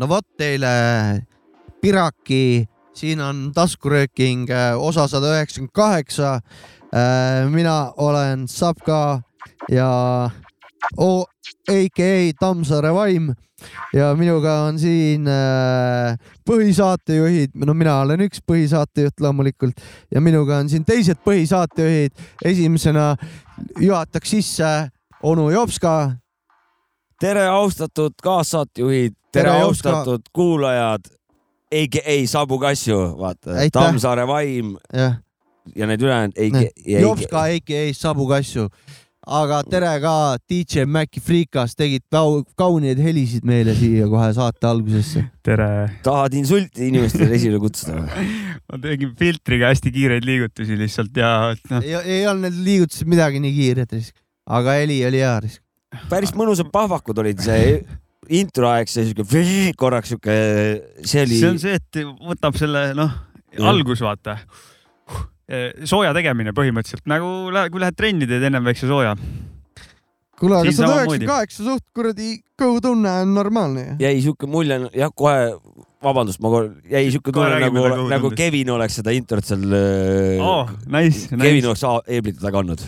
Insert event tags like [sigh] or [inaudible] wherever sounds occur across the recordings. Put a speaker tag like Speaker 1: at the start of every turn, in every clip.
Speaker 1: no vot teile Piraki, siin on taskurööking äh, osa sada üheksakümmend kaheksa. Äh, mina olen Sapka ja O AKA Tammsaare vaim ja minuga on siin äh, põhisaatejuhid, no mina olen üks põhisaatejuht loomulikult ja minuga on siin teised põhisaatejuhid. esimesena juhataks sisse onu Jopska.
Speaker 2: tere , austatud kaassaatejuhid ,
Speaker 1: Tere,
Speaker 2: tere ,
Speaker 1: Jopska.
Speaker 2: austatud kuulajad , AKA Sabu Kassu , vaata ,
Speaker 1: Aitäh.
Speaker 2: Tammsaare vaim
Speaker 1: jah ,
Speaker 2: ja need ülejäänud .
Speaker 1: Jopska AKA Sabu Kassu . aga tere ka DJ Maci Freekas , tegid kau- kauneid helisid meile siia kohe saate algusesse .
Speaker 3: tere .
Speaker 2: tahad insulti inimestele esile kutsuda või ?
Speaker 3: ma tegin filtriga hästi kiireid liigutusi lihtsalt ja noh ,
Speaker 1: ei, ei olnud need liigutused midagi nii kiired , aga heli oli hea .
Speaker 2: päris mõnusad pahvakud olid , see introaeg , see siuke [laughs] korraks siuke , see oli
Speaker 3: see on see , et võtab selle noh ,
Speaker 2: Jah.
Speaker 3: algus vaata . sooja tegemine põhimõtteliselt nagu lähe, kui lähed trenni , teed ennem väikse sooja .
Speaker 1: kuule , aga sada
Speaker 3: Siin samamoodi.
Speaker 1: üheksakümmend kaheksa suht kuradi kõhutunne on normaalne ju .
Speaker 2: jäi siuke mulje , jah , kohe , vabandust , ma kor- jäi siuke
Speaker 3: Kohe
Speaker 2: tunne
Speaker 3: räägime
Speaker 2: nagu
Speaker 3: veel ,
Speaker 2: nagu
Speaker 3: kogukondadest.
Speaker 2: Kevin oleks seda introt seal oh, ,
Speaker 3: Oh, nice ,
Speaker 2: Kevin
Speaker 3: nice .
Speaker 2: oleks a- eeblite taga olnud .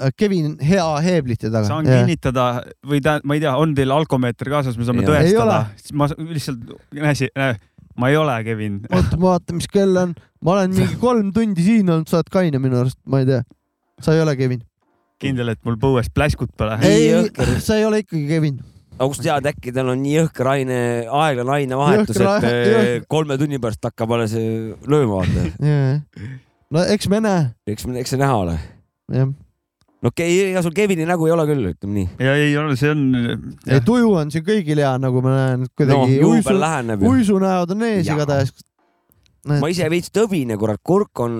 Speaker 1: Äh, Kevin , hea heeblite taga .
Speaker 3: saan kinnitada või ta , ma ei tea , on teil alkomeeter kaasas , me saame
Speaker 2: Ei ole.
Speaker 1: Ei ole.
Speaker 3: tõestada . ma s- lihtsalt , näe , näe , ma ei ole Kevin .
Speaker 1: oota , ma vaatan , mis kell on . ma olen mingi kolm tundi siin olnud , sa oled kaine minu arust , ma ei tea . sa ei ole Kevin .
Speaker 3: kindel , et mul põues pläskut pole .
Speaker 2: Nii
Speaker 1: ei
Speaker 2: jõhker. ,
Speaker 1: sa ei ole ikkagi Kevin .
Speaker 2: aga kust tead , äkki tal on nii jõhker aine , aeglane ainevahetus ,
Speaker 1: Jõhker
Speaker 2: et
Speaker 1: aine-
Speaker 2: eh,
Speaker 1: jõhker.
Speaker 2: kolme tunni pärast hakkab alles eh, lööma , vaata .
Speaker 1: no eks me näe ,
Speaker 2: eks , eks see näha ole .
Speaker 1: jah .
Speaker 2: no okei okay, , ega sul Kevini nägu ei ole küll , ütleme nii .
Speaker 3: ja ei ole , see on .
Speaker 1: tuju on siin kõigil hea , nagu ma näen ,
Speaker 2: no
Speaker 1: kuidagi no,
Speaker 2: juubel
Speaker 1: uisu ,
Speaker 2: Noh, läheneb ju .
Speaker 1: uisunäod on ees
Speaker 2: Jaa.
Speaker 1: igatahes .
Speaker 2: ma ise veits tõbine , kurat , kurk on ,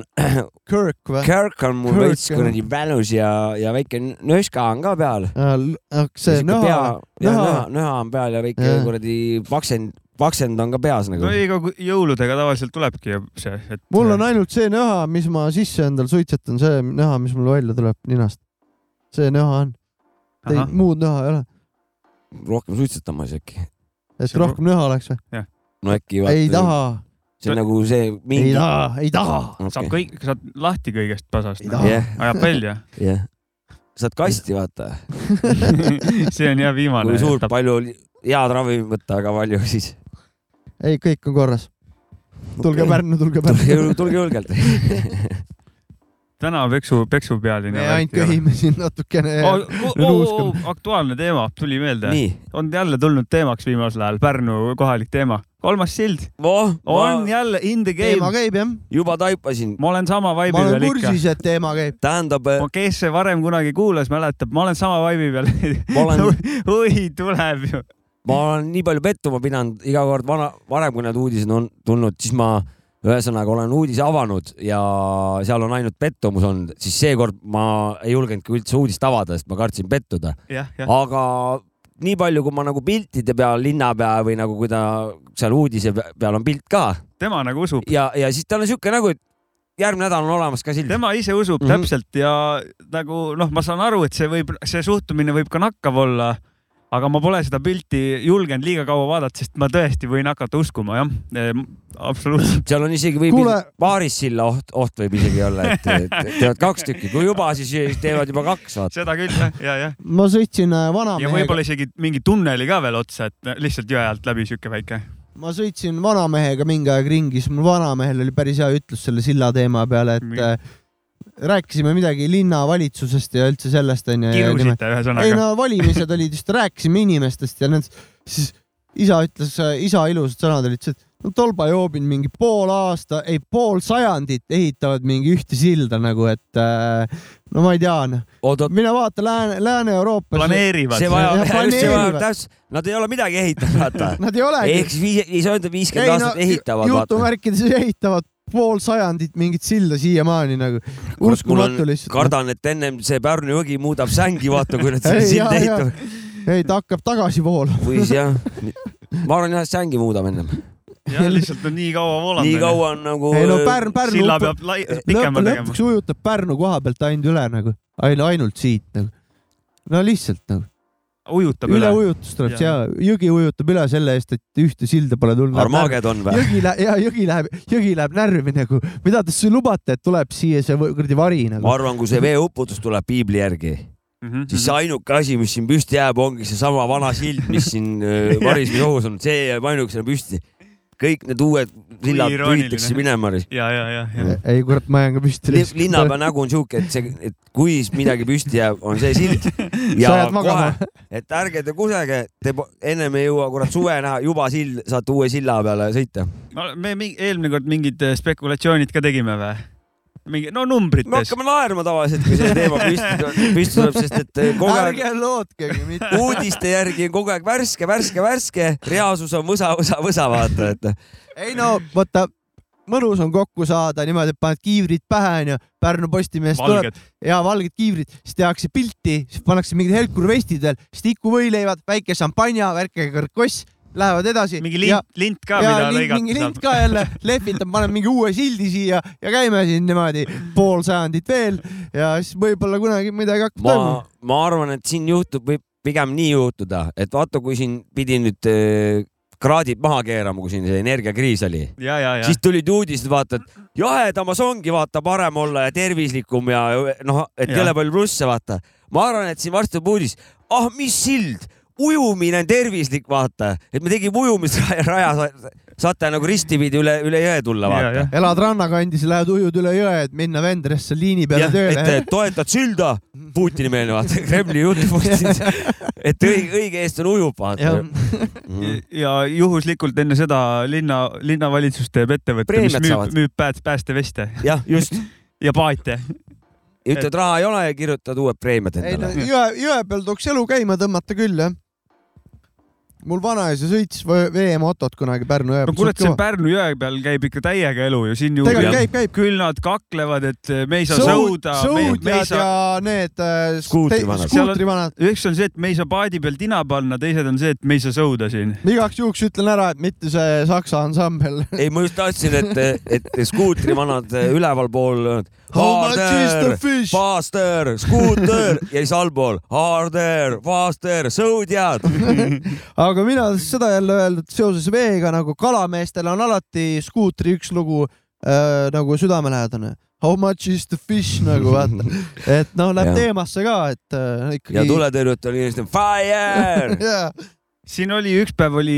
Speaker 1: Kirk või ?
Speaker 2: kärk on mul
Speaker 1: Kürk,
Speaker 2: veits
Speaker 1: jah.
Speaker 2: kuradi välus ja , ja väike nööska on ka peal .
Speaker 1: Äh, see nõha ,
Speaker 2: nöha
Speaker 1: nöha. ,
Speaker 2: nöha on peal ja väike
Speaker 1: Jah.
Speaker 2: kuradi paksend , paksend on ka peas nagu
Speaker 3: no . ega ku- jõuludega tavaliselt tulebki ju see , et .
Speaker 1: mul on ainult see nõha , mis ma sisse endal suitsetan , see nõha , mis mul välja tuleb ninast . see nõha on , muud nõha ei ole .
Speaker 2: rohkem suitsetamas äkki .
Speaker 1: et
Speaker 3: See on-
Speaker 1: rohkem nõha oleks või ?
Speaker 2: no äkki .
Speaker 1: ei . taha ,
Speaker 2: see on nagu see
Speaker 1: ei
Speaker 2: mingi .
Speaker 1: taha , ei taha .
Speaker 3: saab kõik , saad lahti kõigest pasast
Speaker 1: Ei . taha.
Speaker 2: jah ,
Speaker 3: ajab
Speaker 1: [laughs]
Speaker 3: välja .
Speaker 2: jah . saad kasti vaata ,
Speaker 3: see on jah viimane
Speaker 2: kui . suurt , palju oli , head ravimit võtta , aga palju
Speaker 1: [laughs]
Speaker 2: siis .
Speaker 1: ei , kõik on korras . tulge
Speaker 2: Okei.
Speaker 1: Pärnu , tulge
Speaker 2: tulge
Speaker 1: Pärnu .,
Speaker 2: tulge julgelt .
Speaker 3: täna peksu , peksupealine .
Speaker 1: me ainult . köhime siin natukene oh, .
Speaker 3: aktuaalne teema tuli meelde .
Speaker 2: nii .
Speaker 3: on jälle tulnud teemaks viimasel ajal Pärnu kohalik teema . kolmas sild on
Speaker 2: ma
Speaker 3: jälle in the
Speaker 1: teema
Speaker 3: game .
Speaker 1: käib jah ,
Speaker 2: juba taipasin ,
Speaker 3: ma olen sama
Speaker 1: ma
Speaker 3: vaibi
Speaker 1: olen
Speaker 3: peal ikka .
Speaker 1: kursis , et teema käib .
Speaker 2: tähendab , eh,
Speaker 3: kes see varem kunagi kuulas , mäletab , ma olen sama vaibi peal . [laughs]
Speaker 1: [laughs]
Speaker 2: ma olen ,
Speaker 3: oi , tuleb ju .
Speaker 2: ma olen nii palju pettuma pidanud iga kord vana , varem kui need uudised on tulnud , siis ma ühesõnaga olen uudise avanud ja seal on ainult pettumus olnud , siis seekord ma ei julgenudki üldse uudist avada , sest ma kartsin pettuda .
Speaker 3: jah , jah .
Speaker 2: aga nii palju , kui ma nagu piltide peal linnapea või nagu kui ta seal uudise pe- peal on pilt ka
Speaker 3: tema nagu usub .
Speaker 2: ja , ja siis tal on siuke nägu , et järgmine nädal on olemas ka sild .
Speaker 3: tema ise usub mm
Speaker 2: Mhm.
Speaker 3: -hmm. täpselt ja nagu noh , ma saan aru , et see võib , see suhtumine võib ka nakkav olla , aga ma pole seda pilti julgenud liiga kaua vaadata , sest ma tõesti võin hakata uskuma jah , absoluutselt .
Speaker 2: seal on isegi võib
Speaker 1: Kuule-
Speaker 2: paarissilla oht , oht võib isegi olla , et et teevad kaks tükki , kui juba , siis teevad juba kaks , vaata .
Speaker 3: seda küll jah , ja , jah .
Speaker 1: ma sõitsin äh,
Speaker 3: ja
Speaker 1: vanamehega ,
Speaker 3: võib-olla isegi mingi tunneli ka veel otsa , et lihtsalt jõe alt läbi sihuke väike .
Speaker 1: ma sõitsin vanamehega mingi aeg ringi , siis mul vanamehel oli päris hea ütlus selle silla teema peale , et
Speaker 3: Mi-
Speaker 1: äh, rääkisime midagi linnavalitsusest ja üldse sellest onju .
Speaker 3: kirusite
Speaker 1: ei
Speaker 3: ühesõnaga .
Speaker 1: no valimised olid just , rääkisime inimestest ja need , siis isa ütles , isa ilusad sõnad olid , ütles , et no tolba joobin mingi pool aasta , ei pool sajandit ehitavad mingi ühte silda nagu , et äh, no ma ei tea , noh .
Speaker 2: oot , oot ,
Speaker 1: mine vaata Lääne , Lääne-Euroopasse .
Speaker 3: planeerivad
Speaker 2: see
Speaker 3: see... .
Speaker 2: vajab
Speaker 1: jah, ,
Speaker 2: see vajab
Speaker 1: planeerivad.
Speaker 2: täpselt , nad ei ole midagi ehitanud ,
Speaker 1: [laughs]
Speaker 2: vaata .
Speaker 1: Nad ei olegi .
Speaker 2: ehk siis viis , ei saa öelda viiskümmend aastat ehitavad , vaata .
Speaker 1: jutumärkides ehitavad pool sajandit mingit silda siiamaani nagu . uskumatu lihtsalt .
Speaker 2: kardan , et ennem see Pärnu jõgi muudab sängi , vaata ,
Speaker 1: [laughs]
Speaker 2: kui nad selle
Speaker 1: Ei, jaa,
Speaker 2: silda
Speaker 1: jaa.
Speaker 2: ehitavad .
Speaker 1: ei , ta hakkab tagasi voolama .
Speaker 2: või siis jah , ma arvan jah , et sängi muudab ennem .
Speaker 3: ja lihtsalt on nii kaua voolanud .
Speaker 2: nii . kaua on nagu .
Speaker 1: ei no Pärn , Pärnu
Speaker 3: silla peab lai... pikema
Speaker 1: lõpp ,
Speaker 3: tegema .
Speaker 1: lõpuks ujutab Pärnu koha pealt ainult üle nagu , ainult siit nagu . no lihtsalt nagu .
Speaker 3: ujutab
Speaker 1: üle
Speaker 3: üle, üle. .
Speaker 1: ujutust tuleb ja jõgi ujutab üle selle eest , et ühte silda pole tulnud .
Speaker 2: Armagedon või ?
Speaker 1: jõgi läheb , ja jõgi läheb , jõgi läheb närvi nagu , mida te siis lubate , et tuleb siia see võ- kuradi vari
Speaker 2: ma
Speaker 1: nagu .
Speaker 2: arvan , kui see veeuputus tuleb piibli järgi ,
Speaker 3: Mhm.
Speaker 2: siis see ainuke asi , mis siin püsti jääb , ongi seesama vana sild , mis siin
Speaker 1: [laughs]
Speaker 2: äh, varismise ohus on , see jääb ainukesena püsti . kõik need uued sillad
Speaker 3: irooniline.
Speaker 2: pühitakse minema .
Speaker 3: ja , ja , ja , ja .
Speaker 1: ei kurat , ma jään ka püsti .
Speaker 2: linnapea nägu on siuke , et see , et kui midagi püsti jääb , on see sild . ja
Speaker 1: [laughs] Sa jääd
Speaker 2: kohe
Speaker 1: magama. ,
Speaker 2: et ärge te kusagile , te po- ennem ei jõua kurat suve näha , juba sild , saate uue silla peale sõita .
Speaker 3: me mingi, eelmine kord mingid äh, spekulatsioonid ka tegime või ? mingi , no numbrites .
Speaker 2: me hakkame naerma tavaliselt , kui see teema püsti , püsti tuleb , sest et äh, kogu aeg
Speaker 1: ärge lootkegi mitte .
Speaker 2: uudiste järgi on kogu aeg värske , värske , värske , reaalsus on võsa , võsa , võsa , vaata , et
Speaker 1: ei no vaata , mõnus on kokku saada niimoodi , et paned kiivrid pähe onju , Pärnu Postimees tuleb
Speaker 3: valged .
Speaker 1: ja valged kiivrid , siis tehakse pilti , siis pannakse mingid helkurvestid veel , siis tikuvõileivad , väike šampanja , väike karkoss , lähevad edasi .
Speaker 3: mingi lint , lint ka ,
Speaker 1: ja
Speaker 3: mida
Speaker 1: lint, mingi
Speaker 3: lõigata
Speaker 1: lint
Speaker 3: saab .
Speaker 1: ka jälle lehvitab , paneb mingi uue sildi siia ja käime siin niimoodi pool sajandit veel ja siis võib-olla kunagi midagi hakkab
Speaker 2: ma
Speaker 1: toimuma .,
Speaker 2: ma arvan , et siin juhtub , võib pigem nii juhtuda , et vaata , kui siin pidi nüüd äh, kraadid maha keerama , kui siin see energiakriis oli ,
Speaker 3: ja , ja , ja
Speaker 2: siis . tulid uudised , vaata , et jahedamas ongi , vaata , parem olla ja tervislikum ja noh , et
Speaker 3: Jah.
Speaker 2: jõle palju plusse , vaata . ma arvan , et siin varsti tuleb uudis , ah , mis sild , ujumine on tervislik , vaata , et me tegime ujumisraja , [laughs] raja , saate nagu ristipidi üle , üle jõe tulla , vaata .
Speaker 1: elad rannakandis , lähed ujud üle jõe , et minna Vendresse liini peale
Speaker 2: Jah,
Speaker 1: tööle .
Speaker 2: et toetad silda , Putini meelne vaata , [laughs] Kremli jutupunktis , et õige , õige eest on ujub vaata . Mhm.
Speaker 3: ja juhuslikult enne seda linna , linnavalitsus teeb ettevõtte , mis
Speaker 2: Preemiat
Speaker 3: müüb
Speaker 2: saavad. ,
Speaker 3: müüb päät- , päästeveste
Speaker 2: jah , just ,
Speaker 3: ja paate .
Speaker 2: ütled raha ei ole ja kirjutad uued preemiad
Speaker 1: ei no
Speaker 2: endale .
Speaker 1: jõe , jõe peal tuleks elu käima tõmmata küll jah . mul vanaisa sõitis võ- veemotot kunagi Pärnu jõe
Speaker 3: no kurat , see . Pärnu jõe peal käib ikka täiega elu ju siin ju .
Speaker 1: tegelikult käib , käib .
Speaker 3: küll nad kaklevad , et äh, me ei saa sõuda .
Speaker 1: sõudjad ja need äh,
Speaker 2: Skuutri
Speaker 1: te-
Speaker 2: vanad.
Speaker 1: skuutri vanad .
Speaker 3: üks on see , et me ei saa paadi peal tina panna , teised on see , et me ei saa sõuda siin .
Speaker 1: igaks juhuks ütlen ära , et mitte see Saksa
Speaker 2: [laughs]
Speaker 1: ansambel .
Speaker 2: ei , ma just tahtsin , et , et skuutri vanad eh, ülevalpool ,
Speaker 1: How much is Oh, the
Speaker 2: harder ,
Speaker 1: fish ?
Speaker 2: faster , skuuter ja siis allpool harder , faster , sõudjad .
Speaker 1: aga mina tahtsin seda jälle öelda , et seoses veega nagu kalameestel on alati skuutri üks lugu äh, nagu südamelähedane . How much is the fish nagu
Speaker 2: [laughs]
Speaker 1: vaata , et noh , läheb
Speaker 2: Jah.
Speaker 1: teemasse ka , et äh,
Speaker 2: ja
Speaker 1: ikkagi .
Speaker 2: tuletõrjutel inimesed on
Speaker 1: [laughs]
Speaker 2: fire .
Speaker 1: jaa ,
Speaker 3: siin oli üks päev oli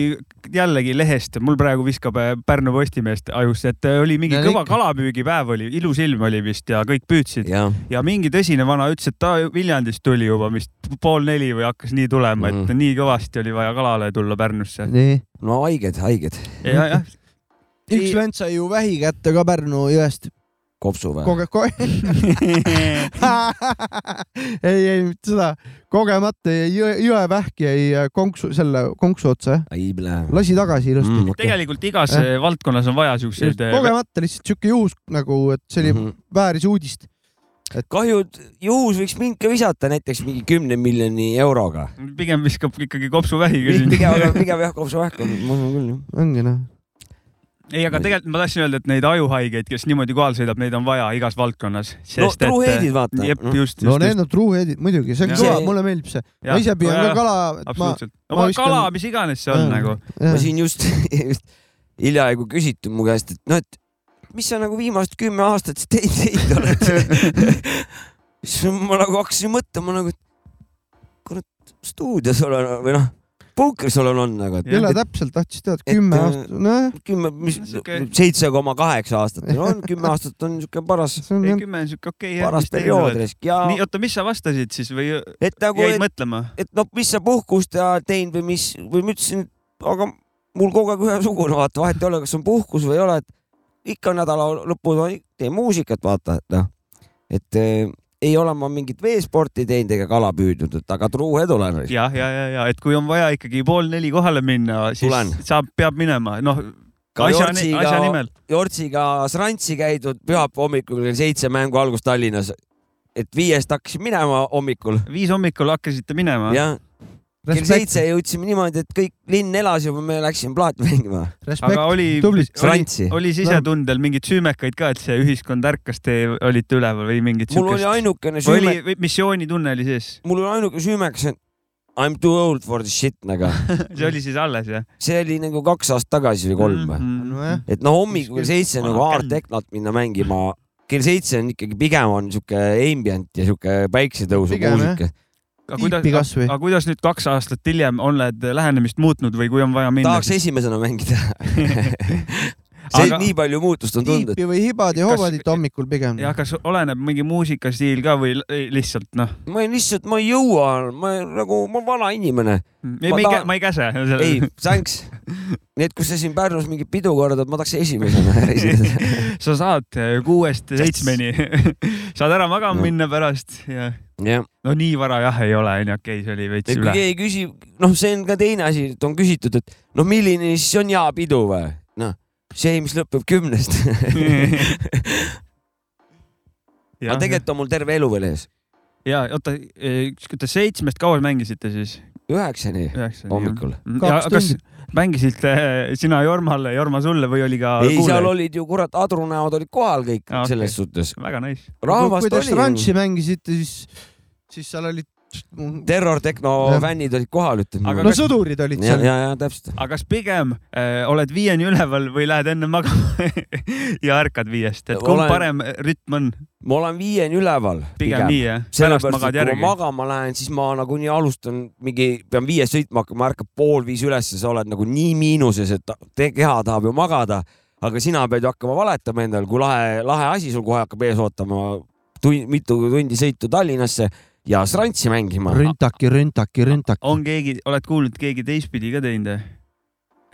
Speaker 3: jällegi lehest , mul praegu viskab äh, Pärnu Postimeest ajusse , et äh, oli mingi
Speaker 1: No
Speaker 3: kõva
Speaker 1: ikka.
Speaker 3: kalapüügipäev oli , ilus ilm oli vist ja kõik püüdsid
Speaker 2: jah ,
Speaker 3: ja mingi tõsine vana ütles , et ta Viljandist tuli juba vist pool neli või hakkas nii tulema , et
Speaker 2: Mhm.
Speaker 3: nii kõvasti oli vaja kalale tulla Pärnusse .
Speaker 1: nii .
Speaker 2: no haiged , haiged ,
Speaker 3: ja ,
Speaker 1: [laughs]
Speaker 3: jah ,
Speaker 1: üks vend sai ju vähi kätte ka Pärnu jõest .
Speaker 2: kopsu või ?
Speaker 1: koge- , koge- , [laughs] ei , ei mitte seda , kogemata jäi jõe , jõevähk jäi äh, konksu , selle konksu otsa , jah .
Speaker 2: ei lähe .
Speaker 1: lasi tagasi ilusti mm. .
Speaker 3: tegelikult igas äh, valdkonnas on vaja siukseid . äh,
Speaker 1: kogemata lihtsalt siuke juhus nagu , et see oli mm
Speaker 2: Mhm.
Speaker 1: -hmm. vääris uudist .
Speaker 2: kahju , et juhus võiks minke visata näiteks mingi kümne miljoni euroga .
Speaker 3: pigem viskab ikkagi kopsuvähiga siin .
Speaker 2: pigem , aga pigem jah , kopsuvähk on , ma usun küll jah .
Speaker 1: ongi noh .
Speaker 3: [laughs] ei , aga tegelikult ma tahtsin öelda , et neid ajuhaigeid , kes niimoodi kohal sõidab , neid on vaja igas valdkonnas .
Speaker 2: no truuheidid vaata .
Speaker 3: eh, jep , just ,
Speaker 1: no
Speaker 3: just ,
Speaker 1: need on truuheadid muidugi , see on
Speaker 3: Jah.
Speaker 1: kõva
Speaker 2: See- ,
Speaker 1: mulle meeldib see . ma ise püüan ka . kala , ma ,
Speaker 3: absoluutselt .
Speaker 1: ma
Speaker 3: oma
Speaker 1: viskan-
Speaker 3: kala , mis iganes see on
Speaker 1: Jah.
Speaker 3: nagu .
Speaker 1: Äh.
Speaker 2: ma siin just, [laughs] just hiljaaegu küsiti mu käest , et noh , et mis sa nagu viimased kümme aastat siis teinud teinud oled . siis ma nagu hakkasin mõtlema nagu , et kurat stuudios olen või noh , punkris olen olnud nagu , et
Speaker 3: Jah.
Speaker 1: jälle täpselt tahtis teada ,
Speaker 2: Et,
Speaker 1: kümme
Speaker 2: äh,
Speaker 1: aastat , nojah ,
Speaker 2: kümme , mis
Speaker 3: No sihuke-
Speaker 2: seitse koma kaheksa aastat , no on kümme aastat on niisugune paras ,
Speaker 1: see on
Speaker 3: ei ,
Speaker 1: jah ,
Speaker 3: kümme on siuke okei .
Speaker 2: paras periood . risk ja
Speaker 3: nagu nii , oota , mis sa vastasid siis või
Speaker 2: et nagu ,
Speaker 3: jäid
Speaker 2: et
Speaker 3: mõtlema ?
Speaker 2: et noh , mis sa puhkust ja teinud või mis või ma ütlesin , aga mul kogu aeg ühesugune , vaata vahet ei ole , kas on puhkus või ei ole , et ikka nädala lõpus on- teen muusikat , vaata , et noh , et eh, ei ole ma mingit veesporti teinud ega kala püüdnud , et aga truu edu olen .
Speaker 3: jah , ja , ja , ja , et kui on vaja ikkagi pool neli kohale minna , siis
Speaker 2: Tulen.
Speaker 3: saab , peab minema , noh ,
Speaker 2: ka
Speaker 3: asja , asja
Speaker 2: Jortsiga ,
Speaker 3: nimel .
Speaker 2: Jortsiga Srantsi käidud pühapäeva hommikul kell seitse mängu algus Tallinnas . et viiest hakkasin minema hommikul
Speaker 3: viis hommikul hakkasite minema .
Speaker 2: ja kell
Speaker 1: respekt ,
Speaker 2: seitse jõudsime niimoodi , et kõik linn elas juba , me läksime plaati mängima .
Speaker 1: respekt
Speaker 3: aga , oli ,
Speaker 1: tubli.
Speaker 3: oli ,
Speaker 2: Srantsi .
Speaker 3: oli sisetundel mingeid süümekaid ka , et see ühiskond ärkas , te olite üleval või mingit
Speaker 2: mul oli
Speaker 3: siukest ?
Speaker 2: ainukene
Speaker 3: või
Speaker 2: süüm ,
Speaker 3: oli või missioonitunne oli sees ?
Speaker 2: mul on ainuke süümekas , et I m too old for this shit nagu .
Speaker 3: [laughs] see oli siis alles jah ? Mm-hmm.
Speaker 2: see oli nagu kaks aastat tagasi või kolm
Speaker 3: Mhm.
Speaker 2: mm . -hmm.
Speaker 1: nojah ,
Speaker 2: et noh , hommikul kell seitse nagu
Speaker 3: Vana
Speaker 2: Art
Speaker 3: känn.
Speaker 2: Eknat minna mängima , kell seitse on ikkagi pigem on sihuke ambient ja sihuke päiksetõusu
Speaker 1: Pigem,
Speaker 2: muusika .
Speaker 1: tiipi kasvõi .
Speaker 3: aga kuidas nüüd kaks aastat hiljem oled lähenemist muutnud või kui on vaja minna
Speaker 2: tahaks ? esimesena mängida . see
Speaker 3: Aga-
Speaker 2: aga... nii palju muutust on tundnud .
Speaker 1: tiipi või hibad ja
Speaker 3: Kas-
Speaker 1: hobadit hommikul pigem .
Speaker 3: jah , kas oleneb mingi muusikastiil ka või l- lihtsalt noh ,
Speaker 2: ma ei- lihtsalt , ma ei jõua , ma ei- nagu , ma olen vana inimene .
Speaker 3: ei ,
Speaker 2: Ma
Speaker 3: ma ei
Speaker 2: tahan- ,
Speaker 3: ma ei käse .
Speaker 2: ei , thanks . nii et kui sa siin Pärnus mingit pidu korraldad , ma tahaks esimesena esineda .
Speaker 3: [laughs] sa saad eh, kuuest seitsmeni , [laughs] saad ära magama
Speaker 2: No.
Speaker 3: minna pärast ja
Speaker 2: jah ,
Speaker 3: no nii vara jah ei ole , onju , okei , see oli veits
Speaker 2: et kui
Speaker 3: üle . [laughs]
Speaker 2: keegi küsib , noh , see on ka teine asi , et on küsitud , et noh , milline siis on hea pidu või ? noh , see , mis lõpeb kümnest . [laughs] aga tegelikult on mul terve elu veel ees .
Speaker 3: ja oota , kas te seitsmest kaua mängisite siis ?
Speaker 2: üheksani
Speaker 3: hommikul .
Speaker 2: hommikul .
Speaker 1: Kaks
Speaker 3: kas mängisite äh, sina Jormale , Jorma sulle või oli ka
Speaker 2: ei , seal
Speaker 3: kuulajaid ?
Speaker 2: olid ju kurat adrunäod olid kohal kõik
Speaker 3: Aa,
Speaker 2: okay.
Speaker 3: Ah, okei.
Speaker 2: selles suhtes .
Speaker 3: väga nice .
Speaker 1: kui
Speaker 2: rahvast
Speaker 1: te
Speaker 2: oli .
Speaker 1: Stranchi mängisite , siis , siis seal olid ,
Speaker 2: terror tehno
Speaker 1: Jah.
Speaker 2: fännid olid kohal , ütleme
Speaker 3: Aga
Speaker 1: no . sõdurid olid
Speaker 2: ja ,
Speaker 1: seal .
Speaker 2: ja , ja täpselt .
Speaker 3: aga kas pigem äh, oled viieni üleval või lähed enne magama [laughs] ja ärkad viiest , et kumb
Speaker 2: Olen-
Speaker 3: parem rütm on ?
Speaker 2: ma olen viieni üleval .
Speaker 3: pigem nii jah ? pärast
Speaker 2: sellepärast , et
Speaker 3: magad
Speaker 2: kui ma
Speaker 3: järgi .
Speaker 2: magama lähen , siis ma nagunii alustan mingi , pean viies sõitma hakkama , ärkab pool viis üles , sa oled nagu nii miinuses , et ta- te- keha tahab ju magada , aga sina pead ju hakkama valetama endale , kui lahe , lahe asi sul kohe hakkab ees ootama . tund , mitu tundi sõitu Tallinnasse ja Strantsi mängima .
Speaker 1: rüntaki , rüntaki , rüntaki .
Speaker 3: on keegi , oled kuulnud , keegi teistpidi ka teinud ?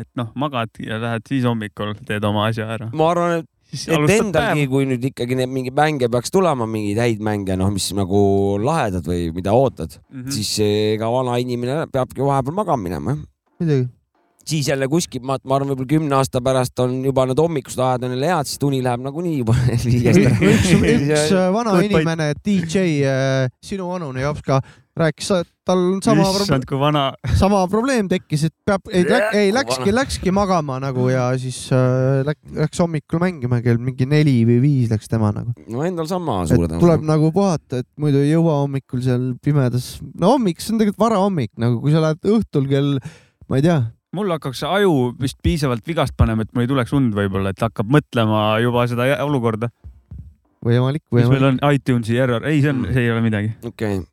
Speaker 3: et noh , magad ja lähed siis hommikul teed oma asja ära .
Speaker 2: ma arvan ,
Speaker 3: siis
Speaker 2: et
Speaker 3: alustad
Speaker 2: endalgi
Speaker 3: päeva .,
Speaker 2: kui nüüd ikkagi need mingeid mänge peaks tulema , mingeid häid mänge , noh , mis nagu lahedad või mida ootad , Mm-hmm.
Speaker 3: Mm.
Speaker 2: siis ega vana inimene peabki vahepeal magama minema , jah .
Speaker 3: [laughs]
Speaker 1: muidugi .
Speaker 2: siis jälle kuskil , ma , ma arvan , võib-olla kümne aasta pärast on juba need hommikused ajad on jälle head , siis tuni läheb nagunii juba [laughs] viiest ära .
Speaker 3: [laughs]
Speaker 1: üks , üks äh, vana
Speaker 3: Good point.
Speaker 1: inimene , DJ , sinu vanune Jopska , rääkis , tal on sama ,
Speaker 3: issand , kui vana .
Speaker 1: sama probleem tekkis , et peab , ei
Speaker 2: Jah, ,
Speaker 1: ei
Speaker 2: kui
Speaker 1: läkski ,
Speaker 2: vana.
Speaker 1: läkski magama nagu ja siis äh, läk- , läks hommikul mängima kell mingi neli või viis läks tema nagu .
Speaker 2: no endal sama
Speaker 1: et
Speaker 2: suure
Speaker 1: tuleb . nagu puhata , et muidu ei jõua hommikul seal pimedas , no hommik , see on tegelikult varahommik nagu , kui sa lähed õhtul kell , ma ei tea ,
Speaker 3: mul hakkaks see aju vist piisavalt vigast panema , et mul ei tuleks und võib-olla , et hakkab mõtlema juba seda jä- olukorda ,
Speaker 1: võimalik ,
Speaker 3: mis meil
Speaker 1: võimalik .
Speaker 3: on iTunesi error , ei , see on ,
Speaker 2: Mm.
Speaker 3: see ei ole midagi .
Speaker 2: okei okay. ,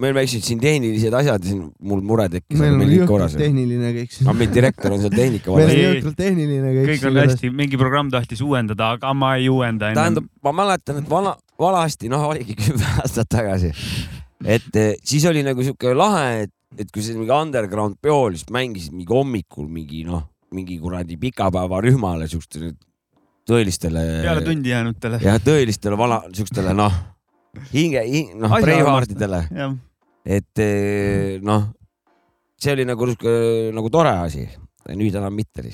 Speaker 2: meil väiksed siin tehnilised asjad , siin mul mure tekkis ,
Speaker 1: meil
Speaker 2: aga
Speaker 1: on
Speaker 2: meil kõik
Speaker 1: jõhkralt
Speaker 2: korras .
Speaker 1: tehniline kõik
Speaker 2: aga
Speaker 1: siin .
Speaker 2: meil direktor on seal tehnika
Speaker 1: meil
Speaker 2: vallas .
Speaker 1: on
Speaker 3: Ei, ei.
Speaker 1: jõhkralt tehniline kõik,
Speaker 3: kõik on . hästi , mingi programm tahtis uuendada , aga ma ei uuenda ennem .
Speaker 2: tähendab , ma mäletan , et vana , vanasti , noh , oligi [laughs] kümme aastat tagasi , et eh, siis oli nagu sihuke lahe , et , et kui sa mingi underground peol , siis mängisid mingi hommikul mingi noh , mingi kuradi pikapäevarühmale siukestele tõelistele .
Speaker 3: peale tundi jäänutele .
Speaker 2: jah , tõelistele vana , siukestele noh , hinge hing, , noh ,
Speaker 3: Asja
Speaker 2: breivaartidele ,
Speaker 3: jah ,
Speaker 2: et eh, noh , see oli nagu sihuke nagu tore asi , nüüd enam mitte .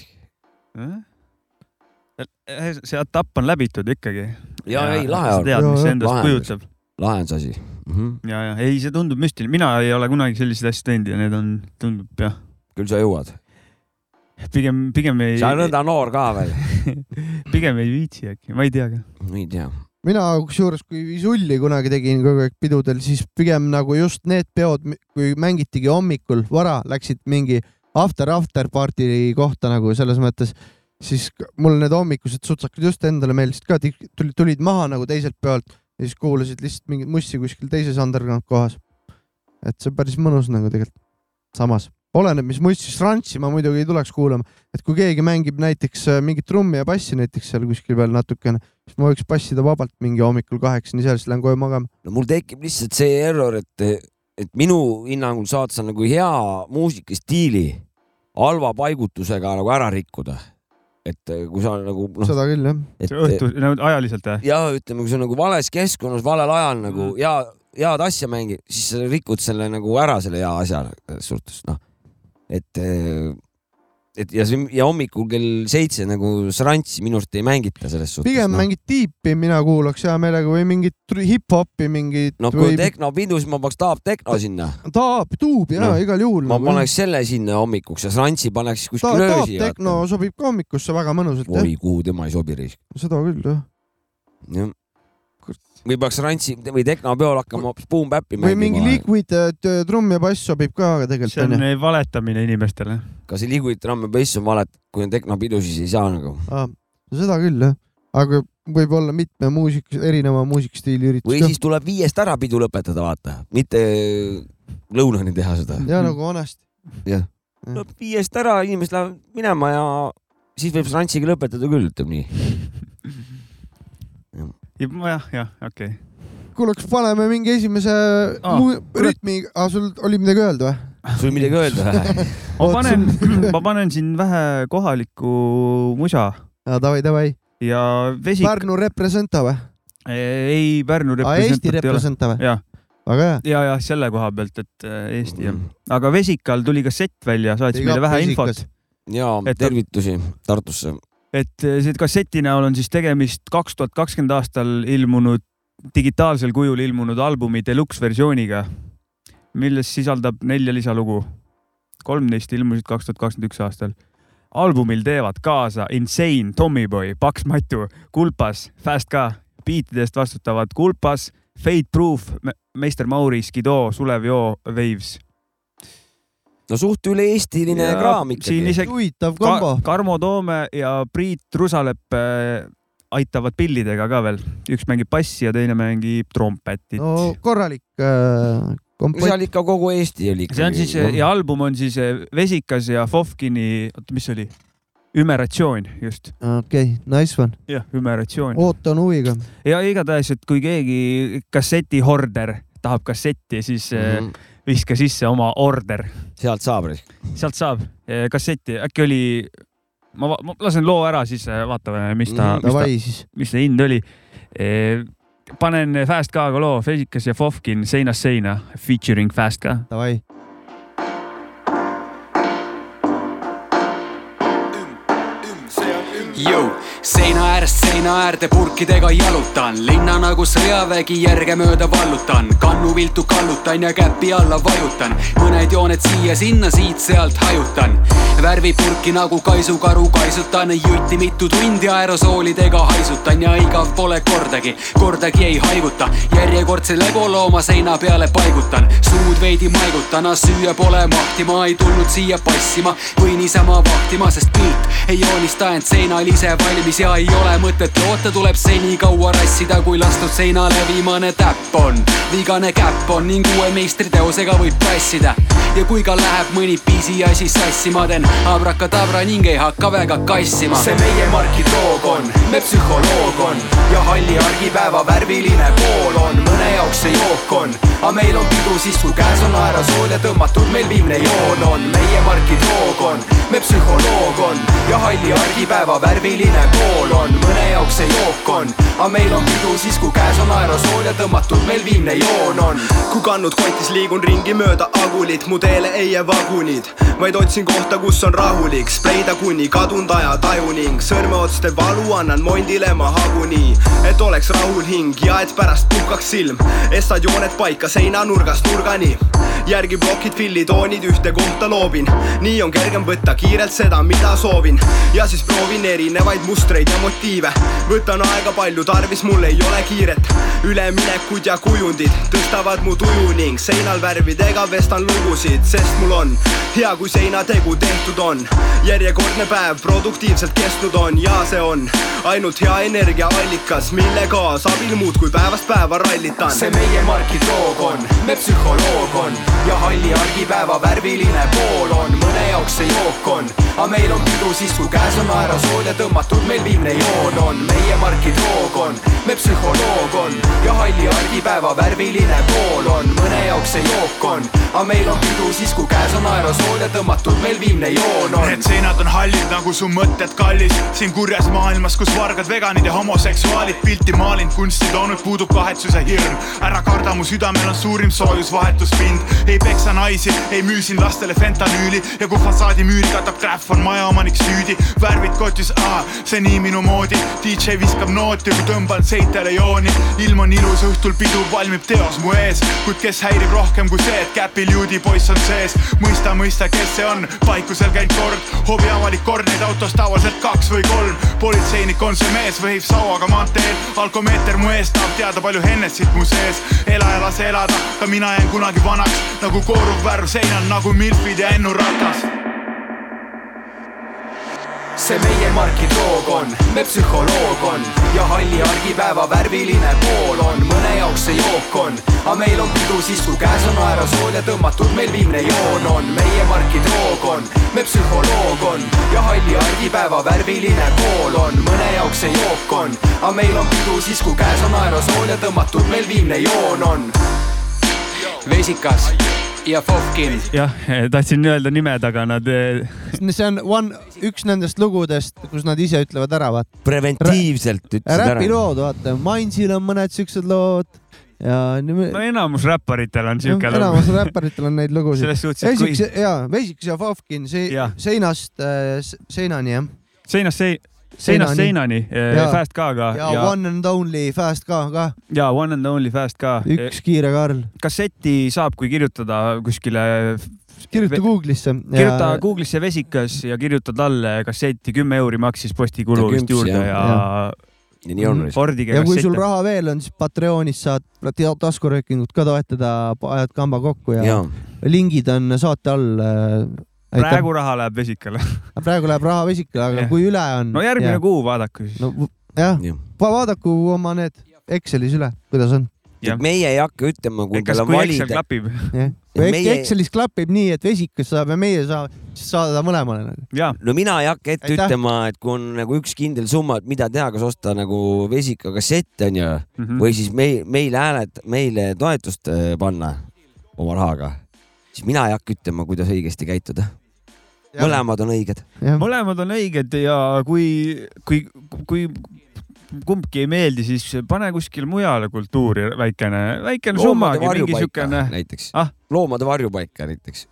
Speaker 3: see etapp eh, on läbitud ikkagi .
Speaker 2: ja ei , lahe on ,
Speaker 3: tead , mis
Speaker 1: Jaa,
Speaker 3: see endast
Speaker 2: lahe on.
Speaker 3: kujutab .
Speaker 2: lahe on see asi mm . -hmm.
Speaker 3: ja , ja ei , see tundub müstiline , mina ei ole kunagi selliseid asju teinud ja need on , tundub jah ,
Speaker 2: küll sa jõuad ,
Speaker 3: pigem , pigem ei
Speaker 2: sa , oled nõnda noor ka
Speaker 3: [laughs]
Speaker 2: veel ,
Speaker 3: pigem ei viitsi äkki , ma ei tea ka .
Speaker 2: ei tea .
Speaker 1: mina kusjuures , kui visulli kunagi tegin kogu aeg pidudel , siis pigem nagu just need peod , kui mängitigi hommikul vara , läksid mingi after after party kohta nagu selles mõttes , siis k- mul need hommikused sutsakad just endale meeldisid ka , tulid , tulid maha nagu teiselt peolt ja siis kuulasid lihtsalt mingit mussi kuskil teises underground kohas . et see on päris mõnus nagu tegelikult , samas oleneb , mis mussi , Strantsi ma muidugi ei tuleks kuulama , et kui keegi mängib näiteks äh, mingit trummi ja bassi näiteks seal kuskil veel natukene , siis ma võiks passida vabalt mingi hommikul kaheksani seal , siis lähen koju magama .
Speaker 2: no mul tekib lihtsalt see error , et , et minu hinnangul saad sa nagu hea muusikastiili halva paigutusega nagu ära rikkuda . et eh, kui sa nagu noh ,
Speaker 1: seda küll jah .
Speaker 2: et
Speaker 3: õhtu , no ajaliselt jah ?
Speaker 2: ja ütleme , kui sa nagu vales keskkonnas valel ajal nagu
Speaker 3: Mm.
Speaker 2: ja head asja mängid , siis sa rikud selle nagu ära , selle hea asja selles suhtes , noh . et , et ja see ja hommikul kell seitse nagu srantsi minu arust ei mängita selles suhtes . noh.
Speaker 1: pigem no.
Speaker 2: no.
Speaker 1: mingit tiipi mina kuulaks hea meelega või mingit tr- hip-hopi mingit
Speaker 2: no kui
Speaker 1: või
Speaker 2: on teknopidu , siis ma paneks tahab tekno sinna ,
Speaker 1: taab , tuub ja no.
Speaker 2: Noh,
Speaker 1: igal juhul .
Speaker 2: ma paneks selle sinna hommikuks ja srantsi paneks siis kuskil
Speaker 1: taab
Speaker 2: öösi .
Speaker 1: tekno sobib ka hommikusse väga mõnusalt jah ,
Speaker 2: oi , kuhu tema ei sobi ,
Speaker 1: seda küll jah .
Speaker 2: jah . või peaks rantsi või tehnopeol hakkama hoopis Boom Bap'i
Speaker 1: või mingi
Speaker 2: mängima?
Speaker 1: liquid äh, t- trumm ja bass sobib ka aga
Speaker 3: see
Speaker 1: tegelikult
Speaker 3: on
Speaker 1: onju .
Speaker 3: eh, valetamine inimestele .
Speaker 2: kas see liquid trumm ja bass on valet , kui on tehnopidu , siis ei saa nagu .
Speaker 1: seda küll jah , aga võib-olla mitme muusik , erineva muusikastiili üritus
Speaker 2: või siis tuleb viiest ära pidu lõpetada , vaata , mitte äh, lõunani teha seda .
Speaker 1: ja nagu vanasti .
Speaker 2: tuleb viiest ära , inimesed lähevad minema ja siis võib rantsiga lõpetada küll , ütleb nii .
Speaker 3: jah , jah , okei okay. .
Speaker 1: kuule , kas paneme mingi esimese
Speaker 3: Aa,
Speaker 1: mu-
Speaker 3: kurat.
Speaker 1: rütmi , sul oli midagi öelda või ?
Speaker 2: sul midagi [laughs] öelda või ?
Speaker 3: ma panen , [clears throat] ma panen siin vähe kohalikku musa
Speaker 1: Davai , davai ,
Speaker 3: ja vesik .
Speaker 1: Pärnu representa või ?
Speaker 3: ei , Pärnu
Speaker 1: Eesti
Speaker 3: representant ei ole .
Speaker 1: representa või ?
Speaker 3: ja ,
Speaker 1: väga hea .
Speaker 3: ja , ja selle koha pealt , et eh, Eesti jah . aga Vesikal tuli kassett välja , saatis
Speaker 1: Big
Speaker 3: meile
Speaker 1: up
Speaker 3: vähe
Speaker 1: Mm. Vesikas.
Speaker 3: infot ,
Speaker 2: ja
Speaker 3: Et-
Speaker 2: tervitusi Tartusse .
Speaker 3: et eh, see kasseti näol on siis tegemist kaks tuhat kakskümmend aastal ilmunud , digitaalsel kujul ilmunud albumi deluxe versiooniga , milles sisaldab nelja lisalugu . kolm neist ilmusid kaks tuhat kakskümmend üks aastal . albumil teevad kaasa Insane , Tommyboy , Paks Matu , Kulpas , Fast Ka , biitidest vastutavad Kulpas , Fate Proof , Meister Mauri , Skido , Sulev Joo , Waves .
Speaker 2: no suht üle-eestiline kraam
Speaker 3: siin
Speaker 2: ikkagi .
Speaker 3: isegi
Speaker 1: huvitav kombo
Speaker 3: Ka . Karmo Toome ja Priit Rusalep äh, aitavad pillidega ka veel , üks mängib bassi ja teine mängib trompetit
Speaker 1: no korralik äh, kompott .
Speaker 2: seal ikka kogu Eesti oli ikkagi . noh.
Speaker 3: see on siis ja album on siis äh, Vesikas ja Fofkini , oota , mis see oli ? Ümeratsioon , just ,
Speaker 1: okei okay, , nice one ,
Speaker 3: jah , Ümeratsioon
Speaker 1: ootan huviga .
Speaker 3: ja igatahes , et kui keegi kassetihorder tahab kasseti , siis mm
Speaker 1: Mhm.
Speaker 3: -hmm. viska sisse oma order ,
Speaker 2: Mhm. sealt saab .
Speaker 3: sealt saab eh, kasseti , äkki oli , ma va- ma lasen loo ära , siis eh, vaatame , mis ta
Speaker 2: Mhm.
Speaker 3: mm , -hmm. mis ta
Speaker 1: Davai siis ,
Speaker 3: mis see hind oli . panen Fast K-ga loo , Fesikas ja Fofkin seinast seina featuring Fast K .
Speaker 1: davai .
Speaker 4: Jõu. seina äärest seina äärde purkidega jalutan , linna nagu sõjavägi järge mööda vallutan , kannu viltu kallutan ja käpi alla vajutan , mõned jooned siia-sinna , siit-sealt hajutan . värvipurki nagu kaisukaru kaisutan , jutti mitu tundi aerosoolidega haisutan ja igav pole kordagi , kordagi ei haiguta , järjekordse lebolooma seina peale paigutan , suud veidi maigutan , süüa pole mahti , ma ei tulnud siia passima või niisama vahtima , sest pilt ei joonista end seinal ise valmis ja ei ole mõtet loota , tuleb senikaua rassida , kui lastud seinale viimane täpp on . vigane käpp on ning uue meistriteosega võib passida ja kui ka läheb mõni pisiasi sassi , ma teen abrakadabra ning ei hakka väga kassima .
Speaker 5: see meie Marki Toog on , me psühholoog on ja halli argipäeva värviline pool on , mõne jaoks see jook on , aga meil on pidu siis , kui käes on aerosool ja tõmmatud meil viimne joon on , meie Marki Toog on , me psühholoog on ja halli argipäeva värviline pool on , mõne jaoks see jook on , aga meil on pidu siis , kui käes on aerosool ja tõmmatud meil viimne joon on .
Speaker 6: kui kannud kotis liigun ringi mööda agulit , mu teele ei jää vagunid , vaid otsin kohta , kus on rahulik , spreida kuni kadunud ajataju ning sõrmeotste valu annan mondile ma haguni , et oleks rahul hing ja et pärast puhkaks silm , estad jooned paika seinanurgast nurgani , järgi plokid , fillitoonid ühte kohta loobin , nii on kergem võtta kiirelt seda , mida soovin ja siis proovin erinevaid mustreid ja motiive , võtan aega palju tarvis , mul ei ole kiiret , üleminekud ja kujundid tõstavad mu tuju ning seinal värvidega vestan lugusid , sest mul on hea , kui seinategu tehtud on . järjekordne päev produktiivselt kestnud on ja see on ainult hea energiaallikas , mille kaasabil muudkui päevast päeva rallitan .
Speaker 5: see meie Marki Toog on , me psühholoog on ja halli argipäeva värviline pool on , mõne jaoks see jook on , aga meil on pidu siis , kui käes on aerosool ja tõmmatud meil viimne joon on , meie Marki Toog on , me psühholoog on ja halli argipäeva värviline pool on , mõne jaoks see jook on , aga meil on pidu siis , kui käes on aerosool ja tõmmatud meil viimne joon on
Speaker 7: Need . seinad on hallid nagu su mõtted kallis siin kurjas maailmas , kus vargad , veganid ja homoseksuaalid pilti maalinud , kunsti toonud , puudub kahetsuse hirm . ära karda , mu südamel on suurim soojusvahetuspind , ei peksa naisi , ei müü siin lastele fentanüüli ja kui fassaadi müüri katab krähv , on majaomanik süüdi . värvid kotis , see nii minu moodi , DJ viskab nooti , kui tõmban seitele jooni . ilm on ilus , õhtul pidu valmib teos mu ees , kuid kes häirib rohkem kui see , et käpil juudi poiss on sees . mõista , mõista , kes see on , paikusel käinud kord , hovi avalik kord , neid autos tavaliselt kaks või kolm . politseinik on see mees , võhib sauaga maanteel , alkomeeter mu ees tahab teada , palju Hennessit mu sees . ela ja lase elada , ka mina jään kunagi vanaks nagu kooruv värv seinal , nagu milfid ja Ennu ratas
Speaker 5: see meie Marki Toog on , me psühholoog on ja halli argipäeva värviline pool on , mõne jaoks see jook on , aga meil on pidu siis , kui käes on aerosool ja tõmmatud meil viimne joon on , meie Marki Toog on , me psühholoog on ja halli argipäeva värviline pool on , mõne jaoks see jook on , aga meil on pidu siis , kui käes on aerosool ja tõmmatud meil viimne joon on .
Speaker 4: vesikas ja Fofkin .
Speaker 3: jah , tahtsin öelda nimed , aga nad , eh,
Speaker 1: see on one , üks nendest lugudest , kus nad ise ütlevad ära , vaata .
Speaker 2: preventiivselt ütlesid ära .
Speaker 1: räpilood , vaata , Mainsil on mõned siuksed lood ja nii-
Speaker 3: no enamus räpparitel on siuke lugu .
Speaker 1: enamus räpparitel on neid lugusid .
Speaker 3: selles suhtes , et kui
Speaker 1: Vesiks ja , Vesiks ja Fofkin , see
Speaker 3: Jah.
Speaker 1: seinast äh, s- seinani jah .
Speaker 3: seinast sei- , seinast seinani ,
Speaker 1: Ja.
Speaker 3: Fast K-ga
Speaker 1: ja, ja
Speaker 3: ja ,
Speaker 1: One and Only Fast K ka ,
Speaker 3: ja One and Only Fast K .
Speaker 1: üks kiire Karl .
Speaker 3: kasseti saab , kui kirjutada kuskile
Speaker 1: kirjuta
Speaker 3: Ve-
Speaker 1: Google'isse .
Speaker 3: kirjuta ja... Google'isse vesikas ja kirjuta talle kasseti , kümme euri maksis postikulu
Speaker 2: Ja
Speaker 3: vist
Speaker 2: kümps,
Speaker 3: juurde ja,
Speaker 2: jah.
Speaker 3: ja...
Speaker 2: ja nii on vist .
Speaker 3: ordige
Speaker 1: ja kui sul
Speaker 3: kassette .
Speaker 1: raha veel on , siis Patreonis saad ta- taskuröökingut ka toetada , ajad kamba kokku ja, ja.
Speaker 2: jaa ,
Speaker 1: lingid on saate all .
Speaker 3: praegu raha läheb vesikale .
Speaker 1: praegu läheb raha vesikule , aga
Speaker 3: Jah.
Speaker 1: ja. kui üle on .
Speaker 2: Mm,
Speaker 3: no järgmine ja. kuu vaadaku siis no. .
Speaker 1: no, . jah
Speaker 2: Jah.
Speaker 1: Va , vaadaku oma need Excelis üle , kuidas on .
Speaker 3: Jah.
Speaker 2: meie ei hakka ütlema , kui
Speaker 3: kas ,
Speaker 2: tal on
Speaker 3: kui Excel
Speaker 2: valida .
Speaker 3: klapib
Speaker 1: kui meie...
Speaker 2: meie-
Speaker 1: Excelis klapib nii , et vesikas saab ja meie saame , siis saada mõlemale . nagu.
Speaker 3: ja ,
Speaker 2: no mina ei hakka ette
Speaker 1: Aitäh.
Speaker 2: ütlema , et kui on nagu üks kindel summa , et mida teha , kas osta nagu vesika kassett onju
Speaker 3: Mhm. Mm.
Speaker 2: või siis meil , meile hääled , meile toetust äh, panna oma rahaga , siis mina ei hakka ütlema , kuidas õigesti käituda . mõlemad on õiged .
Speaker 3: mõlemad on õiged ja kui , kui , kui kumbki ei meeldi , siis pane kuskil mujale kultuuri väikene , väikene summagi , mingi siukene
Speaker 2: näiteks
Speaker 3: Ah?
Speaker 2: ah? , loomade varjupaika näiteks ,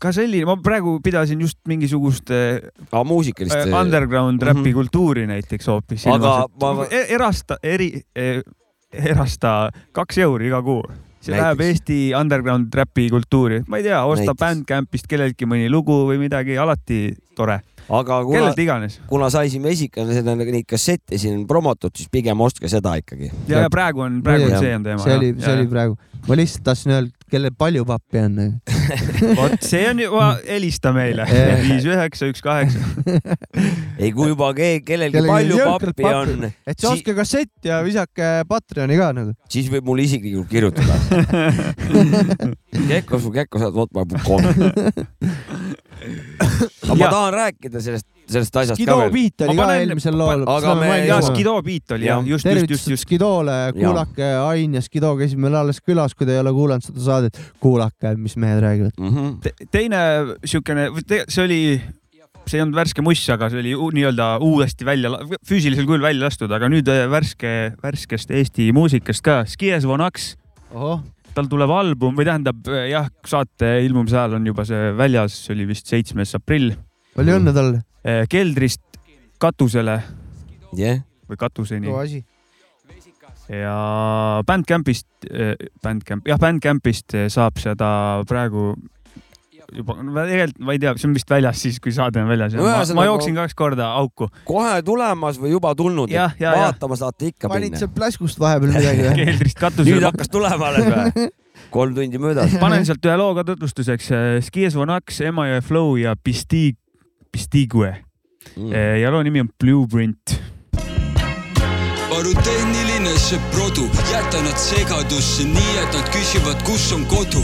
Speaker 3: ka selline , ma praegu pidasin just mingisugust eh,
Speaker 2: aga muusikalist
Speaker 3: äh, . underground
Speaker 1: Mhm.
Speaker 3: räpi mm -hmm. kultuuri näiteks hoopis .
Speaker 2: Aga ma-
Speaker 3: erasta , eri , erasta kaks euri iga kuu . see
Speaker 2: Näiteks.
Speaker 3: näiteks. läheb Eesti underground räpi kultuuri , ma ei tea , osta
Speaker 2: Näiteks.
Speaker 3: Bandcampist kelleltki mõni lugu või midagi , alati tore ,
Speaker 2: aga kuna
Speaker 3: kellelt , iganes .
Speaker 2: kuna sai siin vesikana seda , neid kassette siin promotud , siis pigem ostke seda ikkagi .
Speaker 3: ja , ja praegu on , praegu on
Speaker 1: Jah.
Speaker 3: see on teema .
Speaker 1: see oli , see oli praegu , ma lihtsalt tahtsin öelda , kellel palju pappi on . nagu.
Speaker 3: vot see on juba , helista meile
Speaker 1: Jah.
Speaker 3: viis üheksa , üks kaheksa .
Speaker 2: ei , kui juba ke, kellelgi
Speaker 1: Kellelgi
Speaker 2: palju
Speaker 1: jõhkralt
Speaker 2: pappi
Speaker 1: pappi.
Speaker 2: on ,
Speaker 1: et siis ostke kassett ja visake Patreoni ka nagu .
Speaker 2: siis võib mulle isiklikult
Speaker 3: [laughs]
Speaker 2: kirjutada . Kekko , su Kekko saad votma.com . aga ma
Speaker 3: Jah.
Speaker 2: tahan rääkida sellest , sellest asjast
Speaker 1: Skido
Speaker 2: ka veel .
Speaker 1: Beat oli
Speaker 3: Ma
Speaker 1: ka
Speaker 3: panen-
Speaker 1: eelmisel
Speaker 3: ma-
Speaker 1: lool .
Speaker 2: aga me-
Speaker 3: ja Skido beat oli jah ,
Speaker 2: Jah.
Speaker 3: just , just , just ,
Speaker 1: tervitused
Speaker 3: just .
Speaker 1: Skidole , kuulake Ain ja Skido käisid meil alles külas , kui te ei ole kuulanud seda saadet , kuulake , mis mehed räägivad .
Speaker 2: Mhm.
Speaker 3: Te- teine siukene , see oli , see ei olnud värske muss , aga see oli u- nii-öelda uuesti välja , füüsilisel kujul välja lastud , aga nüüd äh, värske , värskest Eesti muusikast ka , Skies Vonaks ,
Speaker 1: ohoh ,
Speaker 3: tal tuleb album või tähendab äh, jah , saate ilmumise ajal on juba see väljas , see oli vist seitsmes aprill ,
Speaker 1: palju õnne talle .
Speaker 3: keldrist katusele
Speaker 2: jah ,
Speaker 3: või katuseni
Speaker 1: kõva asi .
Speaker 3: ja Bandcampist , Bandcamp , jah , Bandcampist eh, saab seda praegu juba , tegelikult ma ei tea , see on vist väljas siis , kui saade on väljas
Speaker 2: No
Speaker 3: no, .
Speaker 2: nagu
Speaker 3: Ma,
Speaker 2: ühesõnaga-
Speaker 3: ma jooksin kaks korda auku .
Speaker 2: kohe tulemas või juba tulnud ,
Speaker 3: Jah, ja, ja.
Speaker 2: vaatama saate ikka
Speaker 1: panid
Speaker 2: minna
Speaker 1: seal . pläskust vahepeal midagi või ?
Speaker 3: [laughs] keldrist
Speaker 2: nüüd
Speaker 3: katusele .
Speaker 2: hakkas tulema alles või ? kolm tundi möödas .
Speaker 3: panen sealt ühe loo ka tutvustuseks . Skies Vonaks , Emajõe Flow ja Pisti- , Pistigue
Speaker 2: Mm.
Speaker 3: Eh, ja loo nimi on Blueprint .
Speaker 8: varu tehniline see produ , jäta nad segadusse , nii et nad küsivad , kus on kodu .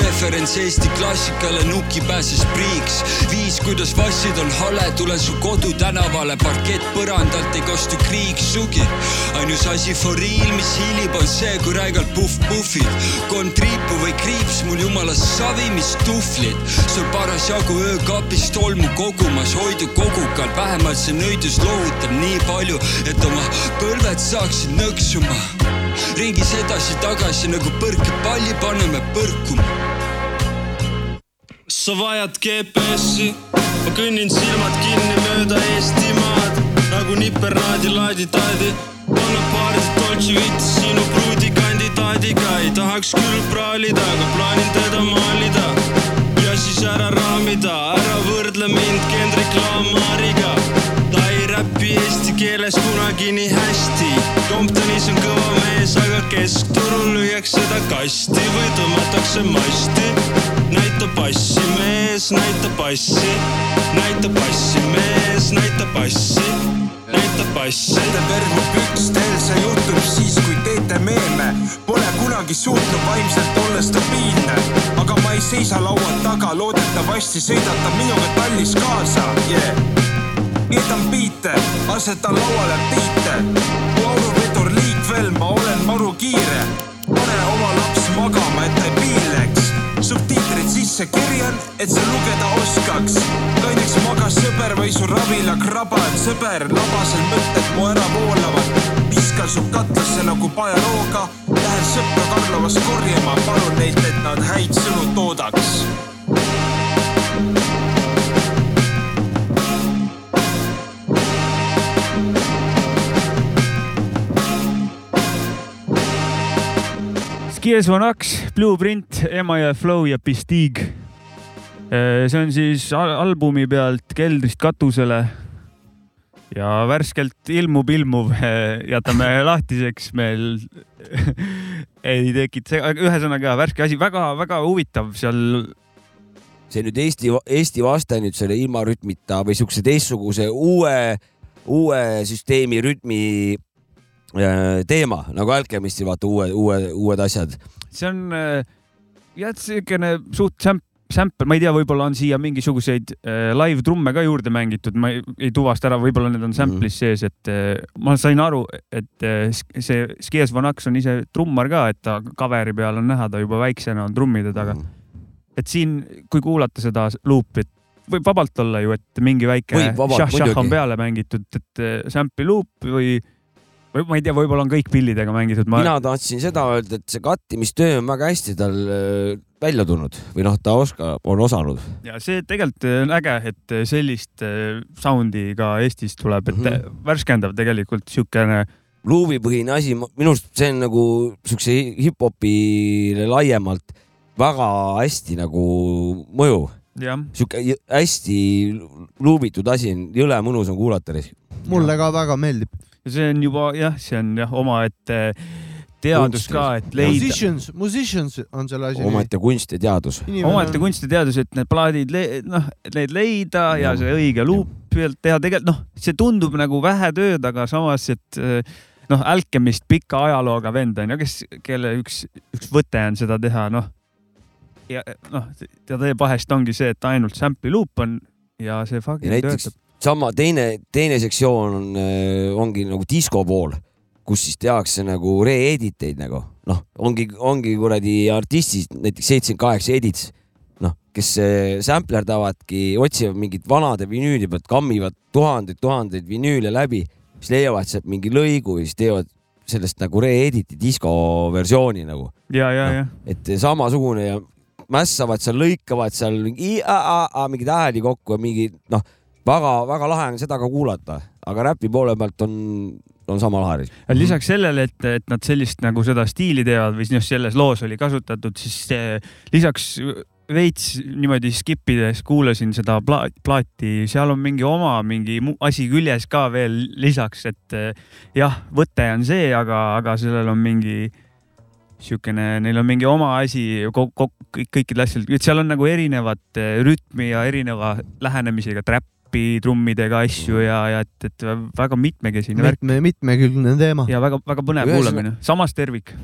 Speaker 8: referents Eesti klassikale , nuki pääses priiks . viis , kuidas vassid on hale , tule su kodu tänavale , parkett põrandalt ei kostu kriiksugi . ainus asi for real , mis hiilib , on see , kui räigelt puhk-puhvid . kolm triipu või kriips , mul jumala savi , mis tuhvlid . sul parasjagu öökapis tolmu kogumas , hoidu kogukalt , vähemalt see nõidus lohutab nii palju , et oma põlved saaksid nõksuma . ringis edasi-tagasi nagu põrkepalli paneme põrkuma .
Speaker 9: sa vajad GPS-i , ma kõnnin silmad kinni mööda Eestimaad nagu nipernaadi laadi-taadi . anna paarilt koltsi vitsi sinu pruudikandidaadi . paadiga ei tahaks küll praalida , aga plaanin teda maalida ja siis ära raamida , ära võrdle mind Kendrick Lamariga . ta ei räpi eesti keeles kunagi nii hästi . Comptonis on kõva mees , aga keskturul lüüakse ta kasti või tõmmatakse masti . näita passi , mees , näita passi , näita passi , mees , näita passi , näita passi .
Speaker 10: Nende vermub ükstel see juhtub siis , kui teete meeme . Pole kunagi suutnud vaimselt olla stabiilne , aga ma ei seisa laua taga , loodetavasti sõidate minuga tallis kaasa yeah. . jätan biite , asetan lauale tiite . mu auruvedur liikvel , ma olen maru kiire . pane oma laps magama , et ta ei piinleks . subtiitrid sisse kirjan , et sa lugeda oskaks . kaineks magas sõber või su ravila kraba , et sõber , labasel mõtted mu ära voolavad . viskan su katlasse nagu pajarooga . Lähen sõpra Karlovas korjama , palun neilt , et nad häid sõnu toodaks
Speaker 3: Skies One X , Blueprint , Emajõe Flow ja Pistig . see on siis al- albumi pealt Keldrist katusele . ja värskelt ilmub ilmuv , jätame [laughs] lahtiseks meil [laughs] ei tekita , ühesõnaga värske asi väga, , väga-väga huvitav seal .
Speaker 2: see nüüd Eesti , Eesti vaste nüüd selle ilma rütmita või siukse teistsuguse uue , uue süsteemi rütmi äh, teema nagu Alchemistil , vaata uue , uue , uued asjad .
Speaker 3: see on äh, jah , siukene suht sämp- , sämpel , ma ei tea , võib-olla on siia mingisuguseid äh, live trumme ka juurde mängitud , ma ei, ei tuvasta ära , võib-olla need
Speaker 2: Mhm.
Speaker 3: on sample'is sees , et äh, ma sain aru , et äh, sk- see Skies Vanaks on ise trummar ka , et ta kaveri peal on näha , ta juba väiksena on trummide
Speaker 2: Mhm.
Speaker 3: taga . et siin , kui kuulata seda luupi , et võib vabalt olla ju , et mingi väike
Speaker 2: Võib vabalt,
Speaker 3: šah-šah on
Speaker 2: muidugi.
Speaker 3: peale mängitud , et äh, sample'i luup või , või ma ei tea , võib-olla on kõik pillidega mängitud .
Speaker 2: ma... . mina tahtsin seda öelda , et see kattimistöö on väga hästi tal äh, välja tulnud või noh , ta oskab , on osanud .
Speaker 3: ja see tegelikult äh, on äge , et sellist eh, sound'i ka Eestis tuleb , et mm -hmm. värskendav tegelikult siukene .
Speaker 2: luuvipõhine asi , minu arust see on nagu siukse hi- hip-hopile laiemalt väga hästi nagu mõju .
Speaker 3: jah ,
Speaker 2: sihuke jõ- hästi luubitud asi on , jõle mõnus on kuulata .
Speaker 1: mulle ka väga meeldib .
Speaker 3: see on juba jah , see on jah omaette äh, teadus ka , et leida .
Speaker 1: Musicians , musicians on selle asi nimi .
Speaker 2: omaette kunst ja teadus .
Speaker 1: Inimene
Speaker 3: omaette
Speaker 1: on-
Speaker 3: kunstiteadus , et need plaadid , noh , et neid leida ja see õige luup pealt teha , tegelikult noh , see tundub nagu vähe tööd , aga samas , et eh, noh , Alchemist pika ajalooga vend on ju , kes , kelle üks , üks võte on seda teha , noh . ja noh , ta teeb vahest ongi see , et ainult sample'i luup on ja see
Speaker 2: ja
Speaker 3: fucking
Speaker 2: näiteks
Speaker 3: töötab .
Speaker 2: sama teine , teine sektsioon on , ongi nagu disko pool , kus siis tehakse nagu re-edit eid nagu noh , ongi , ongi kuradi artistid , näiteks seitsekümmend kaheksa edits , noh , kes äh, samplerdavadki , otsivad mingit vanade vinüüli pealt , kammivad tuhandeid-tuhandeid vinüüle läbi , siis leiavad sealt mingi lõigu ja siis teevad sellest nagu re-edit'i disko versiooni nagu
Speaker 3: ja , ja , ja ,
Speaker 2: et samasugune ja mässavad seal , lõikavad seal mingi i-a-a-a mingeid hääli kokku ja mingi noh , väga-väga lahe on seda ka kuulata , aga räpi poole pealt on , on sama lahe .
Speaker 3: lisaks sellele , et , et nad sellist nagu seda stiili teevad või noh , selles loos oli kasutatud , siis see, lisaks veits niimoodi skip ides kuulasin seda pla- plaati , seal on mingi oma mingi mu- asi küljes ka veel lisaks , et eh, jah , võte on see , aga , aga sellel on mingi niisugune , neil on mingi oma asi ko- ko- kõik- kõikidel asjadel , et seal on nagu erinevat eh, rütmi ja erineva lähenemisega trappi , trummidega asju ja , ja et , et väga mitmekesine värk
Speaker 1: mitme , mitmekülgne teema .
Speaker 3: [laughs] ja väga-väga põnev
Speaker 2: Ühesõnaga-
Speaker 3: kuulamine , samas tervik .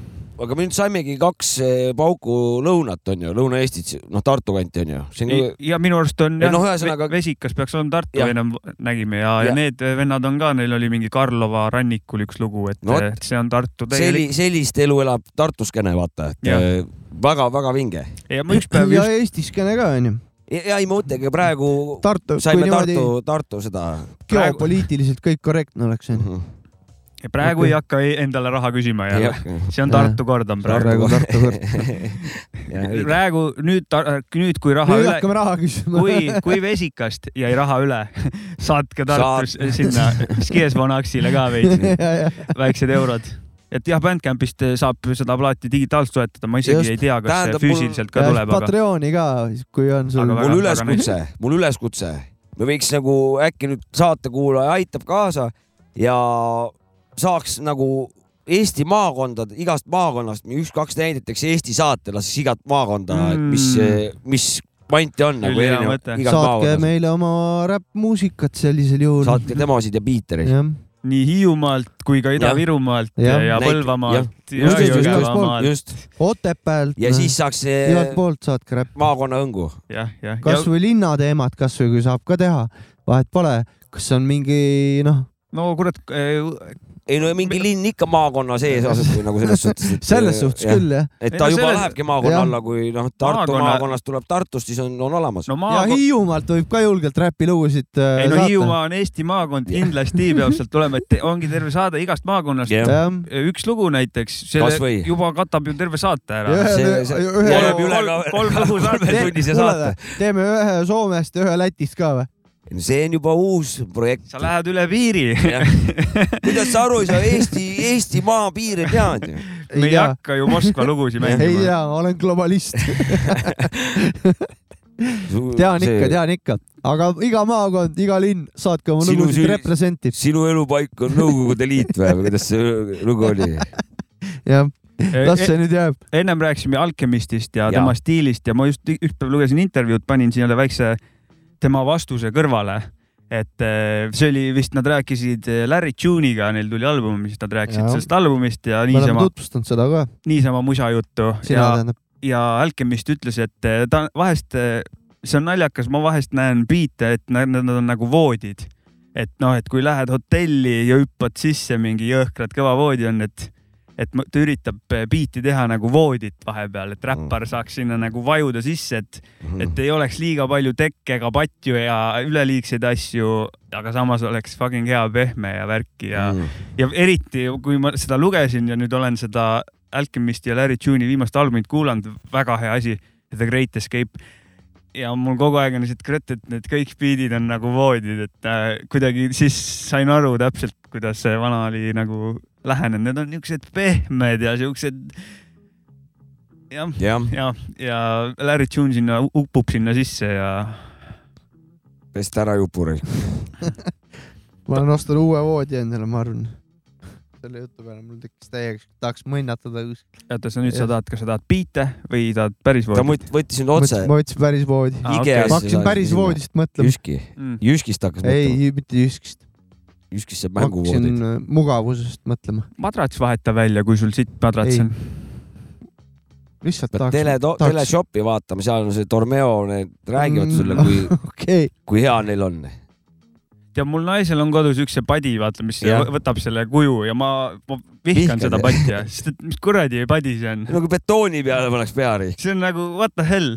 Speaker 2: aga me nüüd saimegi kaks eh, pauku lõunat , on ju , Lõuna-Eestit , noh , Tartu kanti on ju .
Speaker 3: ja, ja minu arust on
Speaker 2: Ei,
Speaker 3: jah
Speaker 2: noh,
Speaker 3: no, ,
Speaker 2: ühesõnaga-
Speaker 3: Vesikas peaks olema Tartu
Speaker 2: Jah. ,
Speaker 3: ennem nägime ja, ja. ,
Speaker 2: Ja.
Speaker 3: ja need vennad on ka , neil oli mingi Karlova rannikul üks lugu , et
Speaker 2: No
Speaker 3: no,
Speaker 2: vot.
Speaker 3: see on Tartu
Speaker 2: Selli,
Speaker 3: täielik .
Speaker 2: sellist elu elab Tartus kene , vaata , et
Speaker 3: Jah.
Speaker 2: eh, väga-väga vinge .
Speaker 3: ja ma
Speaker 1: [laughs]
Speaker 3: ükspäev
Speaker 1: ja
Speaker 3: just ,
Speaker 1: Eestis kene ka onju .
Speaker 2: ja ei , ma mõtlengi praegu
Speaker 1: Tartu , kui
Speaker 2: saime
Speaker 1: niimoodi
Speaker 2: Tartu , Tartu seda .
Speaker 3: praegu-
Speaker 1: geopoliitiliselt kõik korrektne oleks onju .
Speaker 3: praegu
Speaker 1: okei.
Speaker 3: ei hakka ei- endale raha küsima ja see on Tartu kord on praegu .
Speaker 1: praegu on Tartu kord .
Speaker 3: praegu nüüd , nüüd kui raha
Speaker 1: nüüd
Speaker 3: üle ,
Speaker 1: hakkame raha küsima .
Speaker 3: kui , kui Vesikast jäi raha üle , [laughs] saatke Tartus
Speaker 2: Saat-
Speaker 3: sinna Skies Vanaksile ka veits
Speaker 1: ja , ja ,
Speaker 3: väiksed eurod . et jah , Bandcampist eh, saab seda plaati digitaalselt soetada , ma isegi
Speaker 2: Just.
Speaker 3: Just. ei tea , kas
Speaker 2: Tähendab,
Speaker 3: Tähendab,
Speaker 2: mul-
Speaker 3: füüsiliselt ka tuleb , aga
Speaker 1: Patreoni ka , kui on sul .
Speaker 3: Aga
Speaker 2: mul üleskutse , mul üleskutse , me võiks nagu äkki nüüd saatekuulaja aitab kaasa ja saaks nagu Eesti maakondade , igast maakonnast nii üks-kaks näidet , eks Eesti saate , las siis igat maakonda mm. , mis , mis kvanti on nagu
Speaker 3: Ülihea
Speaker 2: erinev
Speaker 3: mõte. ,
Speaker 2: igas
Speaker 1: saatke
Speaker 2: maakonnas .
Speaker 1: meile oma räppmuusikat sellisel juhul .
Speaker 2: saatke demosid ja biitereid .
Speaker 1: jah ,
Speaker 3: nii Hiiumaalt kui ka Ida-Virumaalt ja,
Speaker 1: Jah.
Speaker 3: ja, ja
Speaker 2: Näit-
Speaker 3: Põlvamaalt ja,
Speaker 2: just,
Speaker 3: ja
Speaker 2: just, just,
Speaker 3: Jõgevamaalt
Speaker 2: just ,
Speaker 1: Otepäält .
Speaker 2: ja siis saaks see
Speaker 1: Mm. igalt poolt saatke räpp ,
Speaker 2: maakonna õngu .
Speaker 3: jah , jah , äh, ja
Speaker 1: kasvõi linnateemat kasvõi kui saab ka teha , vahet pole , kas on mingi noh ,
Speaker 3: no kurat , eh,
Speaker 2: ei no mingi linn ikka maakonna sees asub või nagu selles suhtes .
Speaker 3: Äh,
Speaker 1: selles suhtes
Speaker 2: jah.
Speaker 1: küll jah .
Speaker 2: et
Speaker 3: Ei
Speaker 2: ta
Speaker 3: no
Speaker 2: juba
Speaker 3: selles-
Speaker 2: lähebki maakonna
Speaker 1: jah.
Speaker 2: alla , kui noh , Tartu
Speaker 3: Maakonna-
Speaker 2: maakonna... maakonnast tuleb Tartust , siis on , on olemas no. .
Speaker 3: no
Speaker 1: ja
Speaker 3: maakond ,
Speaker 1: Hiiumaalt võib ka julgelt räpilugusid
Speaker 3: ei no
Speaker 1: saata .
Speaker 3: Hiiumaa on Eesti maakond , kindlasti peab sealt tulema , et te- ongi terve saade igast maakonnast
Speaker 2: Jah.
Speaker 3: yeah. . [laughs]
Speaker 1: jah ,
Speaker 3: üks lugu näiteks ,
Speaker 2: Kas või?
Speaker 3: selle juba katab ju terve saate ära
Speaker 1: Jah.
Speaker 3: yeah. .
Speaker 2: see , see
Speaker 1: Ühe- ühe-
Speaker 2: jääb üle ka
Speaker 3: kolm- kolm lugu saate.
Speaker 2: kolmetunnise saate .
Speaker 1: teeme ühe Soomest ja ühe Lätist ka või ?
Speaker 2: see on juba uus projekt
Speaker 3: sa . lähed üle piiri ,
Speaker 2: kuidas sa aru ei saa , Eesti , Eesti maapiire tead ju .
Speaker 3: me ei hakka ju Moskva lugusid
Speaker 1: ei
Speaker 3: mängima .
Speaker 1: tea , olen globalist ,
Speaker 3: [laughs]
Speaker 1: tean ikka , tean ikka , aga iga maakond , iga linn , saatke oma
Speaker 2: Sinu
Speaker 1: lugusid
Speaker 2: süü-
Speaker 1: represent'i ,
Speaker 2: sinu elupaik on Nõukogude Liit või , või kuidas see lugu oli ?
Speaker 1: jah ,
Speaker 3: Eh,
Speaker 1: las see nüüd jääb .
Speaker 3: ennem rääkisime Alchemistist ja,
Speaker 2: Jaa.
Speaker 3: ja tema stiilist ja ma just ükspäev lugesin intervjuud , panin siia väikse tema vastuse kõrvale . et eh, see oli vist , nad rääkisid eh, Larry Tune'iga , neil tuli album , mis nad rääkisid
Speaker 1: Jaa.
Speaker 3: ja. sellest albumist ja
Speaker 1: me oleme
Speaker 3: niisama ,
Speaker 1: tutvustanud seda ka ,
Speaker 3: niisama musajuttu
Speaker 1: sina
Speaker 3: ja ,
Speaker 1: tähendab .
Speaker 3: ja Alchemist ütles , et eh, ta vahest , see on naljakas , ma vahest näen biite , et nad nad on nagu voodid . et noh , et kui lähed hotelli ja hüppad sisse , mingi jõhkralt kõva voodi on , et et ma- ta üritab eh, biiti teha nagu voodit vahepeal , et räppar saaks sinna nagu vajuda sisse , et , et ei oleks liiga palju tekke ega patju ja üleliigseid asju , aga samas oleks fucking hea pehme ja värki ja mm. , ja eriti kui ma seda lugesin ja nüüd olen seda Alchemisti ja Larry Tune'i viimast albumit kuulanud , väga hea asi , The Great Escape . ja mul kogu aeg on lihtsalt krõtt , et need kõik biidid on nagu voodid , et äh, kuidagi siis sain aru täpselt , kuidas see vana oli nagu lähenenud , need on niisugused pehmed ja siuksed jah ,
Speaker 2: jah ,
Speaker 3: ja , ja Larry Tune sinna upub sinna sisse ja
Speaker 2: pesta ära jupuraisk .
Speaker 1: [laughs] ma olen ostnud uue voodi endale , ma arvan . selle jutu peale mul tekkis täiega , tahaks mõnnatada .
Speaker 3: oota , sa nüüd sa tahad , kas sa tahad biite või tahad päris
Speaker 2: ta
Speaker 3: voodit ?
Speaker 2: võt- võttis nüüd
Speaker 1: ma
Speaker 2: otse .
Speaker 1: võtsin päris voodi ,
Speaker 3: Ah,
Speaker 2: Ikea-
Speaker 3: okei.
Speaker 1: ma hakkasin päris voodist mõtlema .
Speaker 2: Jüski ,
Speaker 3: Mm.
Speaker 2: Jüskist hakkas mõtlema .
Speaker 1: ei , mitte Jyskist ,
Speaker 2: Jüskis saab
Speaker 1: ma hakkasin
Speaker 2: mänguvoodid .
Speaker 1: äh, mugavusest mõtlema ,
Speaker 3: madrats vaheta välja , kui sul sitt madrats
Speaker 1: Ei.
Speaker 3: on .
Speaker 1: lihtsalt
Speaker 2: pead
Speaker 1: tahaks .
Speaker 2: tele , teleshopi vaatama , seal on see Tormeo , need räägivad sulle , kui ,
Speaker 1: Mm. okei , [laughs]
Speaker 2: kui hea neil on .
Speaker 3: ja mul naisel on kodus üks see padi , vaata , mis
Speaker 2: Jah.
Speaker 3: võ- võtab selle kuju ja ma, ma vihkan
Speaker 2: Vihkad,
Speaker 3: Vihkad. seda
Speaker 2: jah?
Speaker 3: patja , sest et mis kuradi padi see on ,
Speaker 2: no kui Nagu betooni peale paneks peari .
Speaker 3: see on nagu what the hell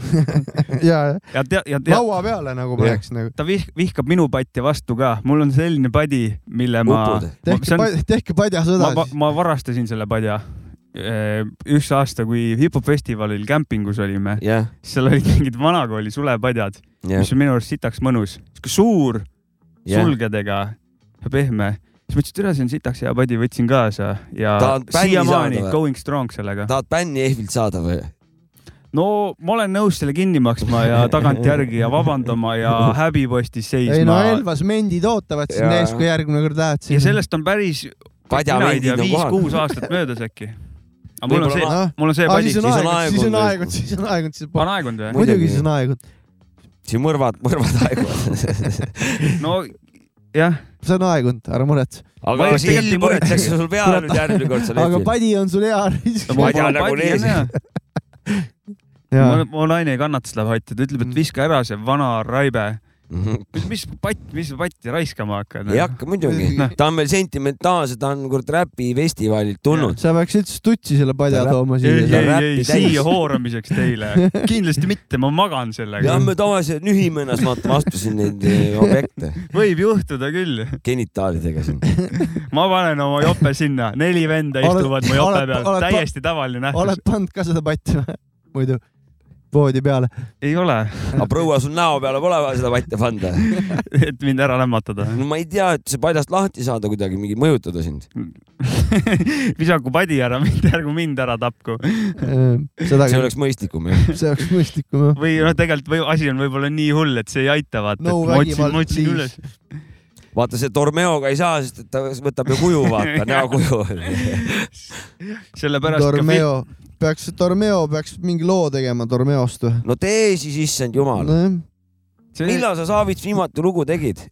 Speaker 1: ja
Speaker 3: ja tea- , ja tea- ,
Speaker 1: laua peale nagu
Speaker 2: Jah.
Speaker 1: paneks nagu .
Speaker 3: ta vih- , vihkab minu patja vastu ka , mul on selline padi , mille ma ,
Speaker 2: upud .
Speaker 3: ma ,
Speaker 1: tehke on... , tehke
Speaker 3: ma,
Speaker 1: padjasõda
Speaker 3: ma,
Speaker 1: siis .
Speaker 3: ma varastasin selle padja eh, üks aasta , kui hip-hop-festivalil kämpingus olime ,
Speaker 2: jah ,
Speaker 3: seal olid mingid vanakooli sulepadjad ,
Speaker 2: jah ,
Speaker 3: mis on minu arust sitaks mõnus , sihuke suur
Speaker 2: jah .
Speaker 3: sulgedega ja pehme . siis mõtlesin , et üle see on sitaks hea padi , võtsin kaasa ja
Speaker 2: Ta on bändi
Speaker 3: siiamaani
Speaker 2: saanud või?
Speaker 3: going strong sellega .
Speaker 2: tahad bänni Ehvilt saada või ?
Speaker 3: no ma olen nõus selle kinni maksma
Speaker 2: [laughs]
Speaker 3: ja tagantjärgi ja vabandama ja häbipostis
Speaker 1: ei no
Speaker 3: seisma .
Speaker 1: Elvas mendid ootavad sind
Speaker 2: Jaa.
Speaker 1: ees , kui järgmine kord lähed
Speaker 3: ja
Speaker 1: sinna .
Speaker 3: sellest on päris ,
Speaker 2: Padja
Speaker 3: mina ei tea ,
Speaker 2: vendid nagu on kohal.
Speaker 3: viis-kuus
Speaker 2: [laughs]
Speaker 3: aastat möödas äkki . aga mul on see
Speaker 2: Võib-olla ,
Speaker 1: ah,
Speaker 3: mul on see
Speaker 1: siis
Speaker 3: padi .
Speaker 1: on
Speaker 2: Siis on
Speaker 1: aegunud , siis on
Speaker 2: aegunud.
Speaker 1: aegunud , siis on aegunud , siis on
Speaker 3: on aegunud või ?
Speaker 1: muidugi
Speaker 2: Muidugi.
Speaker 1: siis on aegunud ,
Speaker 2: siin mõrvad , mõrvad [laughs] aeguvad .
Speaker 3: no jah ,
Speaker 1: see on aegunud , ära muretse .
Speaker 2: aga
Speaker 3: Ma ei- tegelikult
Speaker 2: sill
Speaker 3: ei muretse.
Speaker 2: põletakse sul peale nüüd järgmine kord seal
Speaker 1: aga
Speaker 2: Ehvil .
Speaker 1: padi on sul hea risk .
Speaker 2: Ma ei tea, nagu nees.
Speaker 1: [laughs] jaa ,
Speaker 3: mu naine ei kannata seda patja , ta
Speaker 2: Mm.
Speaker 3: ütleb , et viska ära see vana raibe . mis patt , mis patti raiskama hakkad ?
Speaker 2: Mhm.
Speaker 3: noh?
Speaker 2: ei hakka muidugi , ta on meil sentimentaalse , ta on kord räpifestivalilt tulnud .
Speaker 1: sa peaks üldse tutsi selle padja
Speaker 2: Ta rä-
Speaker 1: tooma
Speaker 3: ei ,
Speaker 1: siia .
Speaker 3: ei ,
Speaker 2: räppi
Speaker 3: ei ,
Speaker 2: täis.
Speaker 3: siia hooramiseks teile kindlasti mitte , ma magan sellega .
Speaker 2: lähme tavaliselt nühime ennast , vaata , vastasin neid eh, objekte
Speaker 3: võib juhtuda küll ,
Speaker 2: genitaalidega siin .
Speaker 3: ma panen oma jope sinna , neli venda
Speaker 1: Oled-
Speaker 3: istuvad mu jope
Speaker 1: oled-
Speaker 3: peal
Speaker 1: oled- ,
Speaker 3: täiesti tavaline nähtus
Speaker 1: oled . pannud ka seda patti või ? muidu . poodi peale .
Speaker 3: ei ole .
Speaker 2: aga proua sul näo peale pole vaja seda vatte panna .
Speaker 3: et mind ära lämmatada . [laughs]
Speaker 2: no ma ei tea , et see padjast lahti saada kuidagi , mingi mõjutada sind .
Speaker 3: visaku padi ära , mitte ärgu mind ära tapku .
Speaker 1: Ehm, seda
Speaker 2: see oleks mõistlikum jah .
Speaker 1: see oleks mõistlikum jah .
Speaker 3: või noh , tegelikult või asi on võib-olla nii hull , et see ei aita , vaata
Speaker 1: no
Speaker 3: et ma otsin ,
Speaker 1: vägivald
Speaker 3: ma otsin
Speaker 1: siis
Speaker 3: üles ..
Speaker 2: vaata see Tormeoga ei saa , sest et ta võtab ju kuju ,
Speaker 3: [laughs]
Speaker 2: vaata näokuju .
Speaker 3: sellepärast ka fi-
Speaker 1: Tormeo , peaks , Tormeo peaks mingi loo tegema Tormeost või ?
Speaker 2: no tee siis , issand jumal .
Speaker 1: nojah ,
Speaker 3: see... .
Speaker 2: millal sa Saavits viimati lugu tegid ?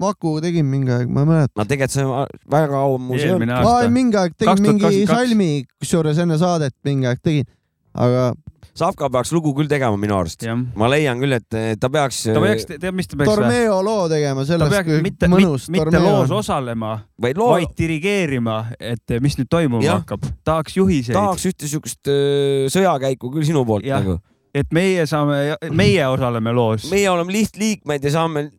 Speaker 1: Maku tegin mingi aeg , ma ei mäleta .
Speaker 2: no tegelikult see väga kaua mu see on .
Speaker 3: eelmine
Speaker 1: ma
Speaker 3: aasta .
Speaker 1: mingi aeg tegin mingi
Speaker 3: 2022.
Speaker 1: salmi , kusjuures enne saadet mingi aeg tegin , aga
Speaker 2: Savka peaks lugu küll tegema minu arust .
Speaker 3: jah ,
Speaker 2: ma leian küll , et ta peaks . eh,
Speaker 3: ta peaks , tead , mis ta peaks või ?
Speaker 1: Tormeo loo tegema ,
Speaker 3: ta
Speaker 1: sellest
Speaker 3: peaks
Speaker 1: kui
Speaker 3: mitte ,
Speaker 1: mõnus
Speaker 3: mitte loos
Speaker 1: Tormeo .
Speaker 3: osalema ,
Speaker 2: vaid loo
Speaker 3: vaid dirigeerima , et eh, mis nüüd toimuma
Speaker 2: Jah.
Speaker 3: hakkab . tahaks juhiseid
Speaker 2: tahaks ühte siukest öö, sõjakäiku küll sinu poolt
Speaker 3: Jah.
Speaker 2: nagu .
Speaker 3: et meie saame , meie osaleme loos .
Speaker 2: meie oleme lihtliikmed ja saame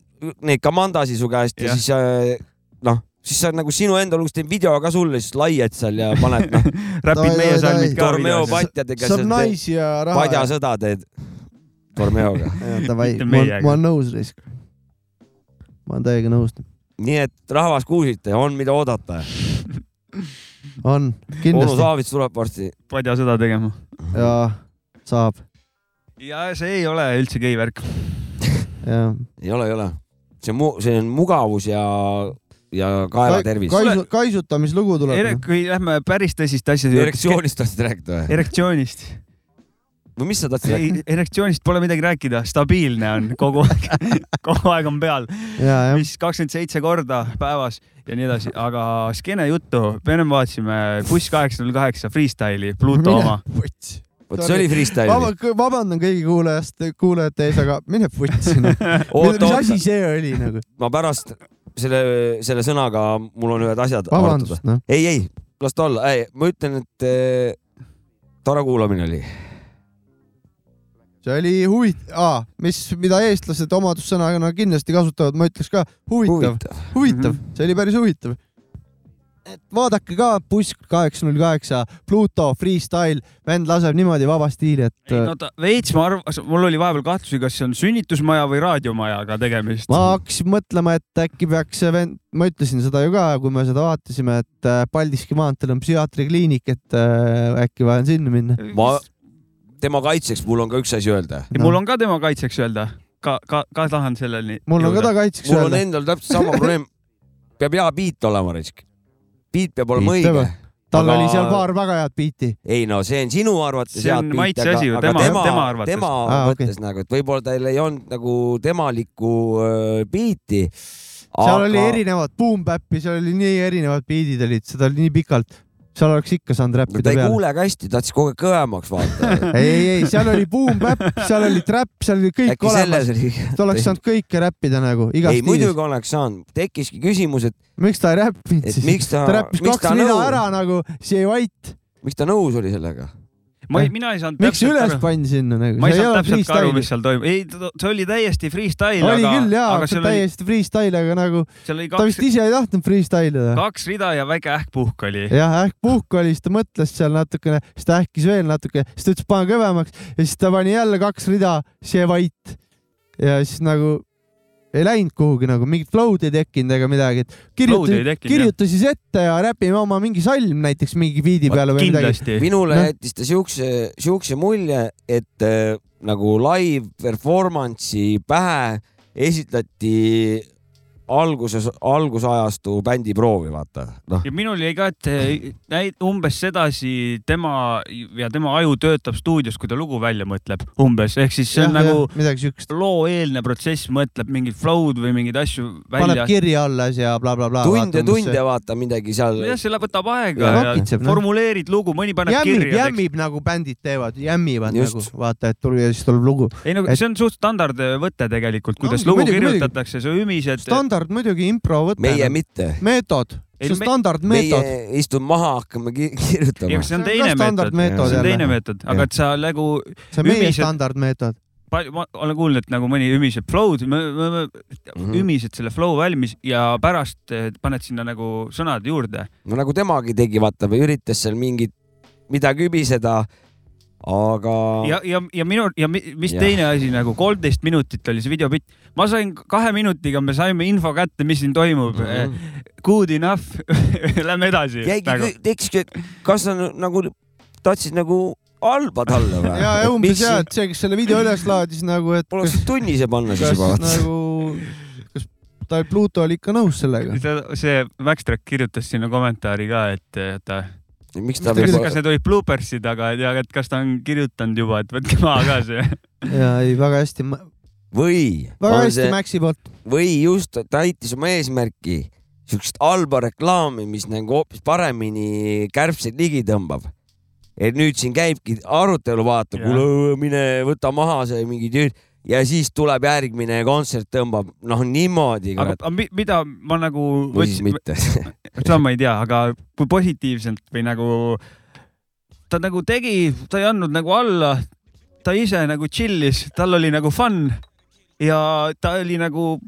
Speaker 2: neid komandasid su käest ja, ja
Speaker 3: Jah.
Speaker 2: siis äh, noh , siis sa nagu sinu enda lugu , siis teen video ka sulle , siis laied seal ja paned
Speaker 3: [laughs]
Speaker 2: noh ,
Speaker 1: Davai,
Speaker 3: räpid meie
Speaker 1: davai,
Speaker 3: salmid ka
Speaker 2: Tormeo
Speaker 3: videos .
Speaker 2: patjadega
Speaker 1: saab
Speaker 2: seal
Speaker 1: naisi ja raha .
Speaker 2: padjasõda teed Tormeoga .
Speaker 1: Davai ,
Speaker 3: Mitte
Speaker 1: ma
Speaker 3: meiega.
Speaker 1: ma olen nõus , Risk . ma olen täiega nõus .
Speaker 2: nii et rahvas kuulsite , on mida oodata .
Speaker 1: on ,
Speaker 2: onu
Speaker 1: kindlasti .
Speaker 2: Saavits tuleb varsti .
Speaker 3: padja sõda tegema .
Speaker 1: jaa , saab ,
Speaker 3: ja see ei ole üldse gei värk .
Speaker 1: jaa .
Speaker 2: ei ole , ei ole . see on mu- , see on mugavus ja , ja kaelatervis .
Speaker 1: kaisu , kaisutamislugu tuleb .
Speaker 3: kui lähme päris tõsiste asjade juurde .
Speaker 2: erektsioonist tahtsid rääkida või ?
Speaker 3: erektsioonist .
Speaker 2: või mis sa tahtsid
Speaker 3: ei
Speaker 2: rääkida ?,
Speaker 3: erektsioonist pole midagi rääkida , stabiilne on kogu aeg , [laughs] kogu aeg on peal ,
Speaker 1: jaa , jah .
Speaker 3: mis kakskümmend seitse korda päevas ja nii edasi , aga skeene juttu , me ennem vaatasime Buss kaheksa null kaheksa freestyle'i , Pluto
Speaker 1: Mine
Speaker 3: oma .
Speaker 1: vuts .
Speaker 2: vot see oli freestyle .
Speaker 1: Vaba- , vabandan kõigi kuulajast , kuulajate ees , aga mine vuts . mis
Speaker 2: oota ,
Speaker 1: asi
Speaker 2: oota ,
Speaker 1: see oli nagu ?
Speaker 2: ma pärast selle , selle sõnaga mul on ühed asjad arutada
Speaker 1: vabandust ,. noh .
Speaker 2: ei , ei , las ta olla , ei , ma ütlen , et eh, tore kuulamine oli .
Speaker 1: see oli huvitav ah, , mis , mida eestlased omadussõnana kindlasti kasutavad , ma ütleks ka huvitav ,
Speaker 2: huvitav .
Speaker 1: huvitav , see oli päris huvitav . et vaadake ka buss kaheksa null kaheksa , Pluto freestyle , vend laseb niimoodi vaba stiili , et
Speaker 3: ei no ta veits , ma arvan , mul oli vahepeal kahtlusi , kas see on sünnitusmaja või raadiomajaga tegemist .
Speaker 1: ma hakkasin mõtlema , et äkki peaks see vend , ma ütlesin seda ju ka , kui me seda vaatasime , et äh, Paldiski maanteel on psühhiaatrikliinik , et äh, äkki vaja on sinna minna .
Speaker 2: ma , tema kaitseks mul on ka üks asi öelda .
Speaker 3: ja mul on ka tema kaitseks öelda , ka , ka , ka tahan selleni .
Speaker 1: mul on ka ta kaitseks
Speaker 2: mul on
Speaker 1: öelda ,
Speaker 2: endal täpselt sama probleem . peab hea biit olema , Risk . biit peab olema
Speaker 1: Biit
Speaker 2: õige
Speaker 1: peab- . tal
Speaker 2: aga-
Speaker 1: oli seal paar väga head biiti .
Speaker 2: ei no see on sinu arvates
Speaker 3: See
Speaker 2: hea
Speaker 3: on
Speaker 2: biit ,
Speaker 3: maitse
Speaker 2: aga ,
Speaker 3: asi ju,
Speaker 2: aga
Speaker 3: tema-
Speaker 2: tema , tema,
Speaker 3: tema arvates.
Speaker 2: tema
Speaker 1: Aa, okei.
Speaker 2: mõttes nagu , et võib-olla tal ei olnud nagu temalikku äh, biiti .
Speaker 1: seal oli erinevad boom bap'i , seal oli nii erinevad biidid olid , seda oli nii pikalt , seal oleks ikka saanud
Speaker 2: no
Speaker 1: räppida
Speaker 2: ta ei
Speaker 1: peale .
Speaker 2: kuule ka hästi , tahtis kogu aeg kõvemaks vaadata .
Speaker 1: ei , ei , ei , seal oli boom bap , seal oli trap , seal oli [laughs] kõik
Speaker 2: äkki
Speaker 1: olemas ,
Speaker 2: selles oli .
Speaker 1: ta oleks saanud kõike räppida nagu igas
Speaker 2: ei ,
Speaker 1: stiilis .
Speaker 2: muidugi oleks saanud , tekkiski küsimus , et ,
Speaker 1: miks ta ei räppinud
Speaker 2: et
Speaker 1: siis ?
Speaker 2: miks ta
Speaker 1: ta , räppis
Speaker 2: miks
Speaker 1: kaks
Speaker 2: ta
Speaker 1: rida
Speaker 2: nõus
Speaker 1: ära , nagu , see vait ,
Speaker 2: miks ta nõus oli sellega ?
Speaker 3: ma ei , mina ei saanud
Speaker 1: miks see
Speaker 3: täpselt
Speaker 1: üles
Speaker 3: aru ,
Speaker 1: pandi sinna nagu ?
Speaker 3: ma ei saanud täpselt ka aru , mis seal toimub , ei , see oli täiesti freestyle ,
Speaker 1: oli
Speaker 3: aga ,
Speaker 1: küll jaa ,
Speaker 3: aga
Speaker 1: see
Speaker 3: seal oli ,
Speaker 1: täiesti freestyle , aga nagu
Speaker 3: seal oli
Speaker 1: ta vist
Speaker 3: kaks ,
Speaker 1: ise ei tahtnud freestyle ida .
Speaker 3: kaks rida ja väike ähkpuhk oli .
Speaker 1: jah , ähk puhk oli , siis ta mõtles seal natukene , siis ta ähkis veel natuke , siis ta ütles , pane kõvemaks ja siis ta pani jälle kaks rida , see vait . ja siis nagu ei läinud kuhugi nagu mingit flow'd ei tekkinud ega midagi , et
Speaker 3: Flow'd ei
Speaker 1: kirjuta ,
Speaker 3: tekkinud,
Speaker 1: kirjuta siis ette ja räpime oma mingi salm näiteks mingi biidi peale või midagi .
Speaker 3: kindlasti .
Speaker 2: minule
Speaker 1: Noh.
Speaker 2: jättis ta siukse , siukse mulje , et äh, nagu live performance'i pähe esitati alguses , algusajastu bändiproovi , vaata , noh .
Speaker 3: ja minul jäi ka , et eh, näid- umbes sedasi tema ja tema aju töötab stuudios , kui ta lugu välja mõtleb , umbes , ehk siis see on nagu
Speaker 1: midagi siukest ,
Speaker 3: loo eelne protsess , mõtleb mingid flow'd või mingeid asju
Speaker 1: paneb
Speaker 3: välja .
Speaker 1: kirja alles ja blablabla .
Speaker 2: tunde , tunde vaata midagi seal .
Speaker 3: jah , selle võtab
Speaker 1: Ja
Speaker 3: aega ja, ja
Speaker 1: nokitseb, noh.
Speaker 3: formuleerid lugu , mõni paneb
Speaker 1: jämmib ,
Speaker 3: kirja .
Speaker 1: jämmib nagu bändid teevad , jämmivad
Speaker 2: Just.
Speaker 1: nagu , vaata , et tuli ja siis tuleb lugu .
Speaker 3: ei no
Speaker 1: Et-
Speaker 3: see on suht standard eh, võte tegelikult , kuidas
Speaker 1: No,
Speaker 3: no, lugu
Speaker 1: muidugi,
Speaker 3: muidugi, kirjutatakse , sa ümised .
Speaker 1: standard muidugi impro võtta .
Speaker 2: meie mitte ,
Speaker 1: meetod ,
Speaker 3: Ei,
Speaker 1: see on
Speaker 3: me-
Speaker 1: standardmeetod .
Speaker 2: meie istume maha , hakkame ki
Speaker 3: eh,
Speaker 2: [laughs]
Speaker 3: ja
Speaker 2: kirjutama .
Speaker 3: see on
Speaker 1: ka
Speaker 3: teine meetod ,
Speaker 1: standardmeetod
Speaker 3: see on
Speaker 1: jälle.
Speaker 3: teine meetod , aga et sa nagu ,
Speaker 1: see on meie
Speaker 3: ümised-
Speaker 1: standardmeetod .
Speaker 3: palju , ma olen kuulnud , et nagu mõni ümiseb flow'd ,
Speaker 2: Mhm.
Speaker 3: ümised selle flow valmis ja pärast eh, paned sinna nagu sõnad juurde .
Speaker 2: no nagu temagi tegi , vaata , või üritas seal mingit , midagi übiseda , aga .
Speaker 3: ja , ja , ja minu ja mi- mis
Speaker 2: Jah.
Speaker 3: ja. teine asi nagu kolmteist minutit oli see videopilt , ma sain kahe minutiga , me saime info kätte , mis siin toimub
Speaker 2: Mhm.
Speaker 3: mm . -hmm. Good enough , [laughs] lähme edasi . Nagu,
Speaker 2: jäigi , tekkiski , et kas sa nu- nagu tahtsid nagu halba talle
Speaker 1: [laughs]
Speaker 2: või ?
Speaker 1: ja ja umbes ja , et see , kes selle video üles laadis nagu , et
Speaker 2: Poleks tunnise panna siis juba, vaata.
Speaker 1: nagu , kas ta Pluto oli ikka nõus sellega ?
Speaker 3: see Maxtrack kirjutas sinna kommentaari ka , et eh, ta .
Speaker 2: miks
Speaker 1: ta
Speaker 3: küsis ,
Speaker 1: võib-
Speaker 3: kas need olid bloopersid , aga ei tea , et kas ta on kirjutanud juba , et võtke maha ka see .
Speaker 1: ja ei , väga hästi ,
Speaker 2: või .
Speaker 1: väga hästi Maxi poolt .
Speaker 2: või just , ta täitis oma eesmärki , siukest halba reklaami , mis nagu hoopis paremini kärbseid ligi tõmbab . et nüüd siin käibki arutelu , vaata , kuule mine võta maha see mingi tüü- ja siis tuleb järgmine kontsert tõmbab , noh niimoodi ,
Speaker 3: aga
Speaker 2: kurat ,
Speaker 3: aga mi- mida ma nagu .
Speaker 2: või siis mitte .
Speaker 3: seda ma ei tea , aga kui positiivselt või nagu ta nagu tegi , ta ei andnud nagu alla , ta ise nagu chill'is , tal oli nagu fun ja ta oli nagu ,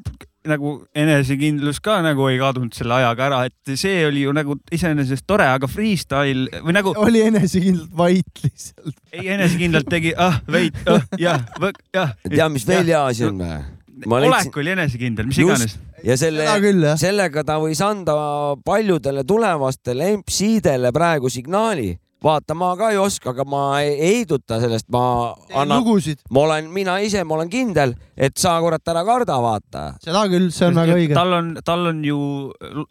Speaker 3: nagu enesekindlus ka nagu ei kadunud selle ajaga ära , et see oli ju nagu iseenesest tore , aga freestyle või nagu
Speaker 1: [laughs] oli enesekindlalt vait lihtsalt .
Speaker 3: ei enesekindlalt tegi , ah veit , ah jah , jah .
Speaker 2: tea , mis veel hea asi on või ?
Speaker 3: olek oli enesekindel , mis iganes .
Speaker 2: ja selle
Speaker 1: Seda , küll, jah.
Speaker 2: sellega ta võis anda paljudele tulevastele MC-dele praegu signaali . vaata , ma ka ei oska , aga ma ei heiduta sellest , ma annan ,
Speaker 1: lugusid ,
Speaker 2: ma olen , mina ise , ma olen kindel , et sa kurat ära karda , vaata .
Speaker 1: seda küll , see on väga õige .
Speaker 3: tal on , tal on ju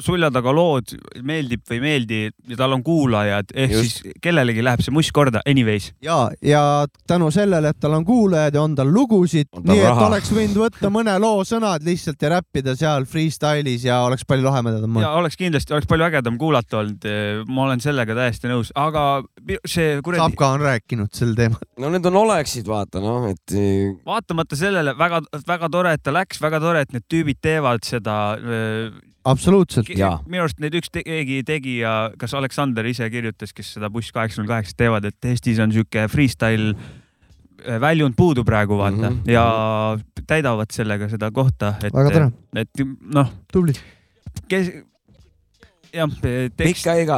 Speaker 3: sulja taga lood , meeldib või ei meeldi ja tal on kuulajad , ehk
Speaker 2: Just.
Speaker 3: Just. siis kellelegi läheb see must korda anyways .
Speaker 1: ja , ja tänu sellele , et tal on kuulajad ja on tal lugusid ,
Speaker 2: On tal
Speaker 1: nii et
Speaker 2: raha.
Speaker 1: oleks võinud võtta mõne loo sõnad lihtsalt ja räppida seal freestyle'is ja oleks palju lahedam
Speaker 3: ja
Speaker 1: olnud .
Speaker 3: oleks kindlasti , oleks palju ägedam kuulata olnud . ma olen sellega täiesti nõus , aga mi- see kuradi ,
Speaker 1: Sapka on rääkinud sel teemal .
Speaker 2: no need on oleksid , vaata noh , et eh,
Speaker 3: vaatamata sellele väga-väga tore , et ta läks , väga tore , et need tüübid teevad seda . eh,
Speaker 1: absoluutselt .
Speaker 2: Jaa.
Speaker 3: minu arust neid üks te- keegi tegi ja kas Aleksander ise kirjutas , kes seda Buss kaheksakümmend kaheksa teevad , et Eestis on sihuke freestyle äh, väljund puudu praegu vaata mm
Speaker 2: Mhm.
Speaker 3: -hmm. ja täidavad sellega seda kohta , et
Speaker 1: Väga tore. ,
Speaker 3: et noh ,
Speaker 1: tubli .
Speaker 3: kes jah , tekst
Speaker 2: pikka iga .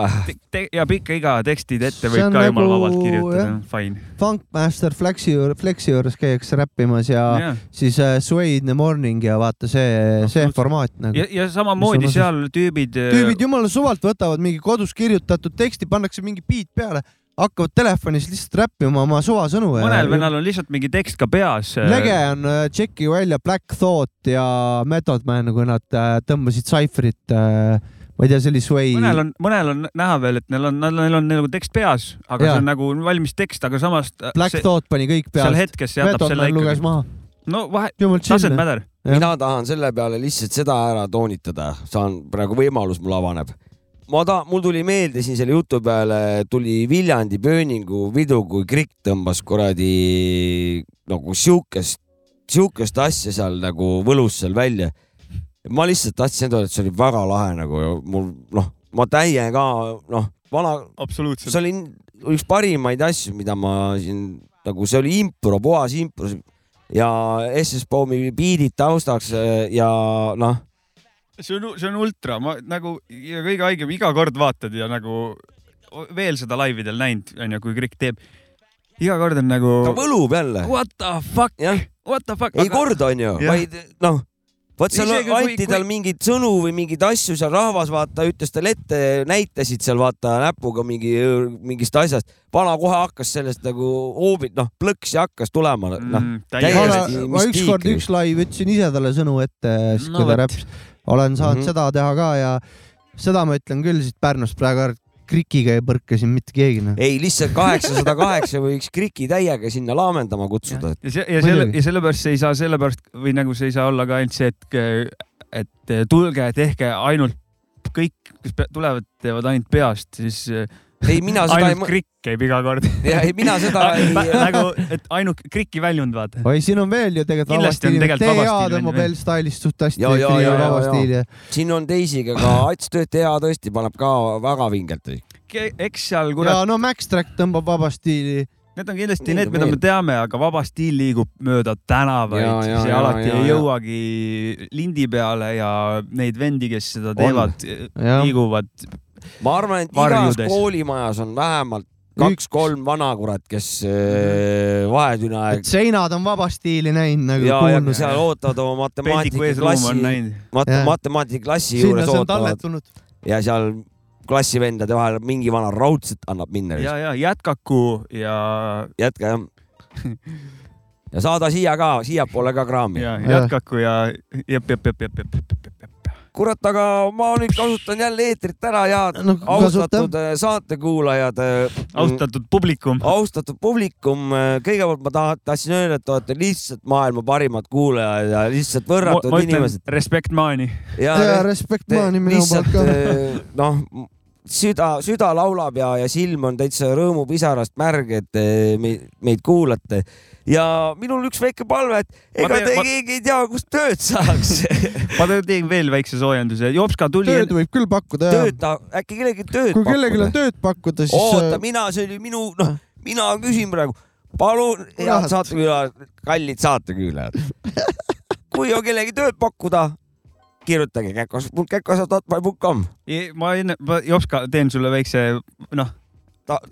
Speaker 3: te, ja pikka iga tekstid
Speaker 1: See
Speaker 3: ette võib
Speaker 1: on
Speaker 3: ka jumala
Speaker 1: nagu-
Speaker 3: vabalt kirjutada
Speaker 1: jah. ,
Speaker 3: fine .
Speaker 1: Funkmaster Flexi , Flexi juures käiakse räppimas ja
Speaker 3: ja,
Speaker 1: siis äh, Sway in the morning ja vaata see , see
Speaker 3: Absoluutselt.
Speaker 1: formaat nagu
Speaker 3: ja, . ja samamoodi
Speaker 1: Mis on
Speaker 3: seal tüübid, äh,
Speaker 1: tüübid jumala suvalt võtavad mingi kodus kirjutatud teksti , pannakse mingi beat peale , hakkavad telefonis lihtsalt räppima oma suvasõnu ja
Speaker 3: mõnel vennal on lihtsalt mingi tekst ka peas . äh,
Speaker 1: lege on , äh, tšeki välja Black Thought ja Method Man , kui nad äh, tõmbasid Cypherit , ma ei tea , see oli Sway .
Speaker 3: mõnel on , mõnel on näha veel , et neil on , neil on nagu tekst peas , aga
Speaker 1: Jaa.
Speaker 3: ja. see on nagu valmis tekst , aga samas ta-
Speaker 1: Black
Speaker 3: see,
Speaker 1: Thought pani kõik
Speaker 3: seal
Speaker 1: peale ,
Speaker 3: hetkes jätab
Speaker 1: Method
Speaker 3: selle
Speaker 1: Man luges
Speaker 3: ikkagi .
Speaker 1: maha ,
Speaker 3: no vahe ,
Speaker 1: jumal
Speaker 3: tased
Speaker 1: chill .
Speaker 3: mäder .
Speaker 1: Jah.
Speaker 2: mina tahan selle peale lihtsalt seda ära toonitada , saan praegu võimalus mul avaneb . ma tahan , mul tuli meelde siin selle jutu peale tuli Viljandi pööningu pidu , kui Krikk tõmbas kuradi nagu siukest , siukest asja seal nagu võlus seal välja . ma lihtsalt tahtsin öelda , et see oli väga lahe nagu ja mul noh , ma täiega noh , vana ,
Speaker 3: absoluutselt .
Speaker 2: see oli üks parimaid asju , mida ma siin nagu see oli impro , puhas impro ja SS Baumi biidid taustaks äh, ja noh ,
Speaker 3: see on , see on ultra , ma nagu ja kõige haigem , iga kord vaatad ja nagu o- veel seda laividel näinud , onju , kui Krikk teeb . iga kord on nagu
Speaker 2: ta võlub jälle ,
Speaker 3: what the fuck ,
Speaker 2: jah ,
Speaker 3: what the fuck .
Speaker 2: ei korda onju ,
Speaker 3: Jah.
Speaker 2: vaid noh , vot seal
Speaker 3: Isegi kui-
Speaker 2: anti tal mingeid sõnu või mingeid asju seal rahvas vaata ütles talle ette , näitasid seal vaata näpuga mingi mingist asjast , vana kohe hakkas sellest nagu hoobilt noh , plõksi hakkas tulema ,
Speaker 3: Mm,
Speaker 2: noh .
Speaker 1: ma
Speaker 2: Täiesti
Speaker 1: ma ükskord
Speaker 2: mistiikri.
Speaker 1: üks live ütlesin ise talle sõnu ette , siis
Speaker 3: No
Speaker 1: kui ta
Speaker 3: vot.
Speaker 1: räppis . olen saanud
Speaker 2: Mhm.
Speaker 1: seda teha ka ja seda ma ütlen küll siit Pärnust praegu , krikiga ei põrka siin mitte keegi noh .
Speaker 2: ei , lihtsalt kaheksasada kaheksa võiks Kriki täiega sinna laamendama kutsuda ,
Speaker 3: ja see ja selle
Speaker 1: Muidugi.
Speaker 3: ja sellepärast see ei saa , sellepärast või nagu see ei saa olla ka ainult see , et , et eh, tulge , tehke ainult kõik , kes pe- tulevad , teevad ainult peast , siis eh,
Speaker 2: et ei , mina seda ei
Speaker 3: ainult , krikk käib iga kord .
Speaker 2: [laughs] ei mina seda
Speaker 3: [laughs]
Speaker 2: ei ,
Speaker 3: nagu , et ainult kriki väljund , vaata .
Speaker 1: oi , siin on veel ju tegelikult
Speaker 3: Kindlasti on tegelikult vaba
Speaker 1: tea
Speaker 3: stiil
Speaker 1: tõmbab
Speaker 3: on ju.
Speaker 1: L-Stylist suht hästi
Speaker 2: Ja, ja,
Speaker 1: kriiga
Speaker 2: ja, ja,
Speaker 1: vaba
Speaker 2: ja.
Speaker 1: stiili ja
Speaker 2: siin on teisiga ka , Ats Töötea tõesti paneb ka väga vingelt .
Speaker 3: eks seal ,
Speaker 1: ja
Speaker 3: kurat ,
Speaker 1: no Max Track tõmbab vaba stiili .
Speaker 3: need on kindlasti
Speaker 2: Nii
Speaker 3: need ,
Speaker 2: ta
Speaker 3: mida me
Speaker 2: meeldib.
Speaker 3: teame , aga vaba stiil liigub mööda tänavaid
Speaker 2: Ja, , ja,
Speaker 3: siis ja,
Speaker 2: ja,
Speaker 3: alati
Speaker 2: ja,
Speaker 3: ja, ei
Speaker 2: ja.
Speaker 3: jõuagi lindi peale ja neid vendi , kes seda teevad ,
Speaker 1: jah ,
Speaker 3: liiguvad
Speaker 2: ma arvan , et igas
Speaker 3: Varjudes.
Speaker 2: koolimajas on vähemalt kaks-kolm vana kurat , kes äh, vahetüna
Speaker 1: et seinad on vaba stiili näinud nagu .
Speaker 2: ja , ja kui seal ootavad oma
Speaker 3: Peldiku ees ruum on
Speaker 2: matemaatikaklassi
Speaker 3: näinud. ,
Speaker 1: Jah.
Speaker 2: matemaatikaklassi
Speaker 1: Sinna
Speaker 2: juures
Speaker 1: see on
Speaker 2: ootavad
Speaker 1: talletunud.
Speaker 2: ja seal klassivendade vahel mingi vana raudselt annab minna .
Speaker 3: ja , ja jätkaku ja ,
Speaker 2: jätka jah . ja saada siia ka , siiapoole ka kraami .
Speaker 3: ja jätkaku ja jep , jep , jep , jep , jep ,
Speaker 2: kurat , aga ma nüüd kasutan jälle eetrit ära ja
Speaker 1: No
Speaker 2: no, austatud kasuta. saatekuulajad .
Speaker 3: austatud publikum .
Speaker 2: austatud publikum , kõigepealt ma tahan , tahtsin öelda , et te olete lihtsalt maailma parimad kuulajad ja lihtsalt võrratud inimesed .
Speaker 3: respekt maani .
Speaker 2: ja,
Speaker 1: ja respekt maani minu poolt ka .
Speaker 2: ka . noh , süda , süda laulab ja , ja silm on täitsa rõõmupisarast märg , et eh, meid, meid kuulate ja minul üks väike palve , et
Speaker 3: Ma
Speaker 2: ega
Speaker 3: teen-
Speaker 2: te
Speaker 3: ma-
Speaker 2: keegi ei tea , kust tööd
Speaker 1: [laughs]
Speaker 2: saaks .
Speaker 3: ma teen veel väikse soojenduse . Jopska tuli
Speaker 1: tööd , võib küll pakkuda ja
Speaker 2: tööta , äkki kellelgi tööd
Speaker 1: kui kellelgi on tööd pakkuda , siis . äh,
Speaker 2: oota , mina , see oli minu , noh , mina küsin praegu , palun , head
Speaker 1: Kurat.
Speaker 2: saatekülalised , kallid saatekülalised . kui on kellegi tööd pakkuda , kirjutage käkkas.käkkas.com ,
Speaker 3: ma enne , ma Jopska teen sulle väikse , noh .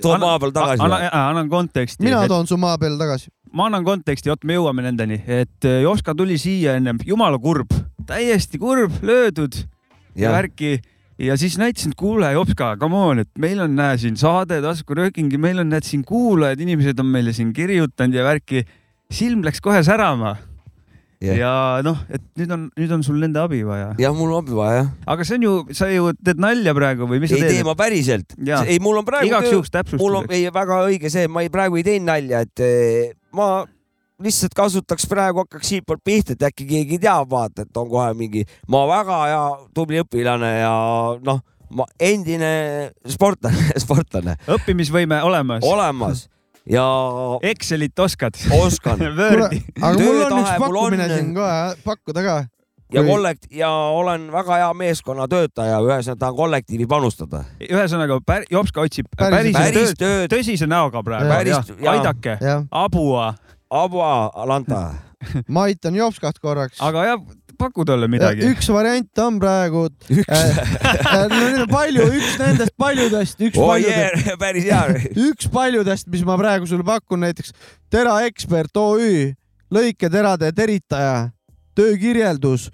Speaker 2: too maa peal tagasi .
Speaker 3: annan konteksti .
Speaker 1: mina toon su maa peale tagasi .
Speaker 3: ma annan konteksti , oot , me jõuame nendeni , et äh, Joska tuli siia ennem , jumala kurb , täiesti kurb , löödud ja värki ja siis näitasin , et kuule , Jopska , come on , et meil on , näe siin saade taskuröökingi , meil on , näed siin kuulajad , inimesed on meile siin kirjutanud ja värki . silm läks kohe särama
Speaker 2: Jah.
Speaker 3: yeah. ja noh , et nüüd on , nüüd on sul nende abi vaja .
Speaker 2: jah , mul on abi vaja , jah .
Speaker 3: aga see on ju , sa ju teed nalja praegu või mis
Speaker 2: ei
Speaker 3: sa
Speaker 2: tee
Speaker 3: teed ?
Speaker 2: ma päriselt .
Speaker 3: Jaa.
Speaker 2: ei , mul on praegu
Speaker 3: igaks
Speaker 2: töö ,
Speaker 3: juhuks
Speaker 2: mul on ,
Speaker 3: täpsustuseks .
Speaker 2: ei , väga õige see , ma ei , praegu ei teinud nalja , et eh, ma lihtsalt kasutaks praegu , hakkaks siitpoolt pihta , et äkki keegi teab , vaata , et on kohe mingi , ma väga hea tubli õpilane ja noh , ma endine sportlane , [laughs] sportlane
Speaker 3: õppimisvõime olemas ,
Speaker 2: olemas ja
Speaker 3: Excelit oskad ?
Speaker 2: oskan
Speaker 3: [laughs] Wordi .
Speaker 1: aga mul on
Speaker 2: Töötahe
Speaker 1: üks
Speaker 2: mul
Speaker 1: pakkumine
Speaker 2: on.
Speaker 1: siin kohe pakkuda ka .
Speaker 2: ja
Speaker 1: Kui-
Speaker 2: kollekt- ja olen väga hea meeskonnatöötaja , ühesõnaga tahan kollektiivi panustada .
Speaker 3: ühesõnaga , Jopska otsib
Speaker 1: Päris-
Speaker 3: päris,
Speaker 2: päris
Speaker 3: päris tööd ,
Speaker 2: tööd ,
Speaker 3: tõsise näoga praegu .
Speaker 1: Päris-
Speaker 2: jaa.
Speaker 3: aidake ,
Speaker 1: jah ,
Speaker 3: abua ,
Speaker 2: Abua Alanta
Speaker 1: ma aitan Jopskat korraks .
Speaker 3: aga jah , paku talle midagi .
Speaker 1: üks variant on praegu .
Speaker 2: üks ,
Speaker 1: no neid on palju , üks nendest paljudest , üks
Speaker 2: oh
Speaker 1: paljudest ,
Speaker 2: yeah , [laughs] päris hea .
Speaker 1: [laughs] üks paljudest , mis ma praegu sulle pakun , näiteks Tera Ekspert OÜ , lõiketerade teritaja , töökirjeldus ,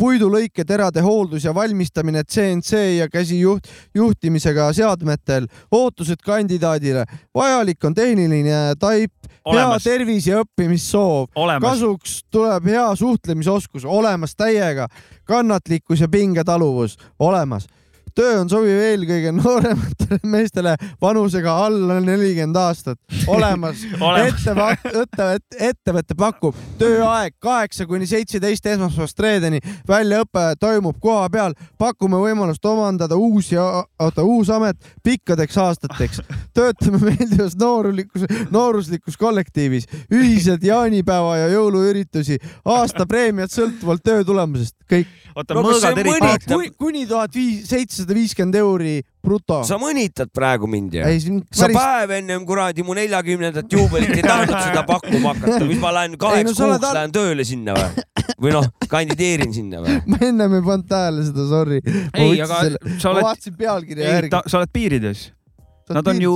Speaker 1: puidulõiketerade hooldus ja valmistamine CNC ja käsijuht , juhtimisega seadmetel , ootused kandidaadile , vajalik on tehniline taip , hea
Speaker 3: olemas ,
Speaker 1: tervis ja õppimissoov .
Speaker 3: olemas .
Speaker 1: kasuks tuleb hea suhtlemisoskus , olemas täiega , kannatlikkus ja pingetaluvus olemas . töö on sobiv eelkõige noorematele [laughs] meestele vanusega alla nelikümmend aastat , olemas .
Speaker 3: Olemas.
Speaker 1: ettevõte , ettevõte pakub tööaeg kaheksa kuni seitseteist esmaspäevast reedeni , väljaõpe toimub koha peal , pakume võimalust omandada uus ja , oota , uus amet pikkadeks aastateks . töötame meeldivas noorulikus , nooruslikus kollektiivis , ühised jaanipäeva ja jõuluüritusi , aasta preemiad sõltuvalt töö tulemusest , kõik .
Speaker 3: oota ,
Speaker 2: No kas see
Speaker 3: mõõgad eriti .
Speaker 2: mõnitab-
Speaker 1: kuni tuhat viis , seitsesada viiskümmend euri bruto .
Speaker 2: sa mõnitad praegu mind ju ?
Speaker 1: ei , siin
Speaker 2: sa
Speaker 1: päris ,
Speaker 2: päev ennem kuradi mu neljakümnendat juubelit ei
Speaker 1: [laughs]
Speaker 2: tahtnud seda pakkuma hakata , mis ma lähen kaheks
Speaker 1: no
Speaker 2: no,
Speaker 1: sa oled
Speaker 2: kuuks
Speaker 1: al-
Speaker 2: lähen tööle sinna või ? või noh , kandideerin sinna või ?
Speaker 1: [laughs] ma ennem ei pannud tähele seda , sorry .
Speaker 3: ei , aga sa
Speaker 1: ma
Speaker 3: oled ,
Speaker 1: vaatasin pealkirja
Speaker 3: ei ,
Speaker 1: järgi .
Speaker 3: sa oled piirides . Nad on ju ,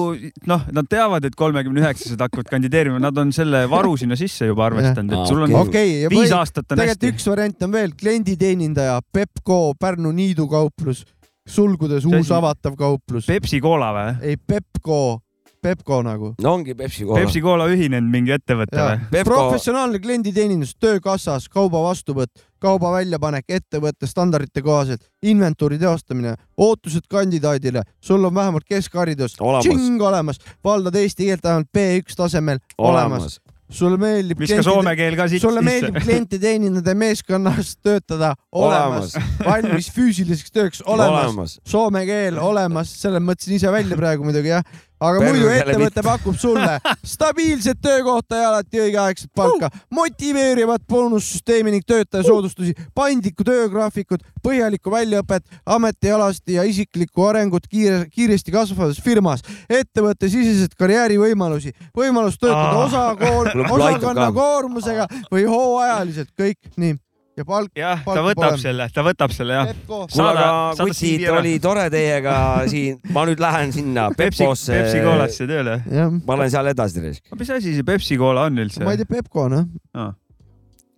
Speaker 3: noh , nad teavad , et kolmekümne üheksased hakkavad kandideerima , nad on selle varu sinna sisse juba arvestanud ,
Speaker 2: Aa,
Speaker 3: et sul on
Speaker 2: okei.
Speaker 1: okei okay, ,
Speaker 3: viis aastat on
Speaker 1: tegelikult
Speaker 3: hästi .
Speaker 1: üks variant on veel klienditeenindaja Pepco Pärnu niidukauplus , sulgudes
Speaker 3: See
Speaker 1: uus
Speaker 3: asi-
Speaker 1: avatav kauplus .
Speaker 3: Pepsi-Cola või ?
Speaker 1: ei , Pepco , Pepco nagu .
Speaker 2: no ongi Pepsi koha .
Speaker 3: Pepsi-Cola ühinenud mingi ettevõte või ?
Speaker 2: Pepco-
Speaker 1: professionaalne klienditeenindus töökassas , kauba vastuvõtt , kauba väljapanek ettevõtte standardite kohaselt , inventuuri teostamine , ootused kandidaadile , sul on vähemalt keskharidus ,
Speaker 2: Olemas.
Speaker 1: olemas , valdad eesti keelt vähemalt B1 tasemel , olemas,
Speaker 2: olemas
Speaker 1: olemas. .. sulle meeldib
Speaker 3: viska soome keel ka siit
Speaker 1: sulle meeldib
Speaker 3: sisse .
Speaker 1: kliente teenindada ja meeskonnas töötada , olemas, olemas. , valmis füüsiliseks tööks , olemas, olemas. ,
Speaker 2: olemas .
Speaker 1: soome keel olemas , selle mõtlesin ise välja praegu muidugi jah , aga
Speaker 2: Perre
Speaker 1: muidu
Speaker 2: jälle
Speaker 1: ettevõte pakub sulle stabiilset töökohta ja alati õigeaegset palka , motiveerivat boonussüsteemi ning töötaja soodustusi , paindlikku töögraafikut , põhjalikku väljaõpet , ametialast ja isiklikku arengut kiire , kiiresti kasvavas firmas , ettevõttesiseseid karjäärivõimalusi , võimalus töötada
Speaker 3: Aa.
Speaker 1: osakool ,
Speaker 2: Kuule, mul aitab
Speaker 1: osakonna
Speaker 2: ka.
Speaker 1: koormusega või hooajaliselt , kõik nii . ja palk .
Speaker 3: jah , ta võtab selle , ta võtab selle jah .
Speaker 2: kuule , aga kutid oli tore teiega siin , ma nüüd lähen sinna
Speaker 3: Pepsi ,
Speaker 2: Pepsisse .
Speaker 3: Pepsi koolasse tööle .
Speaker 1: Jah.
Speaker 2: ma olen seal edasi reis .
Speaker 3: mis asi see Ah. Pepsi koola on üldse ?
Speaker 1: ma ei tea , Pepco on jah .
Speaker 3: Aa.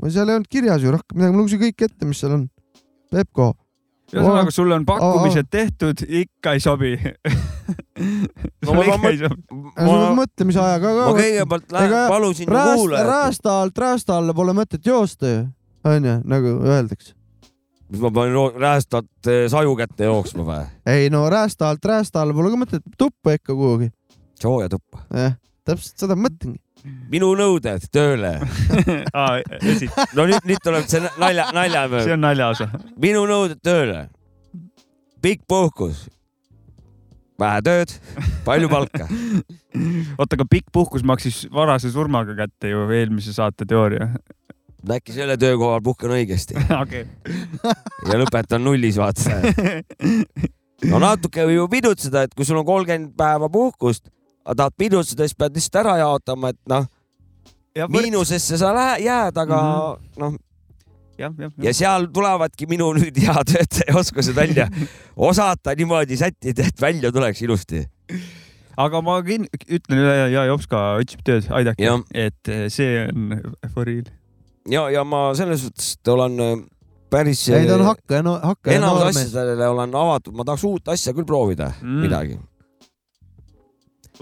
Speaker 1: ma seal ei olnud kirjas ju rohkem midagi , ma lugesin kõik ette , mis seal on . Pepco .
Speaker 3: ühesõnaga , sul on pakkumised tehtud , ikka ei sobi [laughs]
Speaker 1: No ma pean aga sul peab
Speaker 3: ma-
Speaker 1: mõtlemisajaga ka .
Speaker 3: ma kõigepealt lähen- palusin ju kuulajat-
Speaker 1: räästa alt räästa alla pole mõtet joosta ju , onju , nagu öeldakse .
Speaker 2: mis ma panin roo- räästat eh, saju kätte jooksma või ?
Speaker 1: ei no räästa alt räästa alla pole ka mõtet , tuppa ikka kuhugi .
Speaker 2: sooja tuppa .
Speaker 1: jah , täpselt seda ma mõtlengi .
Speaker 2: minu nõuded tööle
Speaker 3: ah, .
Speaker 2: no nüüd , nüüd tuleb see nalja , nalja .
Speaker 3: See on naljaosa .
Speaker 2: minu nõuded tööle . pikk puhkus , vähe tööd , palju palka .
Speaker 3: oota , aga pikk puhkus maksis varase surmaga kätte ju eelmise saate teooria [laughs]
Speaker 2: äkki selle töökohal puhkan õigesti
Speaker 3: okay.
Speaker 2: ja lõpetan nullis , vaata . no natuke võib ju pidutseda , et kui sul on kolmkümmend päeva puhkust , aga tahad pidutseda , siis pead lihtsalt ära jaotama , et noh , miinusesse sa lähe- jääd , aga noh ,
Speaker 3: jah , jah ,
Speaker 2: ja seal tulevadki minu nüüd hea töötaja oskused välja , osata niimoodi sättida , et välja tuleks ilusti .
Speaker 3: aga ma kin- ütlen üle ja, ja Jopska otsib tööd , aidake , et eh, see on for real .
Speaker 2: ja , ja ma selles suhtes et olen äh, päris . äh,
Speaker 1: ei ta on hakkaja , no hakkaja
Speaker 2: enamus
Speaker 1: noormees .
Speaker 2: asjadele olen avatud , ma tahaks uut asja küll proovida mm. , midagi .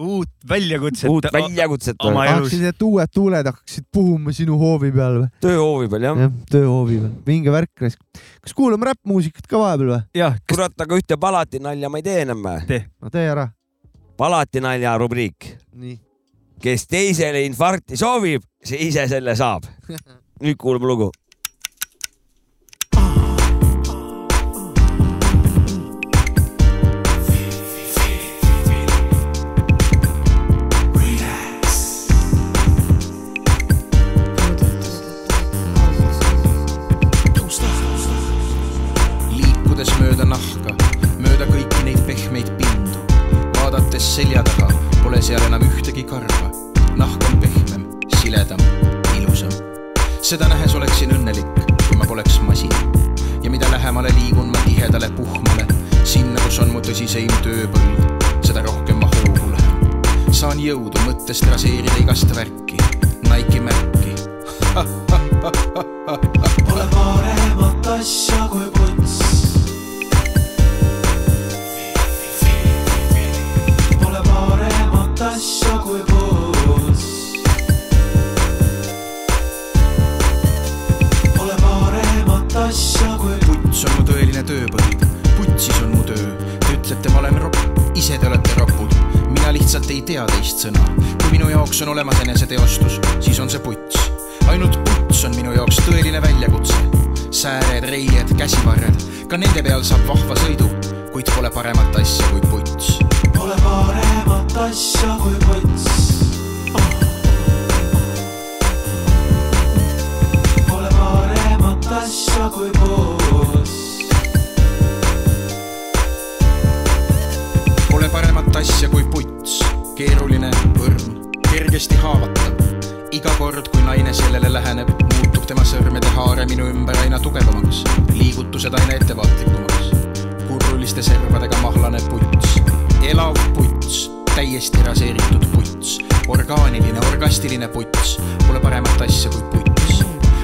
Speaker 3: uut väljakutset .
Speaker 2: uut väljakutset .
Speaker 1: tahaksid , et uued tuuled hakkaksid puhuma sinu hoovi peal või ?
Speaker 2: tööhoovi peal jah
Speaker 1: ja. . tööhoovi peal , vinge värk raisk . kas kuulame räppmuusikat ka vahepeal
Speaker 3: Oh,
Speaker 1: või ?
Speaker 2: kurat , aga ühte palatinalja ma ei tee enam või ?
Speaker 1: no tee ära .
Speaker 2: palatinalja rubriik .
Speaker 1: Nii.
Speaker 2: kes teisele infarkti soovib , see ise selle saab . nüüd kuulame lugu .
Speaker 11: tõusta . liikudes mööda nahka , mööda kõiki neid pehmeid pindu , vaadates selja taga , pole seal enam ühtegi karva . nahk on pehmem , siledam , ilusam . seda nähes oleksin õnnelik , kui ma poleks masin . ja mida lähemale liigun ma tihedale puhmale , sinna , kus on mu tõsiseim tööpõld , seda rohkem ma hoogu lähen . saan jõudu mõttest raseerida igast värki , Nike'i märki
Speaker 12: Pole paremat asja kui puts . Pole paremat asja kui puts . Pole paremat asja kui
Speaker 11: puts on mu tõeline tööpõld , putsis on mu töö . Te ütlete , ma olen ropp , ise te olete ropud . mina lihtsalt ei tea teist sõna . kui minu jaoks on olemas eneseteostus , siis on see puts . ainult puts on minu jaoks tõeline väljakutse . sääred , reied , käsivarred , ka nende peal saab vahva sõidu , kuid pole paremat asja kui puts .
Speaker 12: Pole paremat asja kui puts . Pole paremat asja kui puts .
Speaker 11: Pole paremat asja kui puts , keeruline põrm , kergesti haavatav . iga kord , kui naine sellele läheneb , muutub tema sõrmede haare minu ümber aina tugevamaks , liigutused aina ettevaatlikumaks . kurruliste servadega mahlane puts , elav puts , täiesti raseeritud puts , orgaaniline , orgastiline puts , pole paremat asja kui puts .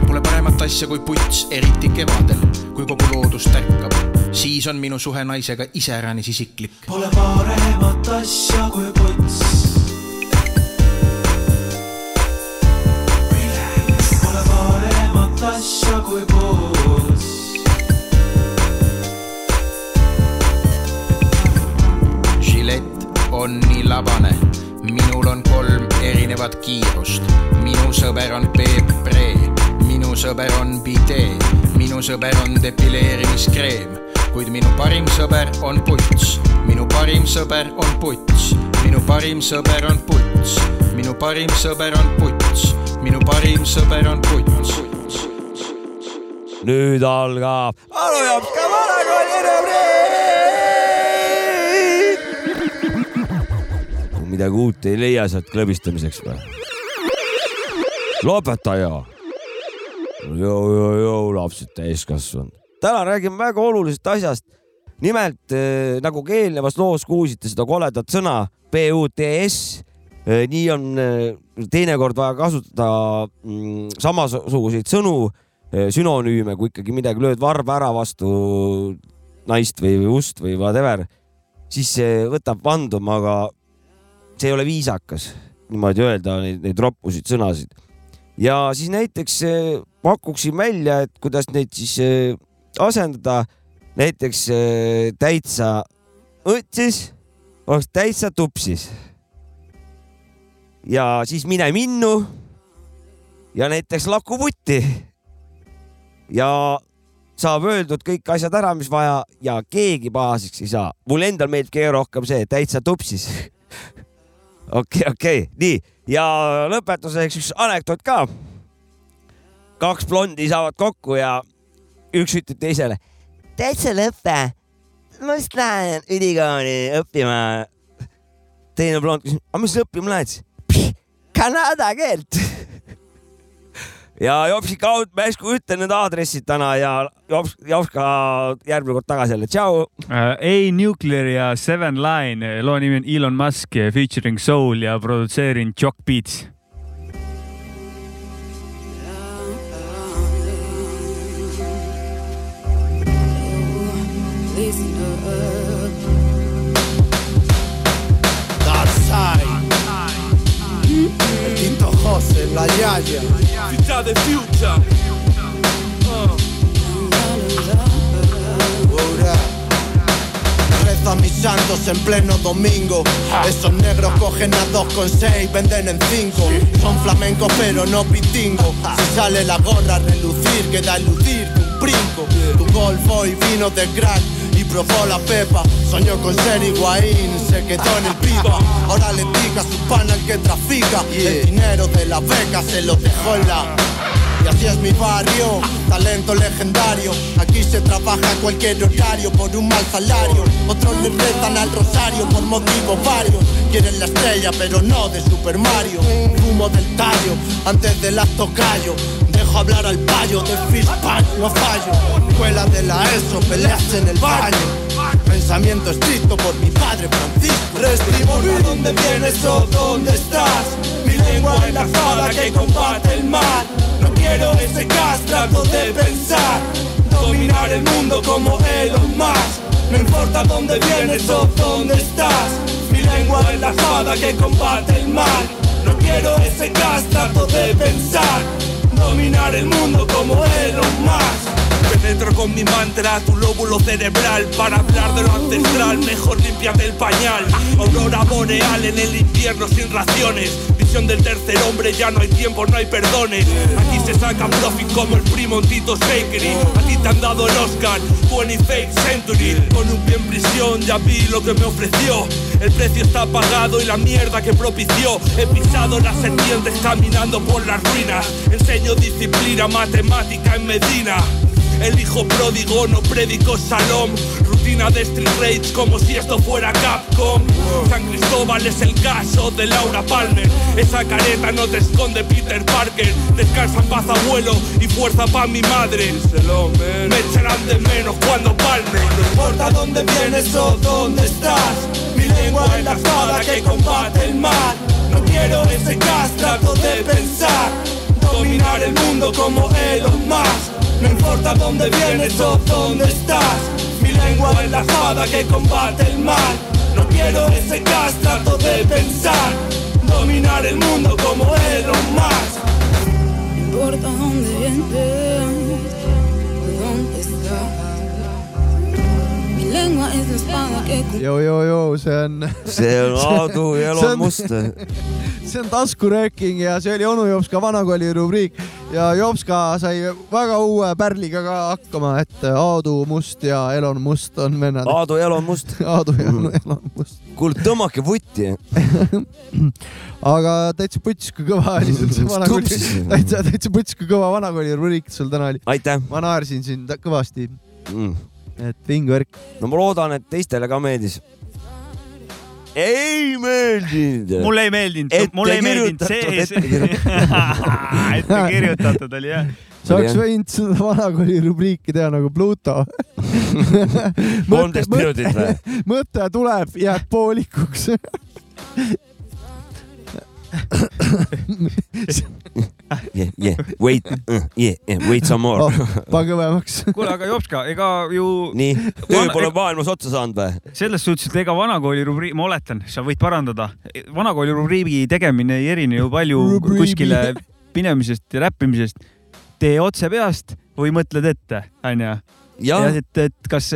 Speaker 11: Pole paremat asja kui puts , eriti kevadel , kui kogu loodus tärkab , siis on minu suhe naisega iseäranis isiklik .
Speaker 12: Pole paremat asja kui puts . Pole paremat asja kui puts .
Speaker 11: žilett on nii labane , minul on kolm erinevat kiirust . minu sõber on Peep Pre , minu sõber on Bidee , minu sõber on depileerimiskreem , kuid minu parim sõber on puts , minu parim sõber on puts , minu parim sõber on puts , minu parim sõber on puts , minu parim sõber on puts .
Speaker 2: nüüd algab . Anu Jopska vanakooli midagi uut ei leia sealt klõbistamiseks või ? lõpeta ju . jõu , jõu , jõu , lapsed täiskasvanud . täna räägime väga olulisest asjast . nimelt eh, nagu ka eelnevas loos kuulsite seda koledat sõna PUTS . nii on eh, teinekord vaja kasutada mm, samasuguseid sõnu , sünonüüme , kui ikkagi midagi lööd varba ära vastu naist või või ust või whatever , siis see võtab vanduma , aga see ei ole viisakas niimoodi öelda neid , neid roppusid sõnasid . ja siis näiteks eh, pakuksin välja , et kuidas neid siis eh, asendada . näiteks eh, täitsa õtsis oleks täitsa tupsis . ja siis mine minnu . ja näiteks laku vutti . ja saab öeldud kõik asjad ära , mis vaja ja keegi pahaseks ei saa . mul endal meeldib kõige rohkem see täitsa tupsis [laughs] okei , okei , nii ja lõpetuseks üks anekdoot ka . kaks blondi saavad kokku ja üks ütleb teisele , täitsa lõpe , ma just lähen ülikooli õppima . teine blond küsib , aga mis sa õppima lähed ? Kanada keelt . ja Jopsi kaudu ma järsku ütlen need aadressid täna ja Jops , Jops ka järgmine kord tagasi jälle , tšau .
Speaker 3: Eh, A Nuclear ja Seven Line , loo nimi on Elon Musk eh, featuring Soul ja produtseerin Jock Beats .
Speaker 13: Listen to us.
Speaker 14: Darkseid El quinto José, la Yaya Ficha de Future
Speaker 15: Rezo a mis santos en pleno domingo. Esos negros cogen a dos con seis, venden en cinco. Son flamencos pero no pitingo. Si sale la gorra a relucir, queda eludirte un brinco. Tu golfo y vino de crack. Y probó la pepa, soñó con ser higuaín, se quedó en el pipa. Ahora le pica a su pana el que trafica. El dinero de la beca se lo dejó en la y así es mi barrio, talento legendario. Aquí se trabaja cualquier horario por un mal salario. Otros le retan al rosario por motivos varios. Quieren la estrella, pero no de Super Mario. Fumo del tallo, antes del acto callo. Dejo hablar al payo, de fish no fallo. Escuela de la ESO, peleas en el baño. Pensamiento estricto por mi padre Francisco.
Speaker 14: Testimonio dónde vienes o dónde estás Mi lengua es la espada que combate el mal No quiero ese gas, trato de pensar Dominar el mundo como Elon Musk No importa dónde vienes o dónde estás Mi lengua es la espada que combate el mal No quiero ese gas, trato de pensar Dominar el mundo como Elon Musk
Speaker 16: Penetro con mi mantra tu lóbulo cerebral Para hablar de lo ancestral, mejor límpiate el pañal Aurora boreal en el infierno sin raciones Visión del tercer hombre, ya no hay tiempo, no hay perdones Aquí se saca profit como el primo en Tito's Bakery A ti te han dado el Oscar, 25 Century Con un pie en prisión, ya vi lo que me ofreció El precio está pagado y la mierda que propició He pisado las serpientes caminando por las ruinas Enseño disciplina, matemática en Medina el hijo pródigo no predicó salón Rutina de Street Rage como si esto fuera Capcom San Cristóbal es el caso de Laura Palmer Esa careta no te esconde Peter Parker Descansa en paz abuelo y fuerza pa' mi madre Me echarán de menos cuando palme
Speaker 14: No importa dónde vienes o dónde estás Mi lengua es la espada que combate el mal No quiero ese gas, trato de pensar Dominar el mundo como Elon Musk No importa dónde vienes o dónde estás Mi lengua es la espada que combate el mal No quiero ese gas, trato de pensar Dominar el mundo como Elon Musk
Speaker 13: No importa dónde vienes o dónde estás. Mi lengua es la espada que
Speaker 1: jõu-jõu-jõu , see on . [laughs]
Speaker 2: See on Aadu ja Elon Must.
Speaker 1: see on taskurööking ja see oli onu Jopska vanakooli rubriik ja Jopska sai väga uue pärliga ka hakkama , et Aadu Must ja Elon Must on vennad .
Speaker 2: Aadu ja Elon Must .
Speaker 1: [laughs] Aadu ja Elon Must .
Speaker 2: kuule , tõmmake vutti .
Speaker 1: aga täitsa puts , kui kõva oli sul see vanakooli
Speaker 2: Tupsis. ,
Speaker 1: [laughs] täitsa , täitsa puts , kui kõva vanakooli rubriik sul täna oli .
Speaker 2: aitäh .
Speaker 1: ma naersin sind kõvasti .
Speaker 2: mm. .
Speaker 1: et vingvärk .
Speaker 2: no ma loodan , et teistele ka meeldis . ei meeldinud .
Speaker 3: mulle ei meeldinud , mulle ei meeldinud see , [laughs]
Speaker 2: ettekirjutatud .
Speaker 3: ette kirjutatud oli jah .
Speaker 1: sa oleks võinud seda [laughs] vanakooli rubriiki teha nagu Pluto [laughs] Mõte- mõte-
Speaker 2: kolmteist minutit või ?
Speaker 1: mõte tuleb , jääb
Speaker 3: [laughs]
Speaker 1: poolikuks .
Speaker 2: [laughs] Yeah, yeah, wait uh, , yeah, yeah, wait some more
Speaker 1: Oh, . kõvemaks .
Speaker 3: kuule , aga Jopska , ega ju .
Speaker 2: nii , töö pole maailmas otsa saanud või ?
Speaker 3: selles suhtes , et ega vanakooli rubriik , ma oletan , sa võid parandada , vanakooli rubriigi tegemine ei erine ju palju
Speaker 1: Rubriigi.
Speaker 3: kuskile minemisest ja räppimisest . tee otse peast või mõtled ette , onju .
Speaker 2: Jah.
Speaker 3: et , et kas ,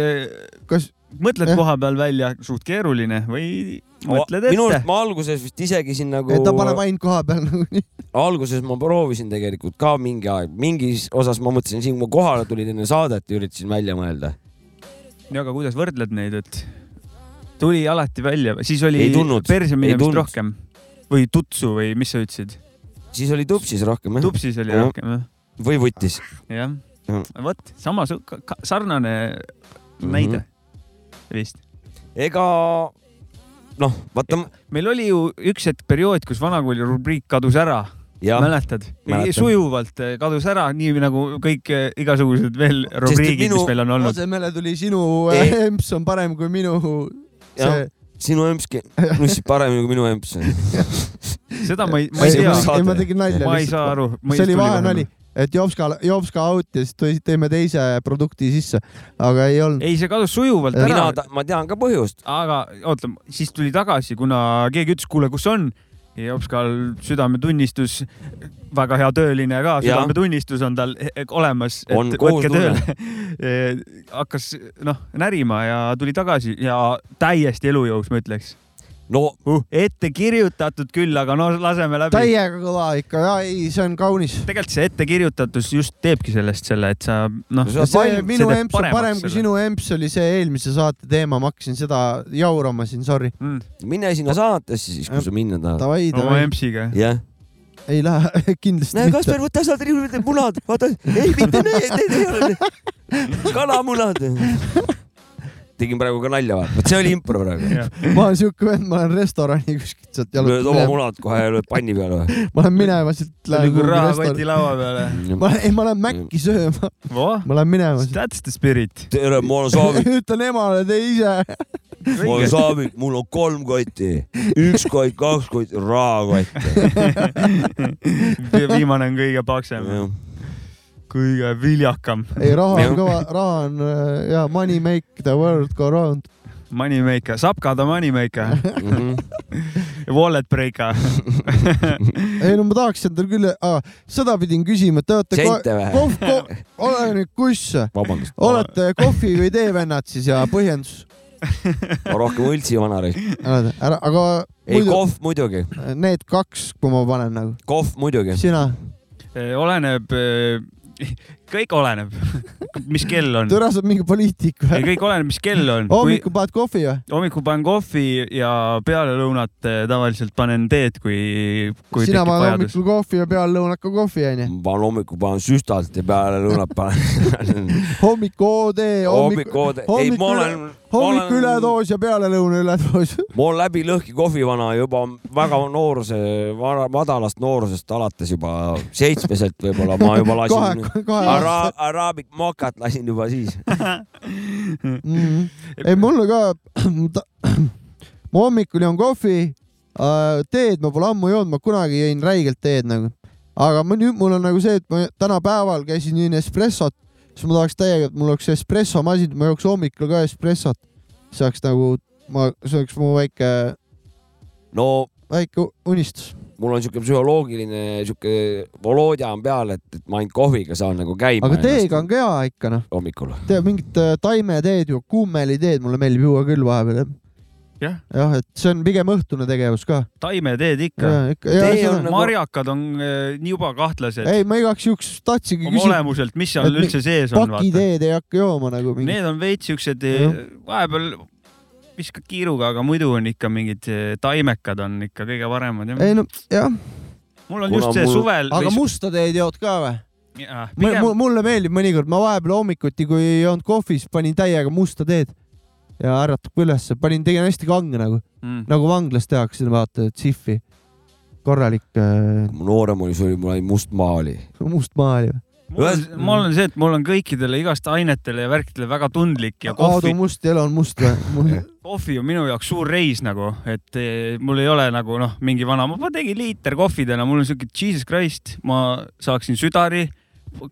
Speaker 1: kas
Speaker 3: mõtled koha peal välja , suht keeruline või mõtled
Speaker 2: minu
Speaker 3: ette
Speaker 2: arust ? ma alguses vist isegi siin nagu
Speaker 1: et ta paneb ainult koha peal nagu nagunii .
Speaker 2: alguses ma proovisin tegelikult ka mingi aeg , mingis osas ma mõtlesin siin , kui ma kohale tulin enne saadet ja üritasin välja mõelda .
Speaker 3: ja aga kuidas võrdled neid , et tuli alati välja , siis oli
Speaker 2: Ei tulnud,
Speaker 3: perse
Speaker 2: ei
Speaker 3: minemist
Speaker 2: tulnud.
Speaker 3: rohkem või tutsu või mis sa ütlesid ?
Speaker 2: siis oli tupsis rohkem jah ?
Speaker 3: tupsis oli rohkem jah .
Speaker 2: või vutis .
Speaker 3: jah , vot sama su- ka- ka- sarnane näide vist .
Speaker 2: ega noh , vaata .
Speaker 3: meil oli ju üks hetk periood , kus vanakooli rubriik kadus ära .
Speaker 2: Jah.
Speaker 3: mäletad
Speaker 2: Mäletan. ?
Speaker 3: sujuvalt eh, kadus ära , nii nagu kõik eh, igasugused veel rubriigid , mis meil on olnud .
Speaker 1: asemele tuli sinu
Speaker 2: Ei.
Speaker 1: äh, emps on parem kui minu see
Speaker 2: jah , sinu empski nussib paremini kui minu emps .
Speaker 3: seda ma ei , ma ei
Speaker 2: See
Speaker 3: tea
Speaker 2: oli saade. .
Speaker 1: ei , ma tegin nalja .
Speaker 3: ma ei saa aru .
Speaker 1: see oli
Speaker 3: nagu.
Speaker 1: vahenali , et Jopska , Jopska out ja siis tõi- tõime teise produkti sisse , aga ei olnud .
Speaker 3: ei , see kadus sujuvalt
Speaker 1: Mina
Speaker 3: ära .
Speaker 1: ta-
Speaker 2: ma tean ka põhjust .
Speaker 3: aga oota , siis tuli tagasi , kuna keegi ütles , kuule , kus on ja Jopskal südametunnistus , väga hea tööline ka ,
Speaker 2: Jah.
Speaker 3: südametunnistus on tal he- olemas .
Speaker 2: On kohutunne.
Speaker 3: [laughs] hakkas noh närima ja tuli tagasi ja täiesti elujõus , ma ütleks .
Speaker 2: no
Speaker 3: uh, ette kirjutatud küll , aga no laseme läbi .
Speaker 1: täiega kõva ikka , ei , see on kaunis .
Speaker 3: tegelikult see ettekirjutatus just teebki sellest selle , et sa noh .
Speaker 1: see minu emps on parem kui sinu emps oli see eelmise saate teema , ma hakkasin seda jaurama siin , sorry
Speaker 3: mm. .
Speaker 2: mine sinna saatesse siis , kui sa minna tahad .
Speaker 1: Davai, davai. Oma
Speaker 3: empsiga.
Speaker 2: jah .
Speaker 1: ei lähe [laughs] kindlasti
Speaker 2: näe ,
Speaker 1: mitte .
Speaker 2: Kasper , võta sealt riiulilt need munad , vaata , ei mitte need , need ei ole need kalamunad . tegin praegu ka nalja , vaata , vot see oli impro praegu .
Speaker 1: ma olen siuke vend , ma olen restorani kuskilt sealt
Speaker 2: lööd oma
Speaker 1: jalutanud .
Speaker 2: munad kohe ja lööd panni peale või ?
Speaker 1: ma lähen minema siit .
Speaker 3: nagu rahakoti laua peale .
Speaker 1: [laughs]
Speaker 2: [laughs]
Speaker 1: ma , ei , ma lähen Maci sööma . ma lähen minema .
Speaker 3: That's the spirit .
Speaker 2: tere , ma olen Saavik ,
Speaker 1: [laughs] ütlen emale , tee ise .
Speaker 2: ma olen Saavik , mul on kolm kotti , üks kott , kaks kotti , rahakott .
Speaker 3: [laughs] viimane on kõige paksem . kõige viljakam .
Speaker 1: ei , raha on kõva , raha on äh, ja money make the world go round .
Speaker 3: Moneymaker , Sapka the Moneymaker
Speaker 2: mm .
Speaker 3: -hmm. Wallet Breaker .
Speaker 1: ei no ma tahaks endale küll , seda pidin küsima , te olete
Speaker 3: Sente või?
Speaker 1: kohv , kohv , ole nüüd kuss ,
Speaker 2: vabandust ,
Speaker 1: olete kohvi või tee vennad siis ja põhjendus ,
Speaker 2: ma rohkem võltsi vanareid .
Speaker 1: ära , aga
Speaker 2: ei , kohv muidugi ,
Speaker 1: need kaks , kui ma panen nagu ,
Speaker 2: kohv muidugi .
Speaker 1: sina ,
Speaker 3: Eh, oleneb , kõik oleneb , mis kell on .
Speaker 1: türa sa oled mingi poliitik
Speaker 3: ei ,
Speaker 1: või ?
Speaker 3: kõik oleneb , mis kell on .
Speaker 1: hommikul paned kohvi või ?
Speaker 3: hommikul panen kohvi ja peale lõunat eh, tavaliselt panen teed , kui , kui
Speaker 1: sina
Speaker 3: tekib
Speaker 1: paned
Speaker 3: vajadus .
Speaker 1: hommikul kohvi ja peale lõunat ka kohvi onju .
Speaker 2: panen hommikul panen süstalt ja peale lõunat panen .
Speaker 1: hommik OD , hommik
Speaker 2: Hommik OD. , Ei, ma olen- ma
Speaker 1: hommik
Speaker 2: olen-
Speaker 1: üledoos ja pealelõuna üledoos .
Speaker 2: ma olen läbi lõhki kohvivana juba väga nooruse , madalast noorusest alates juba seitsmeselt võib-olla ma juba lasin
Speaker 1: Kahe- kahe
Speaker 2: Ara,
Speaker 1: aastaselt.
Speaker 2: araabik mokat lasin juba siis .
Speaker 1: mm. . ei , mulle ka , [clears throat] ma hommikul joon kohvi , teed ma pole ammu joonud , ma kunagi jõin räigelt teed nagu . aga ma nüüd , mul on nagu see , et ma täna päeval käisin jõin espressot , siis ma tahaks täiega , et mul oleks espressomasin , ma jooks hommikul ka espressot . see oleks nagu , ma , see oleks mu väike ,
Speaker 2: no
Speaker 1: väike unistus .
Speaker 2: mul on siuke psühholoogiline siuke Volodja on peal , et , et ma ainult kohviga saan nagu käima .
Speaker 1: aga teega on ka hea ikka noh .
Speaker 2: hommikul .
Speaker 1: tead mingit äh, taimeteed ju , kummeliteed mulle meeldib juua küll vahepeal jah .
Speaker 3: Jah.
Speaker 1: jah , et see on pigem õhtune tegevus ka .
Speaker 3: taimeteed ikka
Speaker 1: Jaa, ikka- jaa, Tee seda- on nagu-
Speaker 3: marjakad on eh, nii juba kahtlased .
Speaker 1: ei , ma igaks juhuks tahtsingi
Speaker 3: Oma olemuselt, mis seal
Speaker 1: et mi-
Speaker 3: üldse sees on, vaata.
Speaker 1: pakiteed ei hakka jooma nagu mingi .
Speaker 3: Need on veits siuksed ,
Speaker 1: Jah.
Speaker 3: vahepeal viskad kiiruga , aga muidu on ikka mingid eh, taimekad on ikka kõige paremad .
Speaker 1: ei no jah .
Speaker 3: mul on just see suvel .
Speaker 1: aga musta teed jood ka või ? mulle meeldib mõnikord , ma vahepeal hommikuti , kui ei olnud kohvis , panin täiega musta teed ja äratab ka ülesse , panin , tegin hästi kange nagu
Speaker 3: Mm.
Speaker 1: mm. , nagu vanglas tehakse , vaata , tsihvi , korralik äh,
Speaker 2: noorem oli , see oli , mul oli must maali .
Speaker 1: must maali .
Speaker 3: mul on see , et mul on kõikidele igast ainetele ja värkidele väga tundlik ja
Speaker 1: Aadu
Speaker 3: kohvi ,
Speaker 1: Must ja Elon Must
Speaker 3: [laughs]
Speaker 1: või ?
Speaker 3: kohvi on minu jaoks suur reis nagu , et eh, mul ei ole nagu noh , mingi vana , ma tegin liiter kohvi täna , mul on siuke Jesus Christ , ma saaksin südari ,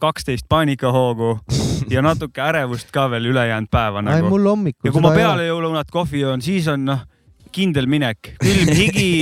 Speaker 3: kaksteist paanikahoogu
Speaker 1: [laughs]
Speaker 3: ja natuke ärevust ka veel ülejäänud päeva
Speaker 1: ei ,
Speaker 3: nagu .
Speaker 1: mul hommikul
Speaker 3: ja kui ma
Speaker 1: seda ei ole.
Speaker 3: peale jõulunat kohvi joon , siis on noh , kindel minek , külm
Speaker 1: [laughs]
Speaker 3: higi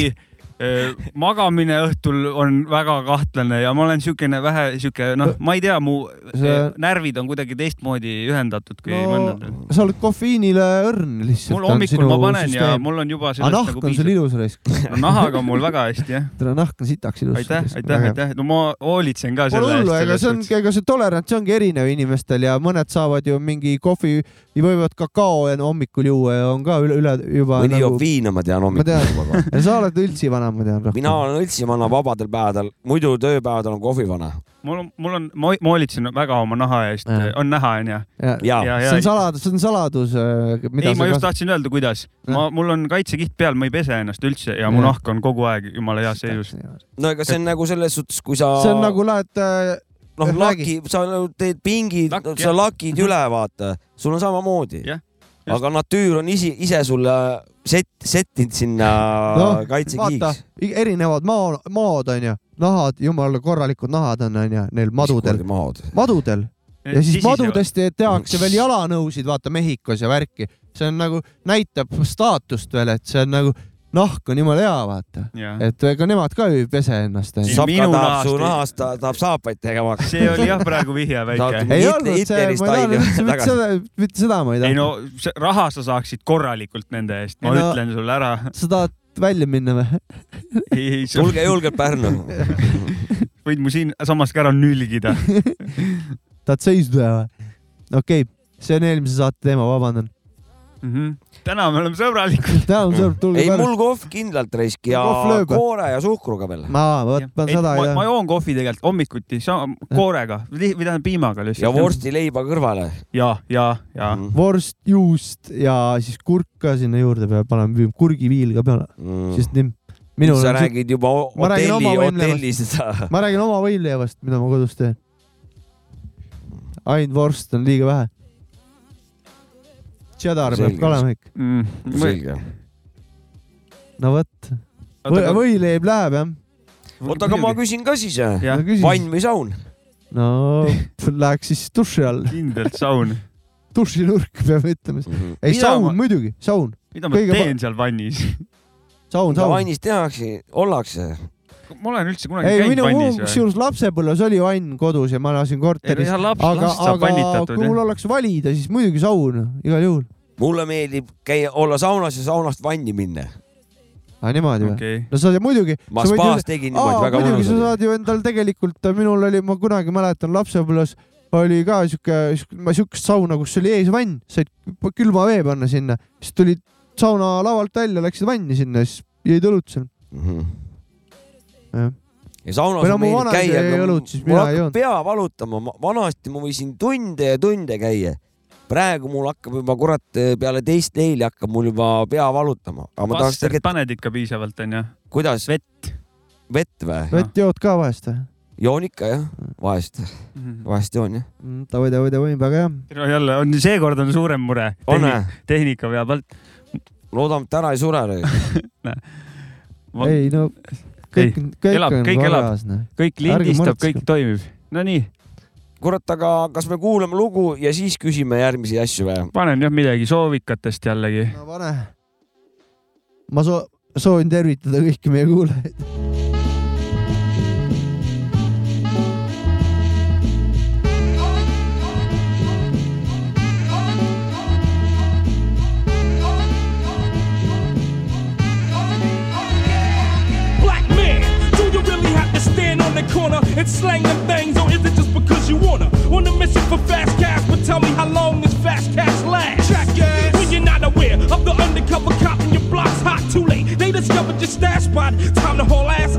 Speaker 3: magamine õhtul on väga kahtlane ja ma olen siukene vähe siuke , noh , ma ei tea , mu
Speaker 1: See-
Speaker 3: eh, närvid on kuidagi teistmoodi ühendatud kui no, mõndadel .
Speaker 1: no sa oled kofeiinile õrn lihtsalt .
Speaker 3: Mul hommikul ma panen ja mul on juba sellest
Speaker 1: aga Ah, nahk
Speaker 3: nagu
Speaker 1: on sul
Speaker 3: piisab.
Speaker 1: ilus raisk
Speaker 3: No nahaga on mul väga hästi, jah.
Speaker 1: tere , nahk on sitaks ilus .
Speaker 3: aitäh , aitäh , aitäh , no ma hoolitsen ka
Speaker 1: Pole
Speaker 3: selle
Speaker 1: hullu , ega see on
Speaker 3: eest .,
Speaker 1: ega see tolerants ongi erinev inimestel ja mõned saavad ju mingi kohvi , võivad kakao enne hommikul juua ja on ka üle , üle juba .
Speaker 2: mõni joob viina , ma tean
Speaker 1: nagu- ma tean
Speaker 2: hommikul juba .
Speaker 1: ja sa oled üldse vana , ma tean .
Speaker 2: mina olen õltsimana vabadel päevadel , muidu tööpäevadel on kohvivana .
Speaker 3: mul on , mul on , ma ma hoolitsen väga oma naha eest , on näha , onju .
Speaker 1: see on saladus , see on saladus . äh,
Speaker 3: ei , ma just tahtsin öelda , kuidas . ma , mul on kaitsekiht peal , ma ei pese ennast üldse ja mu
Speaker 1: Jah.
Speaker 3: nahk on kogu aeg jumala heas seisus .
Speaker 2: no ega see on nagu selles suhtes , kui sa .
Speaker 1: see on nagu lähed äh,
Speaker 2: noh ,
Speaker 1: räägi.
Speaker 2: laki , sa nagu teed pingid , sa
Speaker 1: jah.
Speaker 2: lakid üle , vaata , sul on samamoodi . aga natüür on ise , ise sulle set- , settinud sinna
Speaker 1: Noh, vaata
Speaker 2: kaitsekiiks .,
Speaker 1: erinevad mao , maod onju , nahad , jumala korralikud nahad on onju neil madudel , madudel ja siis
Speaker 3: Sisisevad.
Speaker 1: madudest tehakse veel jalanõusid , vaata Mehhikos ja värki , see on nagu näitab staatust veel , et see on nagu nahk on jumala hea , vaata
Speaker 3: Jah. ,
Speaker 1: et ega nemad ka ei pese ennast .
Speaker 2: sapka tahab su nahast , ta tahab saapaid tegema [laughs] hakata .
Speaker 3: see oli jah praegu vihje väike .
Speaker 1: ei olnud see , ma ei taha üldse mitte seda , mitte seda ma ei
Speaker 3: ei
Speaker 1: taha .
Speaker 3: no see raha sa saaksid korralikult nende eest , ma
Speaker 1: Ei no-
Speaker 3: ütlen sulle
Speaker 1: [laughs]
Speaker 3: ära .
Speaker 1: sa tahad välja minna või ? [laughs]
Speaker 2: tulge julgelt Pärnu .
Speaker 3: võid mu siinsamas ka ära nülgida .
Speaker 1: tahad seisduda või ? okei okay, , see on eelmise saate teema , vabandan .
Speaker 3: Mhm. täna me oleme sõbralikud .
Speaker 1: täna me sõbrad , tulge
Speaker 2: ei , mul kohv kindlalt raisk ja
Speaker 3: Kohv lööb.
Speaker 2: koore ja suhkruga veel .
Speaker 1: ma võtan
Speaker 3: ma
Speaker 1: seda ja
Speaker 3: ma joon kohvi tegelikult hommikuti sa- koorega li- või tähendab piimaga lihtsalt .
Speaker 2: ja . vorstileiba kõrvale . Mm,
Speaker 3: ja , ja , ja .
Speaker 1: vorst , juust ja siis kurk ka sinna juurde peab panema , kurgiviil ka peale
Speaker 2: mm. ,
Speaker 1: sest nii .
Speaker 2: sa räägid juba o-
Speaker 1: Ma räägin
Speaker 2: hotelli ,
Speaker 1: oma võimlemast.
Speaker 2: hotellis seda .
Speaker 1: ma räägin oma võileivast , mida ma kodus teen . ainult vorst on liiga vähe . Cheddar peab
Speaker 2: Selge.
Speaker 1: ka olema ikka .
Speaker 2: [laughs]
Speaker 3: Mm,
Speaker 2: selge .
Speaker 1: no vot ,
Speaker 2: aga-
Speaker 1: võileib läheb jah .
Speaker 2: oota , aga ma küsin ka siis .
Speaker 1: No küsi
Speaker 2: vann või saun ?
Speaker 1: no pff, läheks siis duši all .
Speaker 3: kindlalt saun .
Speaker 1: dušinurk peab ütlema mm . -hmm. ei ,
Speaker 2: Mida
Speaker 1: saun
Speaker 2: ma-
Speaker 1: muidugi , saun .
Speaker 3: mida ma teen seal vannis ?
Speaker 1: saun ,
Speaker 2: mida
Speaker 1: saun .
Speaker 2: vannis tehakse , ollakse ?
Speaker 3: ma olen üldse kunagi
Speaker 1: ei ,
Speaker 3: käinud
Speaker 1: minu
Speaker 3: vannis või ?
Speaker 1: kusjuures lapsepõlves oli vann kodus ja ma elasin korteris .
Speaker 3: sa laps-
Speaker 1: aga ,
Speaker 3: lapsest saab
Speaker 1: aga
Speaker 3: vannitatud,
Speaker 1: kui
Speaker 3: jah.
Speaker 1: mul oleks valida , siis muidugi saun igal juhul .
Speaker 2: mulle meeldib käia , olla saunas ja saunast vanni minna .
Speaker 1: aga niimoodi või
Speaker 3: Okei.
Speaker 1: okay. ? no sa muidugi .
Speaker 2: Ma spaas tegin niimoodi, väga
Speaker 1: muidugi
Speaker 2: mõnus
Speaker 1: sa
Speaker 2: oli.
Speaker 1: saad ju endal tegelikult , minul oli , ma kunagi mäletan lapsepõlves oli ka siuke , ma siukest sauna , kus oli ees vann , said p- külma vee panna sinna , siis tulid sauna lavalt välja , läksid vanni sinna , siis jõid õlut seal .
Speaker 2: ja saunas
Speaker 1: Või no
Speaker 2: on
Speaker 1: mu
Speaker 2: meeldiv
Speaker 1: vanaisa
Speaker 2: käia ,
Speaker 1: jäi
Speaker 2: aga
Speaker 1: õlut, siis
Speaker 2: mul
Speaker 1: mina ei
Speaker 2: hakkab
Speaker 1: joonud.
Speaker 2: pea valutama , vanasti ma võisin tunde ja tunde käia . praegu mul hakkab juba kurat eh, peale teist leili hakkab mul juba pea valutama , aga ma tahaks
Speaker 3: Vastert
Speaker 2: tegelikult ,
Speaker 3: paned ikka piisavalt , onju ?
Speaker 2: kuidas ?
Speaker 3: vett .
Speaker 2: vett või ?
Speaker 1: vett jood ka vahest või ?
Speaker 2: joon ikka jah , vahest , vahest joon jah .
Speaker 1: davai , davai , davai , väga hea .
Speaker 3: no jälle on , seekord on suurem mure .
Speaker 2: On vä?
Speaker 3: tehnika vea pealt .
Speaker 2: loodame , et ära ei sure nüüd
Speaker 1: ei no kõik , kõik
Speaker 3: elab ,
Speaker 1: on
Speaker 3: kõik elab
Speaker 1: korras, noh. ,
Speaker 3: kõik
Speaker 1: Ärge
Speaker 3: lindistab ,
Speaker 1: muretsege.
Speaker 3: kõik toimib . Nonii ,
Speaker 2: kurat , aga kas me kuulame lugu ja siis küsime järgmisi asju või ?
Speaker 3: panen jah midagi soovikatest jällegi .
Speaker 1: pane . ma soo- , soovin tervitada kõiki meie kuulajaid .
Speaker 17: Black man, do you really have to stand on the corner and slang them things, or is it just because you wanna? On a mission for fast cash, but tell me how long this fast cash last? Jackass. When you're not aware of the undercover cop in your block's hot too late. They discovered your stash spot. Time to haul ass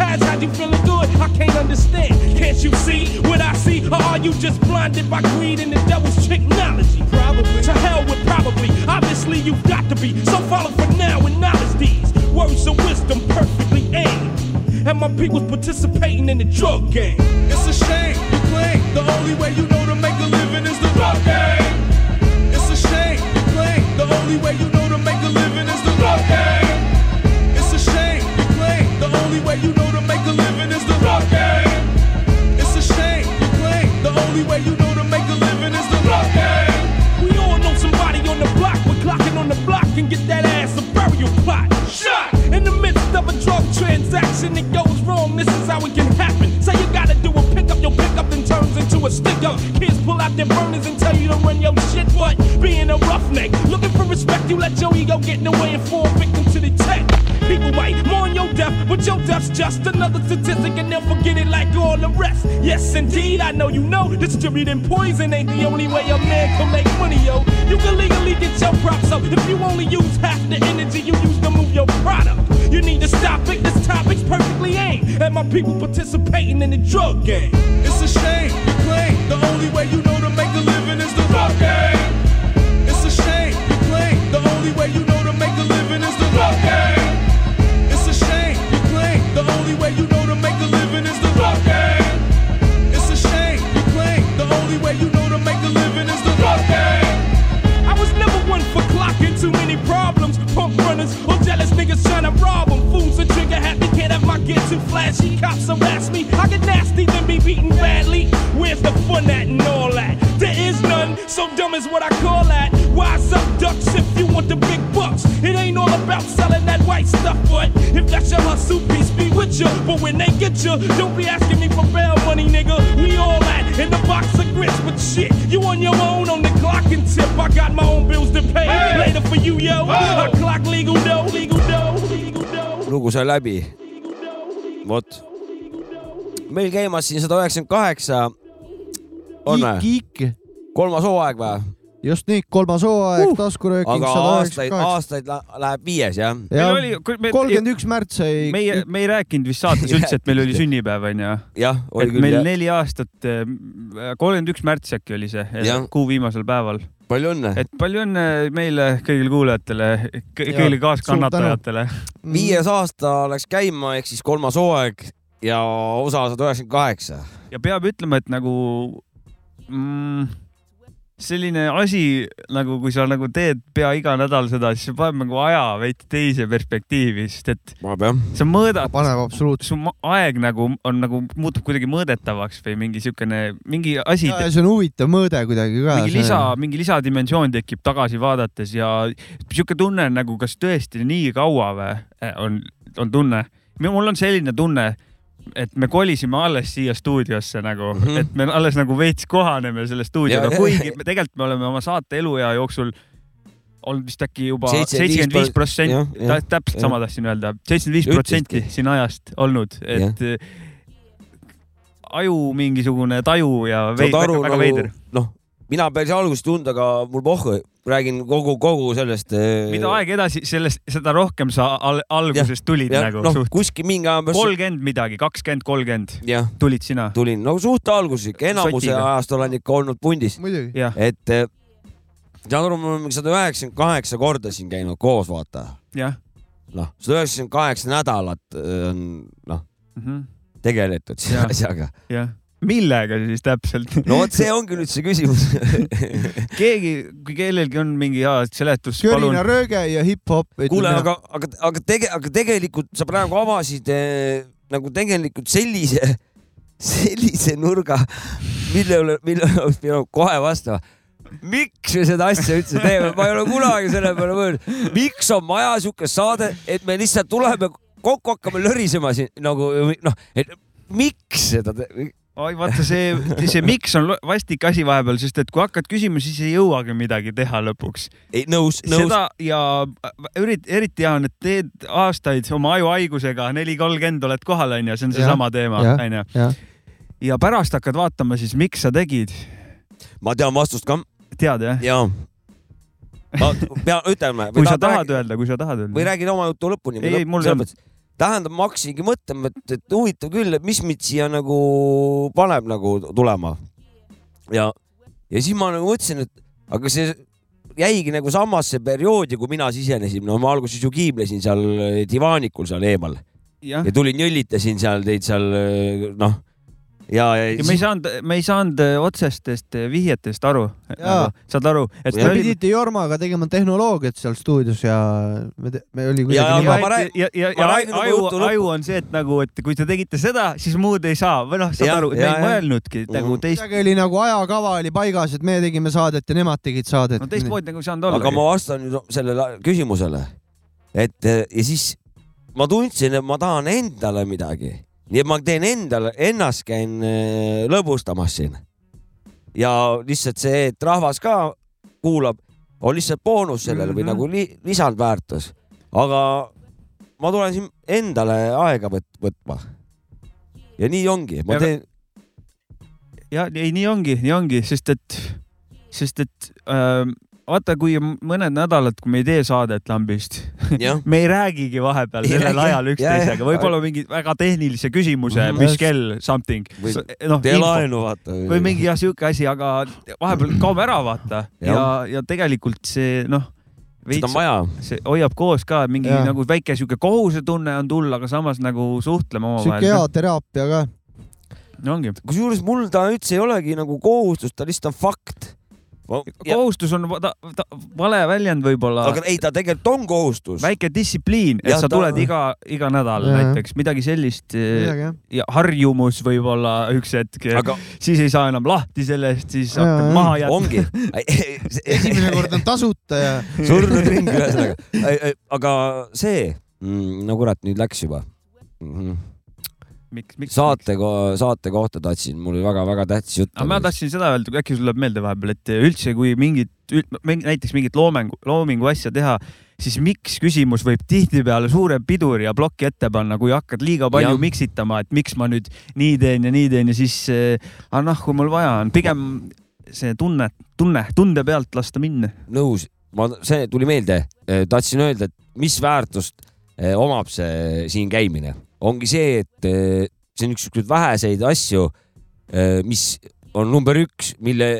Speaker 17: I can't understand. Can't you see what I see? Or are you just blinded by greed and the devil's technology? Probably. To hell with probably. Obviously, you've got to be. So follow for now and knowledge these words of wisdom perfectly aimed. And my people's participating in the drug game. It's a shame you claim the only way you know to make a living is the drug game.
Speaker 18: It's a shame you claim the only way you know to make a living is the rough game. It's a shame you claim the only way you know to make a living is the rough game. It's a shame you claim the only way you know to make a living is the rough game.
Speaker 17: We all know somebody on the block. We're clocking on the block and get that ass a burial plot. Shot in the midst of a drug transaction. It goes wrong. This is how it can happen. Say you gotta do a pickup. Your pickup then turns into a stick up. Kids pull out their burners and tell you to run your shit. But being a roughneck, looking for respect, you let your ego get in the way and fall victim to the tech. People white, mourn your death, but your death's just another statistic, and they'll forget it like all the rest. Yes, indeed, I know you know distributing poison ain't the only way a man can make money, yo. You can legally get your props up if you only use half the energy you use to move your product. You need to stop it. This topic's perfectly aimed at my people participating in the drug game.
Speaker 18: It's a shame you claim the only way you know to make a living is the rough game. It's a shame you claim the only way you know to make a living is the rough game. It's a shame you claim the only way you know to make a living is the rough game. It's a shame you claim the only way you know to make a living is the rough game.
Speaker 17: I was never one for clocking too many problems. Pump runners or jealous niggas trying to rob them. Fools and trigger happy, can't have my get too flashy. Cops harass me, I get nasty, then be beaten badly. Where's the fun at and all that? There is none, so dumb is what I call that. Wise up, ducks, if you want the big bucks. It ain't all about selling that white stuff, but if that's your hustle, peace be with ya. But when they get ya, don't be asking me for bail money, nigga. We all at in the box of grits, but shit, you on your own on the clock and tip. I got my own bills to pay. Later for you, yo. I clock legal dough, legal dough, legal dough.
Speaker 2: lugu sai läbi . vot . meil käimas siin sada üheksakümmend kaheksa . on või ? kolmas hooaeg või ?
Speaker 1: just nii , kolmas hooaeg uh, , taskurööking
Speaker 2: aga
Speaker 1: sada
Speaker 2: aastaid ,
Speaker 1: üheksakümmend
Speaker 2: aastaid lä- läheb viies jah ?
Speaker 1: kaheksa . kolmkümmend üks märts sai .
Speaker 3: meie , me ei rääkinud vist saates üldse , et meil
Speaker 2: [laughs]
Speaker 3: oli sünnipäev onju .
Speaker 2: Jah, oli
Speaker 3: et
Speaker 2: küll,
Speaker 3: meil
Speaker 2: jah.
Speaker 3: neli aastat , kolmkümmend üks märts äkki oli see ,
Speaker 2: Jah.
Speaker 3: kuu viimasel päeval .
Speaker 2: palju õnne .
Speaker 3: et palju õnne meile , kõigile kuulajatele , kõigile kaaskannatajatele .
Speaker 2: viies aasta läks käima , ehk siis kolmas hooaeg ja osa sada üheksakümmend kaheksa .
Speaker 3: ja peab ütlema , et nagu mm, selline asi nagu , kui sa nagu teed pea iga nädal seda , siis see paneb nagu aja veidi teise perspektiivi , sest et sa mõõdad ,
Speaker 1: paneb absoluutselt ,
Speaker 3: su ma- aeg nagu on nagu muutub kuidagi mõõdetavaks või mingi siukene , mingi asi ,
Speaker 1: see on huvitav mõõde kuidagi ka .
Speaker 3: mingi lisa , mingi lisadimensioon tekib tagasi vaadates ja sihuke tunne on nagu , kas tõesti nii kaua või eh, on , on tunne . mul on selline tunne , et me kolisime alles siia stuudiosse nagu mm , -hmm. et me alles nagu veits kohaneme selle stuudioga
Speaker 2: Mhm. Ja- ,
Speaker 3: kuigi me tegelikult me oleme oma saate eluea jooksul olnud vist äkki juba seitsekümmend viis
Speaker 2: 75%
Speaker 3: protsenti
Speaker 2: jah, jah, ,
Speaker 3: täpselt
Speaker 2: jah.
Speaker 3: sama tahtsin öelda , seitsekümmend viis protsenti
Speaker 2: Ütlesidki.
Speaker 3: siin ajast olnud , et aju mingisugune taju ja vei,
Speaker 2: saad aru
Speaker 3: väga, väga veider
Speaker 2: nagu ., noh , mina päris alguses ei tundnud , aga mul pohhu , räägin kogu , kogu sellest . äh,
Speaker 3: mida aeg edasi , sellest , seda rohkem sa al alguses tulid ja, nagu
Speaker 2: noh , kuskil mingi aja pärast .
Speaker 3: kolmkümmend midagi , kakskümmend , kolmkümmend .
Speaker 2: jah ,
Speaker 3: tulid sina ?
Speaker 2: tulin , no suht alguses ikka , enamuse
Speaker 3: Sotiga.
Speaker 2: ajast olen ikka olnud pundis .
Speaker 3: Jah.
Speaker 2: et eh, saad aru , me oleme sada üheksakümmend kaheksa korda siin käinud koos , vaata .
Speaker 3: jah
Speaker 2: noh , sada üheksakümmend kaheksa nädalat eh, on , noh ,
Speaker 3: mm -hmm.
Speaker 2: tegeletud selle
Speaker 3: Jah.
Speaker 2: asjaga .
Speaker 3: jah , millega siis
Speaker 2: [laughs]
Speaker 3: täpselt ?
Speaker 2: no vot , see ongi nüüd see küsimus . [laughs]
Speaker 3: keegi , kui kellelgi on mingi hea seletus , palun
Speaker 1: körina . rööge ja hip-hop .
Speaker 2: kuule , aga , aga , aga tege- , aga tegelikult sa praegu avasid eh, nagu tegelikult sellise , [laughs] sellise nurga , mille üle , mille üle oleks pidanud kohe vastama . miks me seda asja üldse teeme , ma ei ole kunagi selle peale mõelnud , miks on vaja siukest saade , et me lihtsalt tuleme kokku , hakkame lörisema siin nagu noh , et miks seda te-
Speaker 3: oi , vaata see , see miks on lo- vastik asi vahepeal , sest et kui hakkad küsima , siis ei jõuagi midagi teha lõpuks .
Speaker 2: ei nõus , nõus .
Speaker 3: seda ja äh, ürit- , eriti hea on , et teed aastaid oma ajuhaigusega , neli kolmkümmend oled kohal , onju , see on seesama teema , onju . ja pärast hakkad vaatama siis , miks sa tegid .
Speaker 2: ma tean vastust ka .
Speaker 3: tead jah ?
Speaker 2: jaa . ma pean , ütleme .
Speaker 3: kui sa tahad öelda , kui sa tahad öelda .
Speaker 2: või räägid oma jutu lõpuni .
Speaker 3: Ei, ei, mul ei olnud.
Speaker 2: tähendab , ma hakkasingi mõtlema , et , et huvitav küll , et mis mind siia nagu paneb nagu tulema . ja , ja siis ma nagu mõtlesin , et aga see jäigi nagu samasse perioodi , kui mina sisenesin , no ma alguses ju kiiblesin seal eh, divaanikul seal eemal
Speaker 3: Jah.
Speaker 2: ja tulin jõllitasin seal teid seal noh , ja , ja,
Speaker 3: ja me ei saanud , me ei saanud äh, otsestest äh, vihjetest aru .
Speaker 1: Jaa.
Speaker 3: saad aru , et
Speaker 1: Te pidite Jormaga tegema tehnoloogiat seal stuudios ja me , me oli kuidagi
Speaker 3: ja , ja , ja, ja aju , aju on see , et nagu , et kui te tegite seda , siis muud ei saa või noh , saad
Speaker 1: Jah,
Speaker 3: aru , et me
Speaker 1: jah,
Speaker 3: ei
Speaker 1: jah.
Speaker 3: mõelnudki nagu teist ,
Speaker 1: kuidagi oli nagu ajakava oli paigas , et me tegime saadet ja nemad tegid saadet .
Speaker 3: no teistmoodi nagu ei saanud olla .
Speaker 2: aga ma vastan nüüd sellele küsimusele , et eh, ja siis ma tundsin , et ma tahan endale midagi , nii et ma teen endale , ennast käin eh, lõbustamas siin . ja lihtsalt see , et rahvas ka kuulab , on lihtsalt boonus sellele
Speaker 3: Mhm.
Speaker 2: või nagu li, lisandväärtus , aga ma tulen siin endale aega võt, võtma . ja nii ongi , ma
Speaker 3: Ja-
Speaker 2: teen ,
Speaker 3: ja ei , nii ongi , nii ongi , sest et , sest et äh, vaata , kui m- mõned nädalad , kui me ei tee saadet lambist , [laughs] me ei räägigi vahepeal
Speaker 2: Ei
Speaker 3: sellel
Speaker 2: räägi,
Speaker 3: ajal
Speaker 2: jah. Jah,
Speaker 3: üksteisega
Speaker 2: jah. ,
Speaker 3: võib-olla mingi väga tehnilise küsimuse ,
Speaker 2: Mhm.
Speaker 3: mis kell something ,
Speaker 2: Või
Speaker 3: noh
Speaker 2: tee laenu, vaata.
Speaker 3: või mingi jah , sihuke asi , aga vahepeal kaob ära , vaata
Speaker 2: Jah.
Speaker 3: ja , ja tegelikult see noh ,
Speaker 2: Seda on vaja.
Speaker 3: see hoiab koos ka mingi
Speaker 1: Jah.
Speaker 3: ja. nagu väike sihuke kohusetunne on tulla , aga samas nagu suhtleme
Speaker 1: siuke hea
Speaker 3: omavahel .
Speaker 1: teraapia ka .
Speaker 3: no ongi .
Speaker 2: kusjuures mul ta üldse ei olegi nagu kohustus , ta lihtsalt on fakt .
Speaker 3: kohustus on va- ta, ta, vale väljend võib-olla .
Speaker 2: aga ei , ta tegelikult on kohustus .
Speaker 3: väike distsipliin , et
Speaker 2: Jah,
Speaker 3: ja, sa
Speaker 2: ta-
Speaker 3: tuled ta... iga , iga nädal ja.
Speaker 2: Jajah.
Speaker 3: näiteks midagi sellist .
Speaker 1: Midagi, jah.
Speaker 3: ja harjumus võib-olla üks hetk aga... , siis ei saa enam lahti sellest , siis
Speaker 1: Jajah,
Speaker 3: hakkad
Speaker 1: jah.
Speaker 3: maha jätma . [laughs]
Speaker 2: Ongi.
Speaker 1: esimene kord on tasuta ja .
Speaker 2: surnud ring ühesõnaga . aga see , no kurat , nüüd läks juba mm .
Speaker 3: -hmm.
Speaker 2: saate , saate kohta tahtsin , mul oli väga-väga tähtis jutt .
Speaker 3: aga ma tahtsin seda öelda , äkki sul läheb meelde vahepeal , et üldse , kui mingit , näiteks mingit loomingu , loomingu asja teha , siis miks küsimus võib tihtipeale suure piduri ja ploki ette panna , kui hakkad liiga palju
Speaker 2: Jah.
Speaker 3: miksitama , et miks ma nüüd nii teen ja nii teen ja siis äh, , ah noh , kui mul vaja on , pigem see tunne , tunne , tunde pealt lasta minna .
Speaker 2: nõus , ma , see tuli meelde , tahtsin öelda , et mis väärtust eh, omab see siin käimine , ongi see , et eh, see on üks siukseid väheseid asju , mis on number üks , mille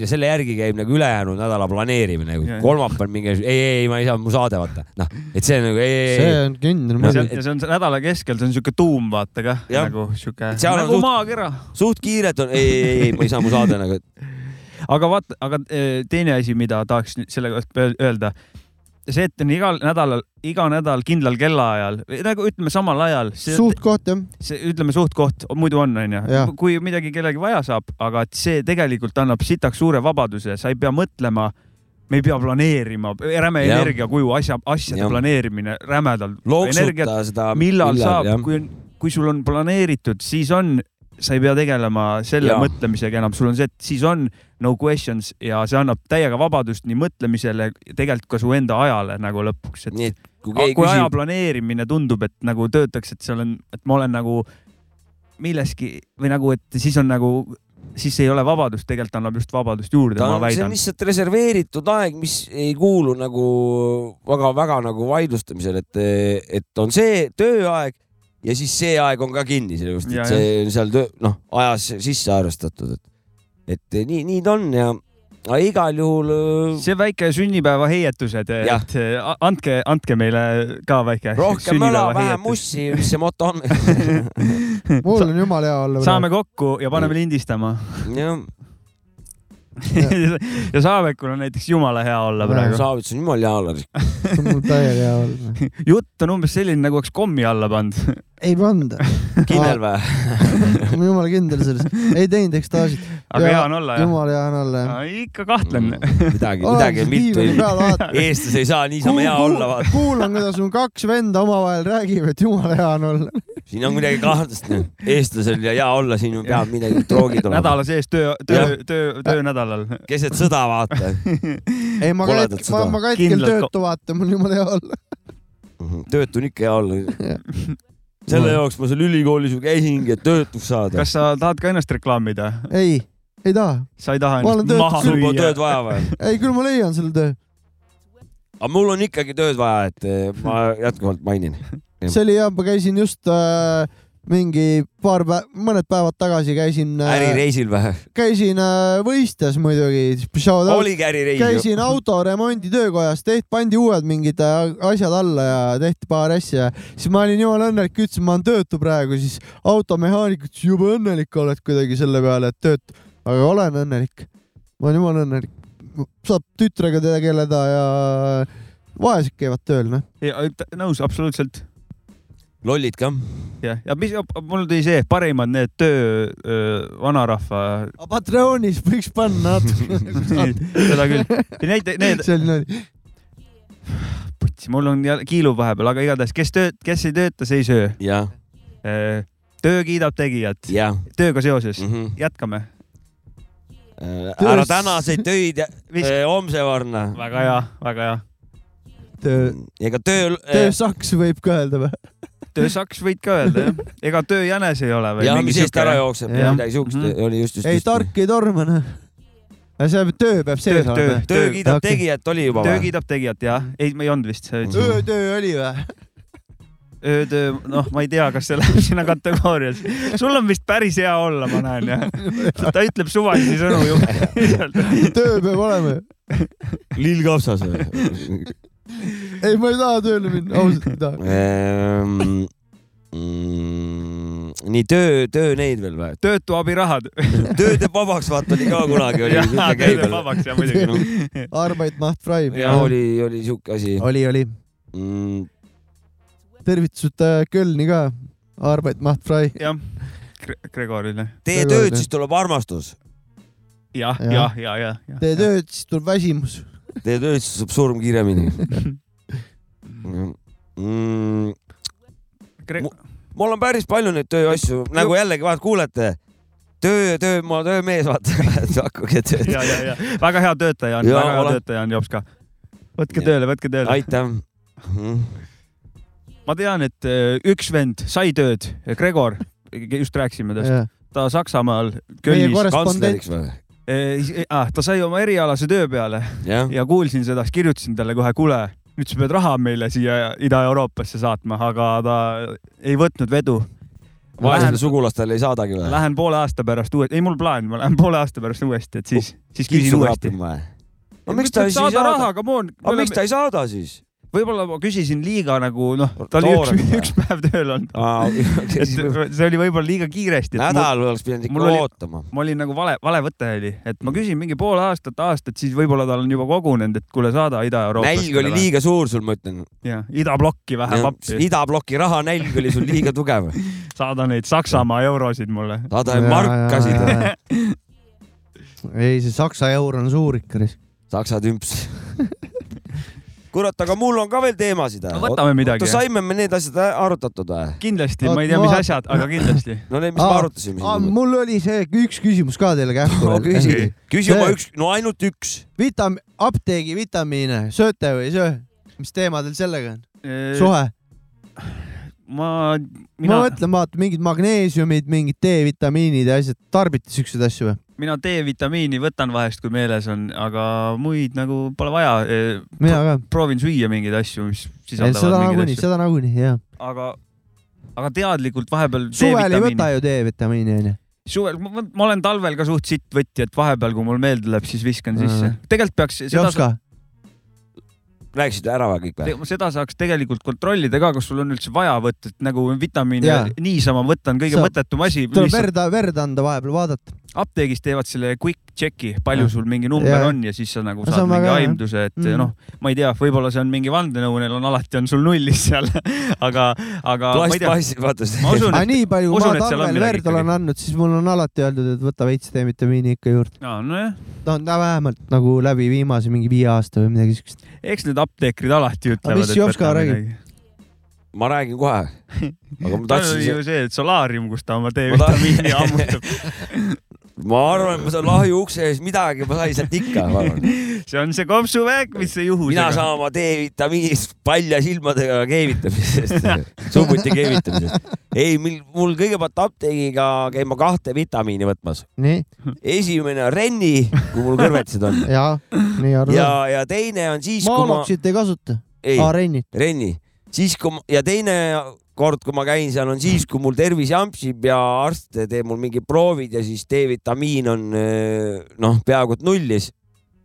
Speaker 2: ja selle järgi käib nagu ülejäänud nädala planeerimine
Speaker 3: Jah. ,
Speaker 2: kolmapäev mingi , ei , ei , ma ei saa , mu saade vaata , noh , et see nagu ei , ei , ei .
Speaker 1: on kindel
Speaker 3: ja see on , ja see on see nädala keskel , see on siuke tuum , vaata kah ,
Speaker 2: Jah.
Speaker 3: nagu siuke
Speaker 2: seal on
Speaker 3: nagu
Speaker 2: suht-
Speaker 3: maakera .
Speaker 2: suht kiirelt on , ei , ei , ei , ma ei saa mu saade
Speaker 3: [laughs]
Speaker 2: nagu ,
Speaker 3: aga vaata , aga eh, teine asi , mida tahaks nüüd selle kohta öel- öelda , see , et on igal nädalal , iga nädal kindlal kellaajal , nagu ütleme samal ajal .
Speaker 1: suhtkoht jah .
Speaker 3: see , ütleme suhtkoht , muidu on ,
Speaker 1: Jah.
Speaker 3: onju . kui midagi kellelgi vaja saab , aga et see tegelikult annab sitaks suure vabaduse , sa ei pea mõtlema , me ei pea planeerima , räme
Speaker 2: Jah.
Speaker 3: energiakuju , asja , asjade
Speaker 2: Jah.
Speaker 3: planeerimine rämedalt .
Speaker 2: Loksuta seda
Speaker 3: millal
Speaker 2: millal,
Speaker 3: saab
Speaker 2: jah. ,
Speaker 3: kui , kui sul on planeeritud , siis on , sa ei pea tegelema selle
Speaker 2: Jaa.
Speaker 3: mõtlemisega enam , sul on see , et siis on no questions ja see annab täiega vabadust nii mõtlemisele , tegelikult ka su enda ajale nagu lõpuks , et
Speaker 2: nii et kui
Speaker 3: kui,
Speaker 2: keegi
Speaker 3: kui aja
Speaker 2: küsib-
Speaker 3: planeerimine tundub , et nagu töötaks , et seal on , et ma olen nagu milleski või nagu , et siis on nagu , siis ei ole vabadust , tegelikult annab just vabadust juurde ,
Speaker 2: ta
Speaker 3: ma
Speaker 2: on , see on
Speaker 3: väidan .
Speaker 2: lihtsalt reserveeritud aeg , mis ei kuulu nagu väga-väga nagu vaidlustamisele , et , et on see tööaeg ja siis see aeg on ka kinni , sellepärast
Speaker 3: Ja,
Speaker 2: et see on seal töö , noh , ajas sisse arvestatud , et , et nii , nii ta on ja aga igal juhul . äh,
Speaker 3: see väike sünnipäeva heietused ,
Speaker 2: Jah.
Speaker 3: et a- andke , andke meile ka väike .
Speaker 2: rohkem möla , vähem mussi , mis see
Speaker 3: [laughs]
Speaker 2: moto on ?
Speaker 1: mul on jumala hea olla .
Speaker 3: saame kokku ja paneme lindistama .
Speaker 2: jah .
Speaker 3: [laughs] ja Saavekul on näiteks jumala hea olla praegu .
Speaker 2: Saavits on jumala hea olla .
Speaker 1: mul täiega hea
Speaker 3: [laughs]
Speaker 1: olla .
Speaker 3: jutt on umbes selline , nagu oleks kommi alla pannud .
Speaker 1: ei panda .
Speaker 2: kindel või ?
Speaker 1: [laughs] ma olen jumala kindel selles , ei teinud ekstaasid .
Speaker 3: Aga hea on olla, jah?
Speaker 1: jumala hea Mm. on olla jah .
Speaker 3: ikka kahtlen .
Speaker 2: midagi , midagi on mitu
Speaker 1: diivani . peal vaatan.
Speaker 2: eestlas ei saa niisama hea olla , vaata .
Speaker 1: kuulan , kuidas mu kaks venda omavahel räägivad , et jumala hea on olla .
Speaker 2: siin on midagi kahtlast ,
Speaker 1: [laughs]
Speaker 2: eestlasel ja hea olla , siin ju peab midagi , troogid olema .
Speaker 3: nädala sees töö ,
Speaker 2: Jah.
Speaker 3: töö , töö , töönädalal .
Speaker 2: keset sõda
Speaker 1: [laughs]
Speaker 2: vaata .
Speaker 1: ei , ma ka hetkel , ma , ma ka hetkel töötu vaatan , mul on jumala hea olla .
Speaker 2: Mhm. töötu on ikka hea olla . selle jaoks ma seal ülikoolis ju käisingi , et töötuks saada .
Speaker 3: kas sa tahad ka ennast reklaamida ?
Speaker 1: ei , ei taha .
Speaker 3: sa ei taha
Speaker 1: Ma olen
Speaker 3: ennast
Speaker 1: töötu
Speaker 3: maha
Speaker 1: küll.
Speaker 2: sul
Speaker 3: lüüa
Speaker 2: pole ? tööd vaja
Speaker 1: [laughs]
Speaker 2: või ?
Speaker 1: ei , küll ma leian selle töö .
Speaker 2: aga mul on ikkagi tööd vaja , et eh, ma jätkuvalt mainin .
Speaker 1: see oli jah , ma käisin just äh, mingi paar päeva , mõned päevad tagasi käisin äh, ,
Speaker 2: ärireisil või ?
Speaker 1: käisin äh, võistes muidugi .
Speaker 2: Oligi ärireis ju.
Speaker 1: käisin autoremonditöökojas , tehti , pandi uued mingid äh, asjad alla ja tehti paar asja . siis ma olin jumala õnnelik , ütlesin , ma olen töötu praegu , siis automehaanik ütles , jube õnnelik oled kuidagi selle peale , et töötu . aga olen õnnelik . ma olen jumala õnnelik . saab tütrega tegeleda ja vaesed käivad tööl , noh .
Speaker 3: nõus , absoluutselt .
Speaker 2: lollid ka .
Speaker 3: jah , ja mis , mul tuli see parimad need töö öö, vanarahva .
Speaker 1: [laughs] Patreonis võiks panna [laughs] natuke .
Speaker 3: seda küll . Need ,
Speaker 1: [laughs]
Speaker 3: need .
Speaker 1: see oli nali .
Speaker 3: putsi , mul on jälle- kiilub vahepeal , aga igatahes , kes tööd , kes ei tööta , see ei söö .
Speaker 2: jah .
Speaker 3: Äh, töö kiidab tegijat . tööga seoses mm .
Speaker 2: -hmm.
Speaker 3: jätkame .
Speaker 2: Äh, ära tänaseid töid ja
Speaker 3: Mis-
Speaker 2: eh, homse varna .
Speaker 3: väga hea , väga hea .
Speaker 1: töö ,
Speaker 3: Äh.
Speaker 2: ega töö .
Speaker 1: töösaks võib ka öelda või ?
Speaker 3: töösaks võid ka öelda jah , ega tööjänes ei ole või ?
Speaker 2: Jah, mis eest ära jookseb, midagi siukest oli just ,
Speaker 1: Mhm. ei , tark ei torma , noh . see töö peab sees
Speaker 3: töö , töö
Speaker 1: olema .,
Speaker 3: töö kiidab
Speaker 1: Okei.
Speaker 3: tegijat
Speaker 2: oli juba
Speaker 3: töö
Speaker 2: või?
Speaker 3: kiidab tegijat jah , ei , ma ei olnud vist .
Speaker 1: öötöö oli või ?
Speaker 3: öötöö , noh , ma ei tea , kas see läheb sinna kategooriasse . sul on vist päris hea olla , ma näen jah . ta ütleb suvalisi sõnu ju .
Speaker 1: [laughs] töö peab olema ju .
Speaker 2: lill kapsas või ?
Speaker 1: ei , ma ei taha tööle minna , ausalt ei taha .
Speaker 2: Ehm, mm, nii töö , töö neid veel või ?
Speaker 3: töötu abirahad .
Speaker 2: töö teeb vabaks , vaata oli ka kunagi
Speaker 1: [laughs]
Speaker 2: oli .
Speaker 1: Jah, töö teeb vabaks, jah, muidugi. Arbeit maht frei .
Speaker 2: ja oli , oli siuke asi . Mm,
Speaker 1: oli , oli . tervitused äh, Kölni ka . Arbeit maht frei .
Speaker 3: jah , Gregorile .
Speaker 2: tee tööd , siis tuleb armastus .
Speaker 3: jah ,
Speaker 1: Jah.
Speaker 3: jah , ja , ja , ja .
Speaker 1: tee tööd , siis tuleb väsimus .
Speaker 2: tee tööd , siis saab surm kiiremini mm, . mul on päris palju neid tööasju , nagu jällegi vaat kuulete , töö , töö , ma olen töömees , vaata , [laughs] hakake [laughs] tööd .
Speaker 3: ja , ja , ja väga hea töötaja on ,
Speaker 2: Jaa,
Speaker 3: väga hea
Speaker 2: olen.
Speaker 3: töötaja on Jops ka . võtke tööle , võtke tööle .
Speaker 2: aitäh . Mhm.
Speaker 3: ma tean , et äh, üks vend sai tööd , Gregor , just rääkisime
Speaker 1: Jah.
Speaker 3: temast , ta Saksamaal
Speaker 1: Meie
Speaker 3: Kölnis .
Speaker 1: korrespondent. Kantsleriks või?
Speaker 3: Ah, ta sai oma erialase töö peale
Speaker 2: ja,
Speaker 3: ja kuulsin seda , siis kirjutasin talle kohe , kuule , nüüd sa pead raha meile siia Ida-Euroopasse saatma , aga ta ei võtnud vedu .
Speaker 2: vaestele sugulastele ei saadagi või ?
Speaker 3: Lähen poole aasta pärast uuesti , ei mul plaan , ma lähen poole aasta pärast uuesti , et siis ,
Speaker 2: Oh,
Speaker 3: siis küsin
Speaker 2: Kitsu
Speaker 3: uuesti .
Speaker 2: kraapima või?
Speaker 3: no
Speaker 2: miks ta siis ei
Speaker 3: saada
Speaker 2: saada?
Speaker 3: raha , come on .
Speaker 2: Aga miks ta ei saada siis ?
Speaker 3: võib-olla ma küsisin liiga nagu noh , ta oli üks
Speaker 2: Toorelt , või?
Speaker 3: üks päev tööl olnud .
Speaker 2: [laughs]
Speaker 3: et see oli võib-olla liiga kiiresti .
Speaker 2: nädal oleks pidanud ikka ootama .
Speaker 3: ma olin nagu vale , vale võte oli , et ma küsin mingi pool aastat , aastat , siis võib-olla tal on juba kogunenud , et kuule , saada Ida-Euroopasse .
Speaker 2: nälg oli liiga suur sul , ma ütlen .
Speaker 3: jah , idablokki vähe pappi .
Speaker 2: idabloki rahanälg oli sul liiga tugev .
Speaker 3: saada neid Saksamaa eurosid mulle .
Speaker 2: saada neid markasid .
Speaker 1: [laughs] ei , see saksa eur on suur ikka .
Speaker 2: saksa tümps . [laughs] kurat , aga mul on ka veel teemasid .
Speaker 3: No võtame midagi, jah.
Speaker 2: saime me need asjad ä- arutatud või ?
Speaker 3: kindlasti
Speaker 1: Oot, ,
Speaker 3: ma ei tea ,
Speaker 1: ma
Speaker 3: mis
Speaker 1: vaatan-
Speaker 3: asjad , aga kindlasti .
Speaker 1: [laughs]
Speaker 2: no need , mis me arutasime siis .
Speaker 1: Ah, mul oli see üks küsimus ka teile kähku
Speaker 2: [laughs] No . küsi. Küsi oma üks- no ainult üks .
Speaker 1: Vitam- , apteegi vitamiine sööte või ei söö ? mis teema teil sellega on ? suhe ?
Speaker 3: ma ,
Speaker 1: ma
Speaker 3: mina ,
Speaker 1: mõtlen , vaata mingid magneesiumid , mingid D-vitamiinid ja asjad , tarbite siukseid asju või ?
Speaker 3: mina D-vitamiini võtan vahest , kui meeles on , aga muid nagu pole vaja .
Speaker 1: Mina ka. .
Speaker 3: proovin süüa mingeid asju , mis
Speaker 1: seda
Speaker 3: sisaldavad mingeid
Speaker 1: nagunii ,
Speaker 3: asju .
Speaker 1: seda nagunii , jah .
Speaker 3: aga , aga teadlikult vahepeal .
Speaker 1: suvel ei võta ju D-vitamiini , onju .
Speaker 3: suvel , ma olen talvel ka suht sitt võtja , et vahepeal , kui mul meelde läheb , siis viskan sisse
Speaker 1: Mm. .
Speaker 3: tegelikult peaks
Speaker 1: jops ka
Speaker 3: seda ,?
Speaker 2: rääkisid ära või kõik või ?
Speaker 3: seda saaks tegelikult kontrollida ka , kas sul on üldse vaja võtta , et nagu vitamiine
Speaker 1: Jaa.
Speaker 3: niisama võtta on kõige
Speaker 1: Saab-
Speaker 3: mõttetum asi .
Speaker 1: tuleb verd , verd anda vahepeal , vaadata .
Speaker 3: apteegis teevad selle quick check'i , palju
Speaker 1: Jah.
Speaker 3: sul mingi number
Speaker 1: Jaa.
Speaker 3: on ja siis sa nagu
Speaker 1: See
Speaker 3: saad
Speaker 1: on
Speaker 3: mingi
Speaker 1: väga hea, jah.
Speaker 3: aimduse , et
Speaker 1: Mhm.
Speaker 3: noh , ma ei tea , võib-olla see on mingi vandenõu , neil on alati on sul nullis seal , [laughs] aga , aga .
Speaker 2: Plastmassi, vaata see-
Speaker 3: ma usun ,
Speaker 1: aga nii palju , kui ma
Speaker 3: et seal on
Speaker 1: talvel
Speaker 3: midagi
Speaker 1: verd . olen andnud , siis mul on alati öeldud , et võta veits D-vitamiini ikka juurde .
Speaker 3: nojah ,
Speaker 1: no na- vähemalt nagu läbi viimase mingi viie aasta või midagi siukest .
Speaker 3: eks need apteekrid alati
Speaker 1: aga
Speaker 3: ütlevad .
Speaker 1: mis Jopska räägib ??
Speaker 2: ma räägin
Speaker 3: [laughs]
Speaker 2: kohe . aga ma
Speaker 3: tal
Speaker 2: tahtsin
Speaker 3: oli ju . see , et solaarium , kus ta oma
Speaker 2: Ma tahan-
Speaker 3: D-vitamiini ammutab .
Speaker 2: [laughs] ma arvan , et ma saan lahju ukse ees midagi , ma sain sealt ikka , ma arvan .
Speaker 3: [laughs] see on see kopsuväek , mis see juhusega .
Speaker 2: mina saan oma D-vitamiinist palja silmadega
Speaker 3: [laughs]
Speaker 2: keevitamisest , summuti keevitamisest . ei , mul kõigepealt apteegiga käin ma kahte vitamiini võtmas .
Speaker 1: nii ,
Speaker 2: esimene on Renni , kui mul kõrvetised
Speaker 3: [laughs]
Speaker 2: on .
Speaker 1: jaa , nii
Speaker 2: ja
Speaker 1: arvan .,
Speaker 2: ja teine on siis , kui ma ,
Speaker 1: maaloksit ei kasuta ?
Speaker 2: ei
Speaker 1: aa , Renni .,
Speaker 2: Renni siis kui ma- ja teine kord , kui ma käin seal , on siis , kui mul tervis jampsib ja arst teeb mul mingid proovid ja siis D-vitamiin on öö, noh , peaaegu et nullis .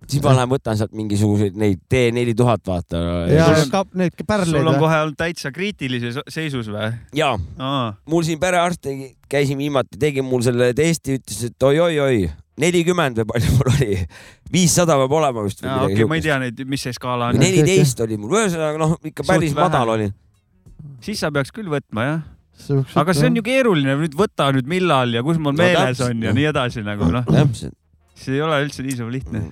Speaker 2: siis ma lähen võtan sealt mingisuguseid neid D4000 vaata .
Speaker 1: ja kap- neid pärleid
Speaker 3: sul on
Speaker 1: või ?
Speaker 3: kohe olnud täitsa kriitilises seisus või ?
Speaker 2: ja mul siin perearst tegi , käisin viimati , tegi mul selle testi , ütles , et oi-oi-oi , nelikümmend või palju mul oli , viissada peab olema vist .
Speaker 3: okei , ma ei tea neid , mis see skaala on .
Speaker 2: neliteist oli mul , ühesõnaga noh , ikka päris madal oli .
Speaker 3: siis sa peaks küll võtma jah .
Speaker 1: Siuksed,
Speaker 3: aga see on
Speaker 1: jah.
Speaker 3: ju keeruline , nüüd võta nüüd millal ja kus mul
Speaker 2: No
Speaker 3: meeles
Speaker 2: täpselt,
Speaker 3: on ja
Speaker 2: noh.
Speaker 3: nii edasi nagu noh .
Speaker 2: täpselt .
Speaker 3: see ei ole üldse niisama lihtne .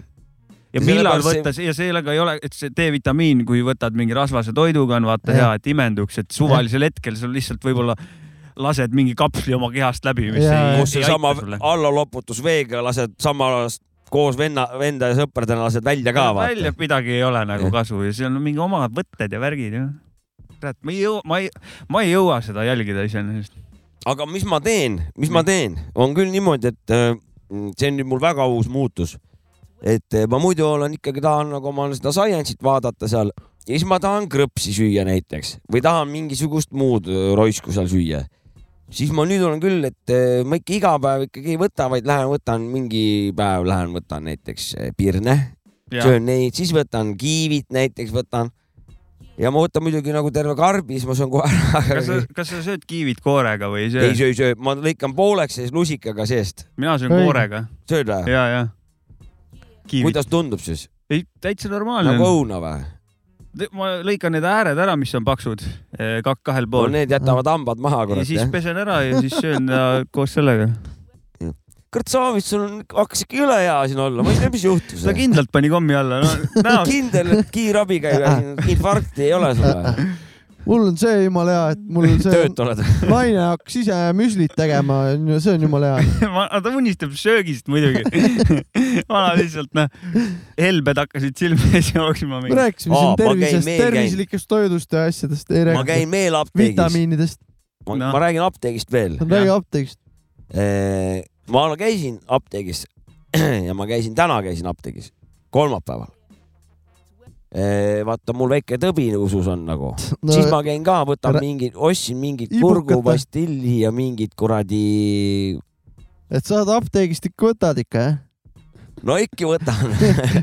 Speaker 2: Ja
Speaker 3: ja millal
Speaker 2: sellepärast
Speaker 3: võtta see... ja sellega ei ole , et see D-vitamiin , kui võtad mingi rasvase toiduga , on vaata hea , et imenduks , et suvalisel hetkel sul lihtsalt võib-olla lased mingi kapsli oma kehast läbi , mis ja, ei,
Speaker 2: kus
Speaker 3: ei
Speaker 2: seesama
Speaker 3: aita sulle .
Speaker 2: allaloputus veega lased samas koos venna , venda ja sõpradena lased välja ka vaata .
Speaker 3: välja midagi ei ole nagu kasu ja seal on mingi omad võtted ja värgid ja . kurat , ma ei jõua , ma ei , ma ei jõua seda jälgida iseenesest .
Speaker 2: aga mis ma teen , mis ma teen , on küll niimoodi , et äh, see on nüüd mul väga uus muutus . et äh, ma muidu olen ikkagi tahan nagu oma seda science'it vaadata seal ja siis ma tahan krõpsi süüa näiteks või tahan mingisugust muud äh, roisku seal süüa . siis ma nüüd olen küll , et äh, ma ikka iga päev ikkagi ei võta , vaid lähen võtan mingi päev lähen võtan näiteks äh, pirne ,
Speaker 3: Jaa.
Speaker 2: söön neid , siis võtan kiivit näiteks võtan ja ma võtan muidugi nagu terve karbi , siis ma söön kohe ära
Speaker 3: kas sa , kas sa sööd kiivid koorega või ei söö ?
Speaker 2: ei söö , ei söö , ma lõikan pooleks ja siis lusikaga seest .
Speaker 3: mina söön koorega .
Speaker 2: sööd või ?
Speaker 3: ja , ja .
Speaker 2: kuidas tundub siis ?
Speaker 3: ei , täitsa normaalne
Speaker 2: nagu
Speaker 3: on .
Speaker 2: õuna või ?
Speaker 3: ma lõikan need ääred ära , mis on paksud , kak- kahel
Speaker 2: no
Speaker 3: pool .
Speaker 2: need jätavad hambad maha
Speaker 3: ja
Speaker 2: kurat
Speaker 3: siis
Speaker 2: jah .
Speaker 3: pesen ära ja siis söön [laughs] ta koos sellega .
Speaker 2: kurat , Saavis , sul on , hakkas ikka jõle hea siin olla , ma ei tea , mis juhtus .
Speaker 3: ta kindlalt pani kommi alla [laughs] no, .
Speaker 2: kindel , et kiirabi käib ja siin infarkti ei ole sul või ?
Speaker 1: mul on see jumala hea , et
Speaker 3: [laughs]
Speaker 1: mul see
Speaker 2: töötu oled ?
Speaker 1: naine hakkas ise müslit tegema , see on jumala hea .
Speaker 3: [laughs] ta unistab söögist muidugi . [laughs] vana lihtsalt noh , helbed hakkasid silme ees jooksma .
Speaker 1: me rääkisime siin tervisest , tervislikest toidust ja asjadest ei rääkinud .
Speaker 2: käin veel apteegis.
Speaker 1: vitamiinidest .
Speaker 2: ma, no. ma räägin apteegist veel .
Speaker 1: räägi apteegist .
Speaker 2: Äh, ma olen- käisin apteegis [clears throat] ja ma käisin täna käisin apteegis , kolmapäeval . vaata , mul väike tõbi usus on nagu no, , siis ma käin ka , võtan
Speaker 1: Rä-
Speaker 2: mingi , ostsin mingit
Speaker 1: Ibukate.
Speaker 2: kurgupastilli ja mingit kuradi ,
Speaker 1: et saad apteegist ikka võtad ikka
Speaker 2: [laughs]
Speaker 1: jah ?
Speaker 2: no ikka võtan .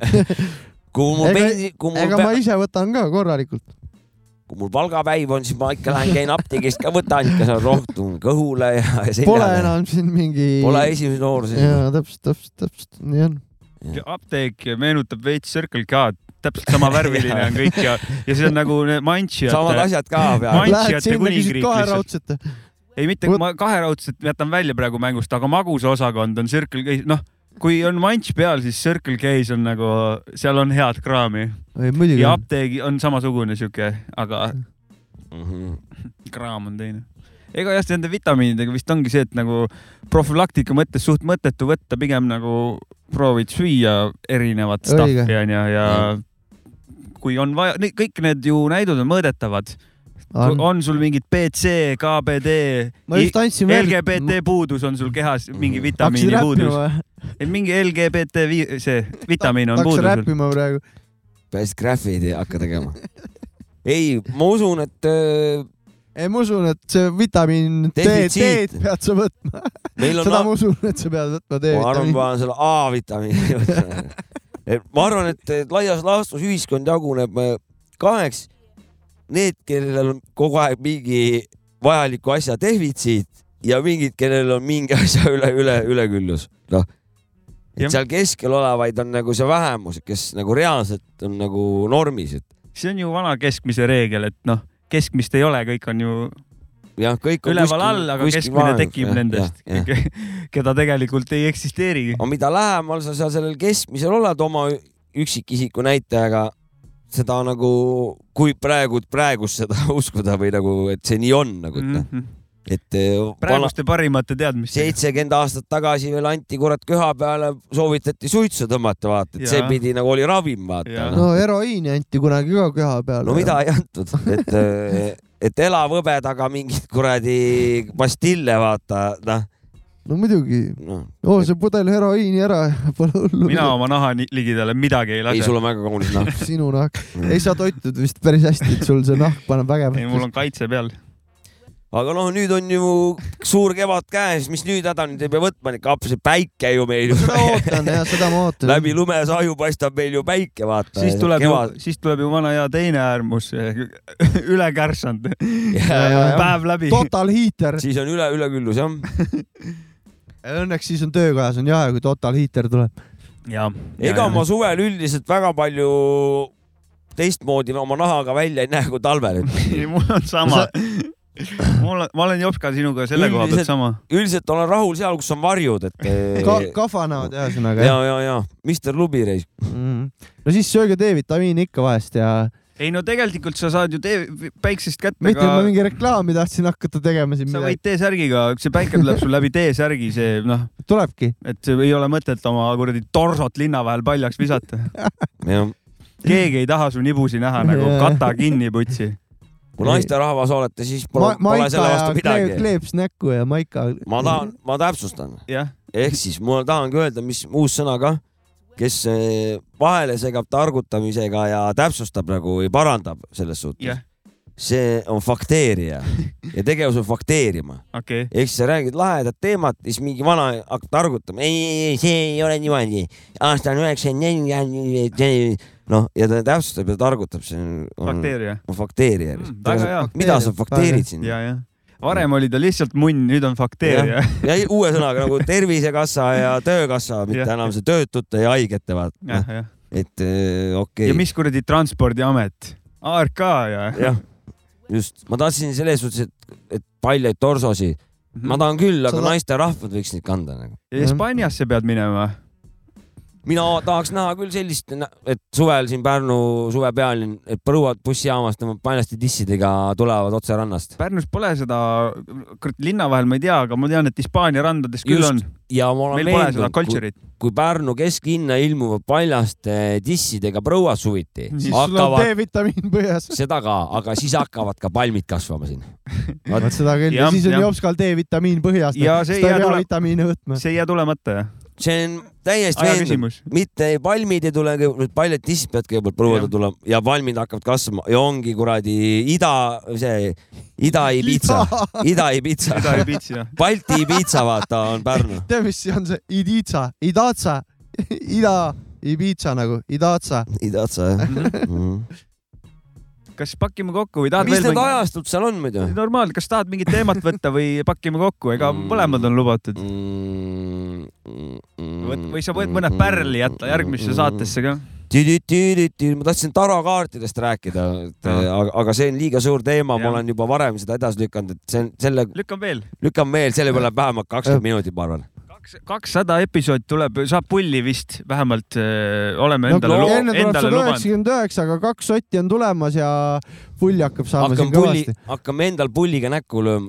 Speaker 1: [laughs]
Speaker 2: kui mul
Speaker 1: ega,
Speaker 2: pensi- , kui mul
Speaker 1: ega ma
Speaker 2: pea-
Speaker 1: ise võtan ka korralikult .
Speaker 2: kui mul palgapäiv on , siis ma ikka lähen käin apteegist ka , võtan ikka seal rohtu kõhule ja, ja [laughs]
Speaker 1: Pole
Speaker 2: seljale .
Speaker 1: enam siin mingi .
Speaker 2: Pole esimese nooruse.
Speaker 1: jaa , täpselt , täpselt , täpselt nii on .
Speaker 3: apteek meenutab veits Circle K-d , täpselt sama värviline on kõik ja , ja see on nagu need mantšijate .
Speaker 2: Samad asjad ka peaaegu.
Speaker 1: Lähed
Speaker 3: mantšijate
Speaker 1: sinna , küsid
Speaker 3: kuningriik lihtsalt .
Speaker 1: kaheraudset .
Speaker 3: ei , mitte ma kaheraudset jätan välja praegu mängust , aga magusa osakond on Circle K , noh , kui on manš peal , siis Circle K-s on nagu , seal on head kraami .
Speaker 1: Ei, muidugi
Speaker 3: ja
Speaker 1: on.
Speaker 3: apteegi on samasugune sihuke , aga
Speaker 2: mm -hmm.
Speaker 3: kraam on teine . ega jah , nende vitamiinidega vist ongi see , et nagu profülaktika mõttes suht mõttetu võtta , pigem nagu proovid süüa erinevat
Speaker 1: Õige.
Speaker 3: stuff'i onju ja kui on vaja , kõik need ju näidud on mõõdetavad .
Speaker 1: On.
Speaker 3: on sul mingid BC , KBD ,
Speaker 1: Ma just andsin veel-
Speaker 3: LGBT puudus on sul kehas mingi
Speaker 1: Hakkasid
Speaker 3: vitamiini
Speaker 1: räppima
Speaker 3: puudus
Speaker 1: või? .
Speaker 3: mingi LGBT , see vitamiin on
Speaker 1: hakkas
Speaker 3: puudus .
Speaker 1: räppima praegu .
Speaker 2: päris graffiid ei hakka tegema . ei , ma usun , et äh, öö,
Speaker 1: ei , ma usun , et see vitamiin D ,
Speaker 2: Defitsiit.
Speaker 1: D-d pead sa võtma .
Speaker 2: Meil on
Speaker 1: seda
Speaker 2: na-
Speaker 1: ma usun , et sa pead võtma
Speaker 2: ma arvan , ma
Speaker 1: D-vitamiini .
Speaker 2: panen selle A-vitamiini [laughs] juurde . ma arvan , et et laias laastus ühiskond jaguneb öö, kaheks . Need , kellel on kogu aeg mingi vajaliku asja defitsiit ja mingid , kellel on mingi [laughs] asja üle , üle , üleküllus , noh . et seal keskel olevaid on nagu see vähemus , kes nagu reaalselt on nagu normis , et
Speaker 3: see on ju vana keskmise reegel , et noh , keskmist ei ole , kõik on ju
Speaker 2: jah , kõik on
Speaker 3: üleval
Speaker 2: kuskil-
Speaker 3: all , aga
Speaker 2: kuskil
Speaker 3: keskmine
Speaker 2: vahemus,
Speaker 3: tekib
Speaker 2: jah,
Speaker 3: nendest
Speaker 2: jah, ,
Speaker 3: [laughs] keda tegelikult ei eksisteerigi .
Speaker 2: aga mida lähemal sa seal sellel keskmisel oled oma ü- üksikisiku näitajaga , seda nagu , kui praegu , praegust seda [laughs] uskuda või nagu , et see nii on nagu , et noh , et eh,
Speaker 3: Mhm. praeguste parimate teadmistega .
Speaker 2: seitsekümmend aastat tagasi veel anti kurat köha peale , soovitati suitsu tõmmata , vaata , et see
Speaker 1: Jaa.
Speaker 2: pidi nagu oli ravim , vaata .
Speaker 1: no heroiini anti kunagi ka keha peale .
Speaker 2: no mida ei antud , et , et elav hõbe taga mingit kuradi pastille , vaata , noh . noh,
Speaker 1: no muidugi
Speaker 2: no. .
Speaker 1: oo , see pudel heroiini ära , pole hullu .
Speaker 3: mina oma naha ni- ligidale midagi ei lase .
Speaker 1: Ei, sul
Speaker 2: on väga kaunis noh.
Speaker 1: sinu nahk , ei sa toitud vist päris hästi , et sul see nahk paneb
Speaker 3: ei , mul
Speaker 1: vägevat .
Speaker 3: on kaitse peal .
Speaker 2: aga noh , nüüd on ju suur kevad käes , mis nüüd häda , nüüd ei pea võtma neid kapsaid , päike ju meil . seda
Speaker 1: ootan jah , seda ma ootan .
Speaker 2: läbi lumesaju paistab meil ju päike , vaata .
Speaker 3: siis tuleb ju , siis tuleb ju vana hea teine äärmus , [laughs] üle kärsanud . [laughs] päev läbi .
Speaker 2: Tota-
Speaker 1: Total heater .
Speaker 2: siis on üle , üleküllus jah .
Speaker 1: Õnneks siis on töökojas on jahe , kui total heater tuleb .
Speaker 3: jah .
Speaker 2: ega ma suvel üldiselt väga palju teistmoodi oma nahaga välja ei näe kui talvel .
Speaker 3: [laughs] ei , mul on sama . [laughs] mul on , ma olen Jopska sinuga selle koha pealt sama ..
Speaker 2: üldiselt olen rahul seal , kus on varjud , et .
Speaker 1: Ka- , kafanavad ühesõnaga
Speaker 2: ja ,
Speaker 1: jah
Speaker 2: ja , ja , Mister Lubi reis .
Speaker 1: mm. . no siis sööge D-vitamiini ikka vahest ja
Speaker 3: ei no tegelikult sa saad ju tee- päiksest kätte
Speaker 1: mitte , et ma
Speaker 3: ka ,
Speaker 1: mingi reklaami tahtsin hakata tegema siin
Speaker 3: sa
Speaker 1: midagi
Speaker 3: võid . T-särgiga , see päike tuleb sul läbi T-särgi , see noh .
Speaker 1: tulebki .
Speaker 3: et see ei ole mõtet oma kuradi torsot linna vahel paljaks visata .
Speaker 2: jah .
Speaker 3: keegi ei taha su nibusi näha nagu
Speaker 1: Jaa.
Speaker 3: kata kinni , putsi .
Speaker 2: kui naisterahvas olete , siis pole
Speaker 1: Ma- ,
Speaker 2: pole
Speaker 1: maika
Speaker 2: selle
Speaker 1: ja
Speaker 2: vastu
Speaker 1: klee-
Speaker 2: midagi .
Speaker 1: kleeps näkku ja maika .
Speaker 2: ma tahan , ma täpsustan .
Speaker 3: jah .
Speaker 2: ehk siis ma tahangi öelda , mis uus sõna ka , kes eh, vahele segab targutamisega ja täpsustab nagu või parandab selles suhtes
Speaker 3: Jah. .
Speaker 2: see on fakteerija ja tegevus on fakteerima .
Speaker 3: okei
Speaker 2: ehk siis sa räägid lahedat teemat , siis mingi vana hakkab targutama , ei , ei , ei , see ei ole niimoodi . aasta on üheksakümmend neli , noh , ja ta täpsustab ja targutab , see on, on .
Speaker 3: Fakteerija.
Speaker 2: fakteerija
Speaker 3: väga hea.
Speaker 2: mm, . mida sa fakteerid siin ?
Speaker 3: ja , jah . varem oli ta lihtsalt munn , nüüd on fakteerija .
Speaker 2: ja uue sõnaga nagu Tervisekassa ja Töökassa , mitte
Speaker 3: Jah.
Speaker 2: enam see töötute ja haigete
Speaker 3: [laughs] Jah,
Speaker 2: vaata
Speaker 3: jah. .
Speaker 2: et eh, okei
Speaker 3: ja mis kuradi Transpordiamet , ARK ja .
Speaker 2: jah , just , ma tahtsin selles suhtes , et , et paljaid torsosid , ma tahan küll ,
Speaker 3: Sa
Speaker 2: aga
Speaker 3: ta-
Speaker 2: naisterahvad võiks neid kanda nagu .
Speaker 3: Hispaaniasse pead minema .
Speaker 2: mina tahaks näha küll sellist , et suvel siin Pärnu suvepealinn , et põruad bussijaamast tõmbavad paljaste dissidega , tulevad otse rannast .
Speaker 3: Pärnus pole seda , kurat linna vahel ma ei tea , aga ma tean , et Hispaania randades küll on .
Speaker 2: ja ma olen
Speaker 3: meil pole seda
Speaker 2: kui,
Speaker 3: culture'it .
Speaker 2: kui Pärnu kesklinna ilmuvad paljaste dissidega põruad suviti ,
Speaker 1: siis sul on
Speaker 2: hakkavad
Speaker 1: D-vitamiin põhjas .
Speaker 2: seda ka , aga siis hakkavad ka palmid kasvama siin .
Speaker 1: vot seda küll ja siis on Jopskal D-vitamiin põhjas .
Speaker 2: Ja see ei jää tule-
Speaker 1: vitamiine võtma .
Speaker 3: see ei jää tulemata jah .
Speaker 2: see on täiesti
Speaker 3: Aja
Speaker 2: veendunud
Speaker 3: küsimus. ,
Speaker 2: mitte ei- palmid ei tule , paljad dissid peavad kõigepealt põruada tulema ja palmid hakkavad kasvama ja ongi kuradi ida , see Ida-Ibiitsa
Speaker 1: [laughs] Liba. ,
Speaker 2: Ida-Ibiitsa
Speaker 1: Ida-Ibiitsa,
Speaker 2: [laughs]
Speaker 1: jah. ,
Speaker 2: Balti-Ibiitsa , vaata , on Pärnu .
Speaker 1: tea , mis see on see Idiitsa , Idatsa , [laughs] Ida , Ibiitsa nagu , Idatsa .
Speaker 2: Idatsa jah
Speaker 3: Mhm. kas pakime kokku või tahad
Speaker 2: mis
Speaker 3: veel
Speaker 2: need ? ajastud seal on muidu ?
Speaker 3: normaalne , kas tahad mingit teemat võtta või pakime kokku , ega
Speaker 2: Mm.
Speaker 3: mõlemad on lubatud .
Speaker 2: mm,
Speaker 3: või sa võid mõned pärli jätta järgmisse saatesse ka .
Speaker 2: tüüdüüdüüdüüdüü , ma tahtsin tarokaartidest rääkida , et aga, aga see on liiga suur teema , ma olen juba varem seda edasi lükanud , et see on selle .
Speaker 3: lükkan veel .
Speaker 2: lükkan veel , selle peale läheb vähemalt kakskümmend minutit , ma arvan .
Speaker 3: kakssada episood tuleb , saab pulli vist vähemalt , oleme
Speaker 1: enne
Speaker 3: endale no, ,
Speaker 1: tuleb
Speaker 3: endale
Speaker 1: sada
Speaker 3: lubanud .
Speaker 1: üheksakümmend üheksa , aga kaks sotti on tulemas ja pulli hakkab saama siin
Speaker 2: hakkame pulli
Speaker 1: kõvasti .,
Speaker 2: hakkame endal pulliga näkku lööma ,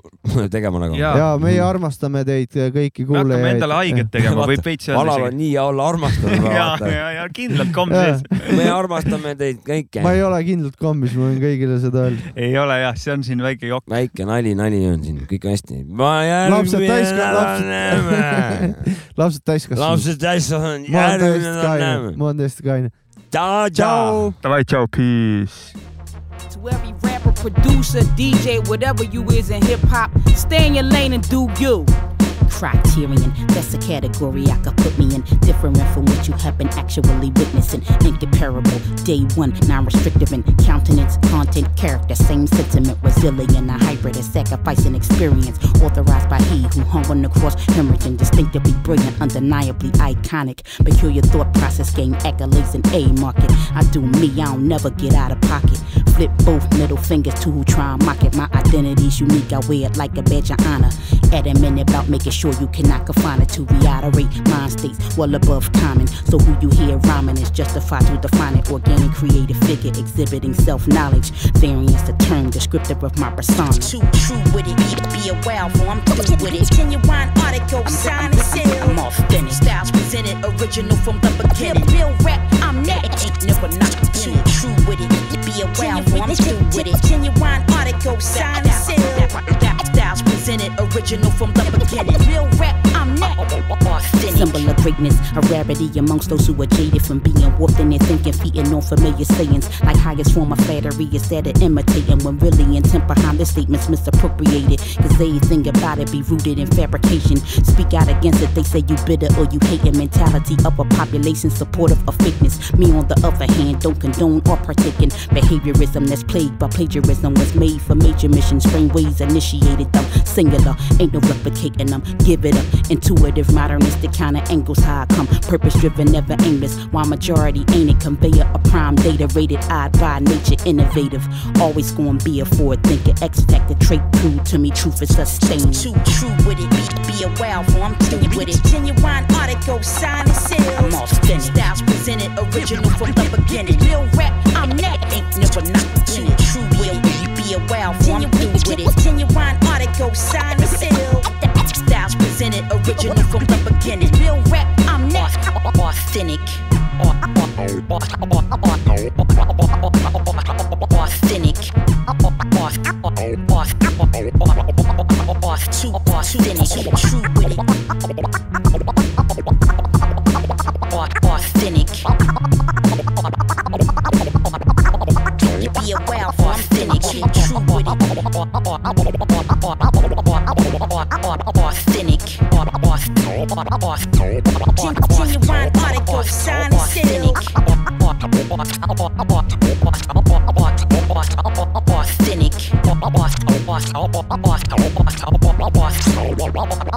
Speaker 2: tegema nagu .
Speaker 1: ja meie armastame teid kõiki kuulajaid .
Speaker 2: hakkame endale haiget tegema, võib veits öelda vanal isegi. on nii ja olla armastatud .
Speaker 3: ja , ja , ja kindlalt komm
Speaker 1: Jaa.
Speaker 3: sees .
Speaker 2: me armastame teid kõiki .
Speaker 1: ma ei ole kindlalt kombis , ma võin kõigile seda öelda .
Speaker 3: ei ole jah , see on siin väike jokk .
Speaker 2: väike nali , nali on siin , kõik on hästi .
Speaker 1: lapsed täiskasvanud , lapsed täiskasvanud .
Speaker 2: Lapsed täiskasvanud,
Speaker 1: ma olen
Speaker 2: järgmine
Speaker 1: täiesti
Speaker 2: nädal
Speaker 1: kaine
Speaker 2: näeme. ,
Speaker 1: ma olen täiesti kaine .
Speaker 2: tšau .
Speaker 3: Davai , tšau , peace .
Speaker 19: To every rapper, producer, DJ, whatever you is in hip hop, stay in your lane and do you.
Speaker 20: criterion. That's a category I could put me in, different from what you have been actually witnessing. Incomparable, day one, non-restrictive in countenance, content, character, same sentiment, resilient, a hybrid, a sacrificing experience, authorized by he who hung on the cross, hemorrhaging, distinctively brilliant, undeniably iconic, peculiar thought process, game accolades in A market. I do me, I don't never get out of pocket. Flip both middle fingers to who try and mock it. My identity's unique, I wear it like a badge of honor. Adamant about making sure you cannot confine it to reiterate mind states well above common. So who you hear rhyming is justified to define it. Organic creative figure exhibiting self knowledge. Variance the term descriptive of my persona.
Speaker 21: too true with it. Be a wild for I'm through with it. Genuine article, sign and seal.
Speaker 20: I'm authentic.
Speaker 21: Styles presented, original from the beginning. Real, real rap, I'm next. Ain't never not too true with it. Be a wild for I'm through with it. Genuine article, sign and seal. Styles presented, original from the beginning. Real rap, I'm
Speaker 20: authentic. Symbol of greatness, a rarity amongst those who are jaded from being warped in their thinking, feeding on familiar sayings. Like highest form of flattery is that of imitating when really intent behind the statements misappropriated. Cause they think about it be rooted in fabrication. Speak out against it, they say you bitter or you hating mentality of a population supportive of fakeness. Me on the other hand, don't condone or partake in behaviorism that's plagued by plagiarism. Was made for major missions, brainwaves initiated them. Singular, ain't no replicating them. Give it up. Intuitive, modernistic kind of angles, how I come. Purpose driven, never aimless. Why majority ain't it? Conveyor of prime data, rated odd by nature, innovative. Always gonna be a forward thinker, X factor trait proved to me. Truth is sustained.
Speaker 21: Too true with it, be, be a wild for I'm through with it. Genuine article, sign and seal. I'm authentic. Styles presented, original from the beginning. Real rap, I'm next. Ain't never not too true will it, be a wild for I'm through with it. Genuine article, sign and seal. Styles presented, original from the beginning. Real rap, I'm next. Authentic. Authentic. Too authentic, too true with it. Authentic. Be aware of authentic, too true with it. Authentic. Genuine article, sign and seal. Authentic.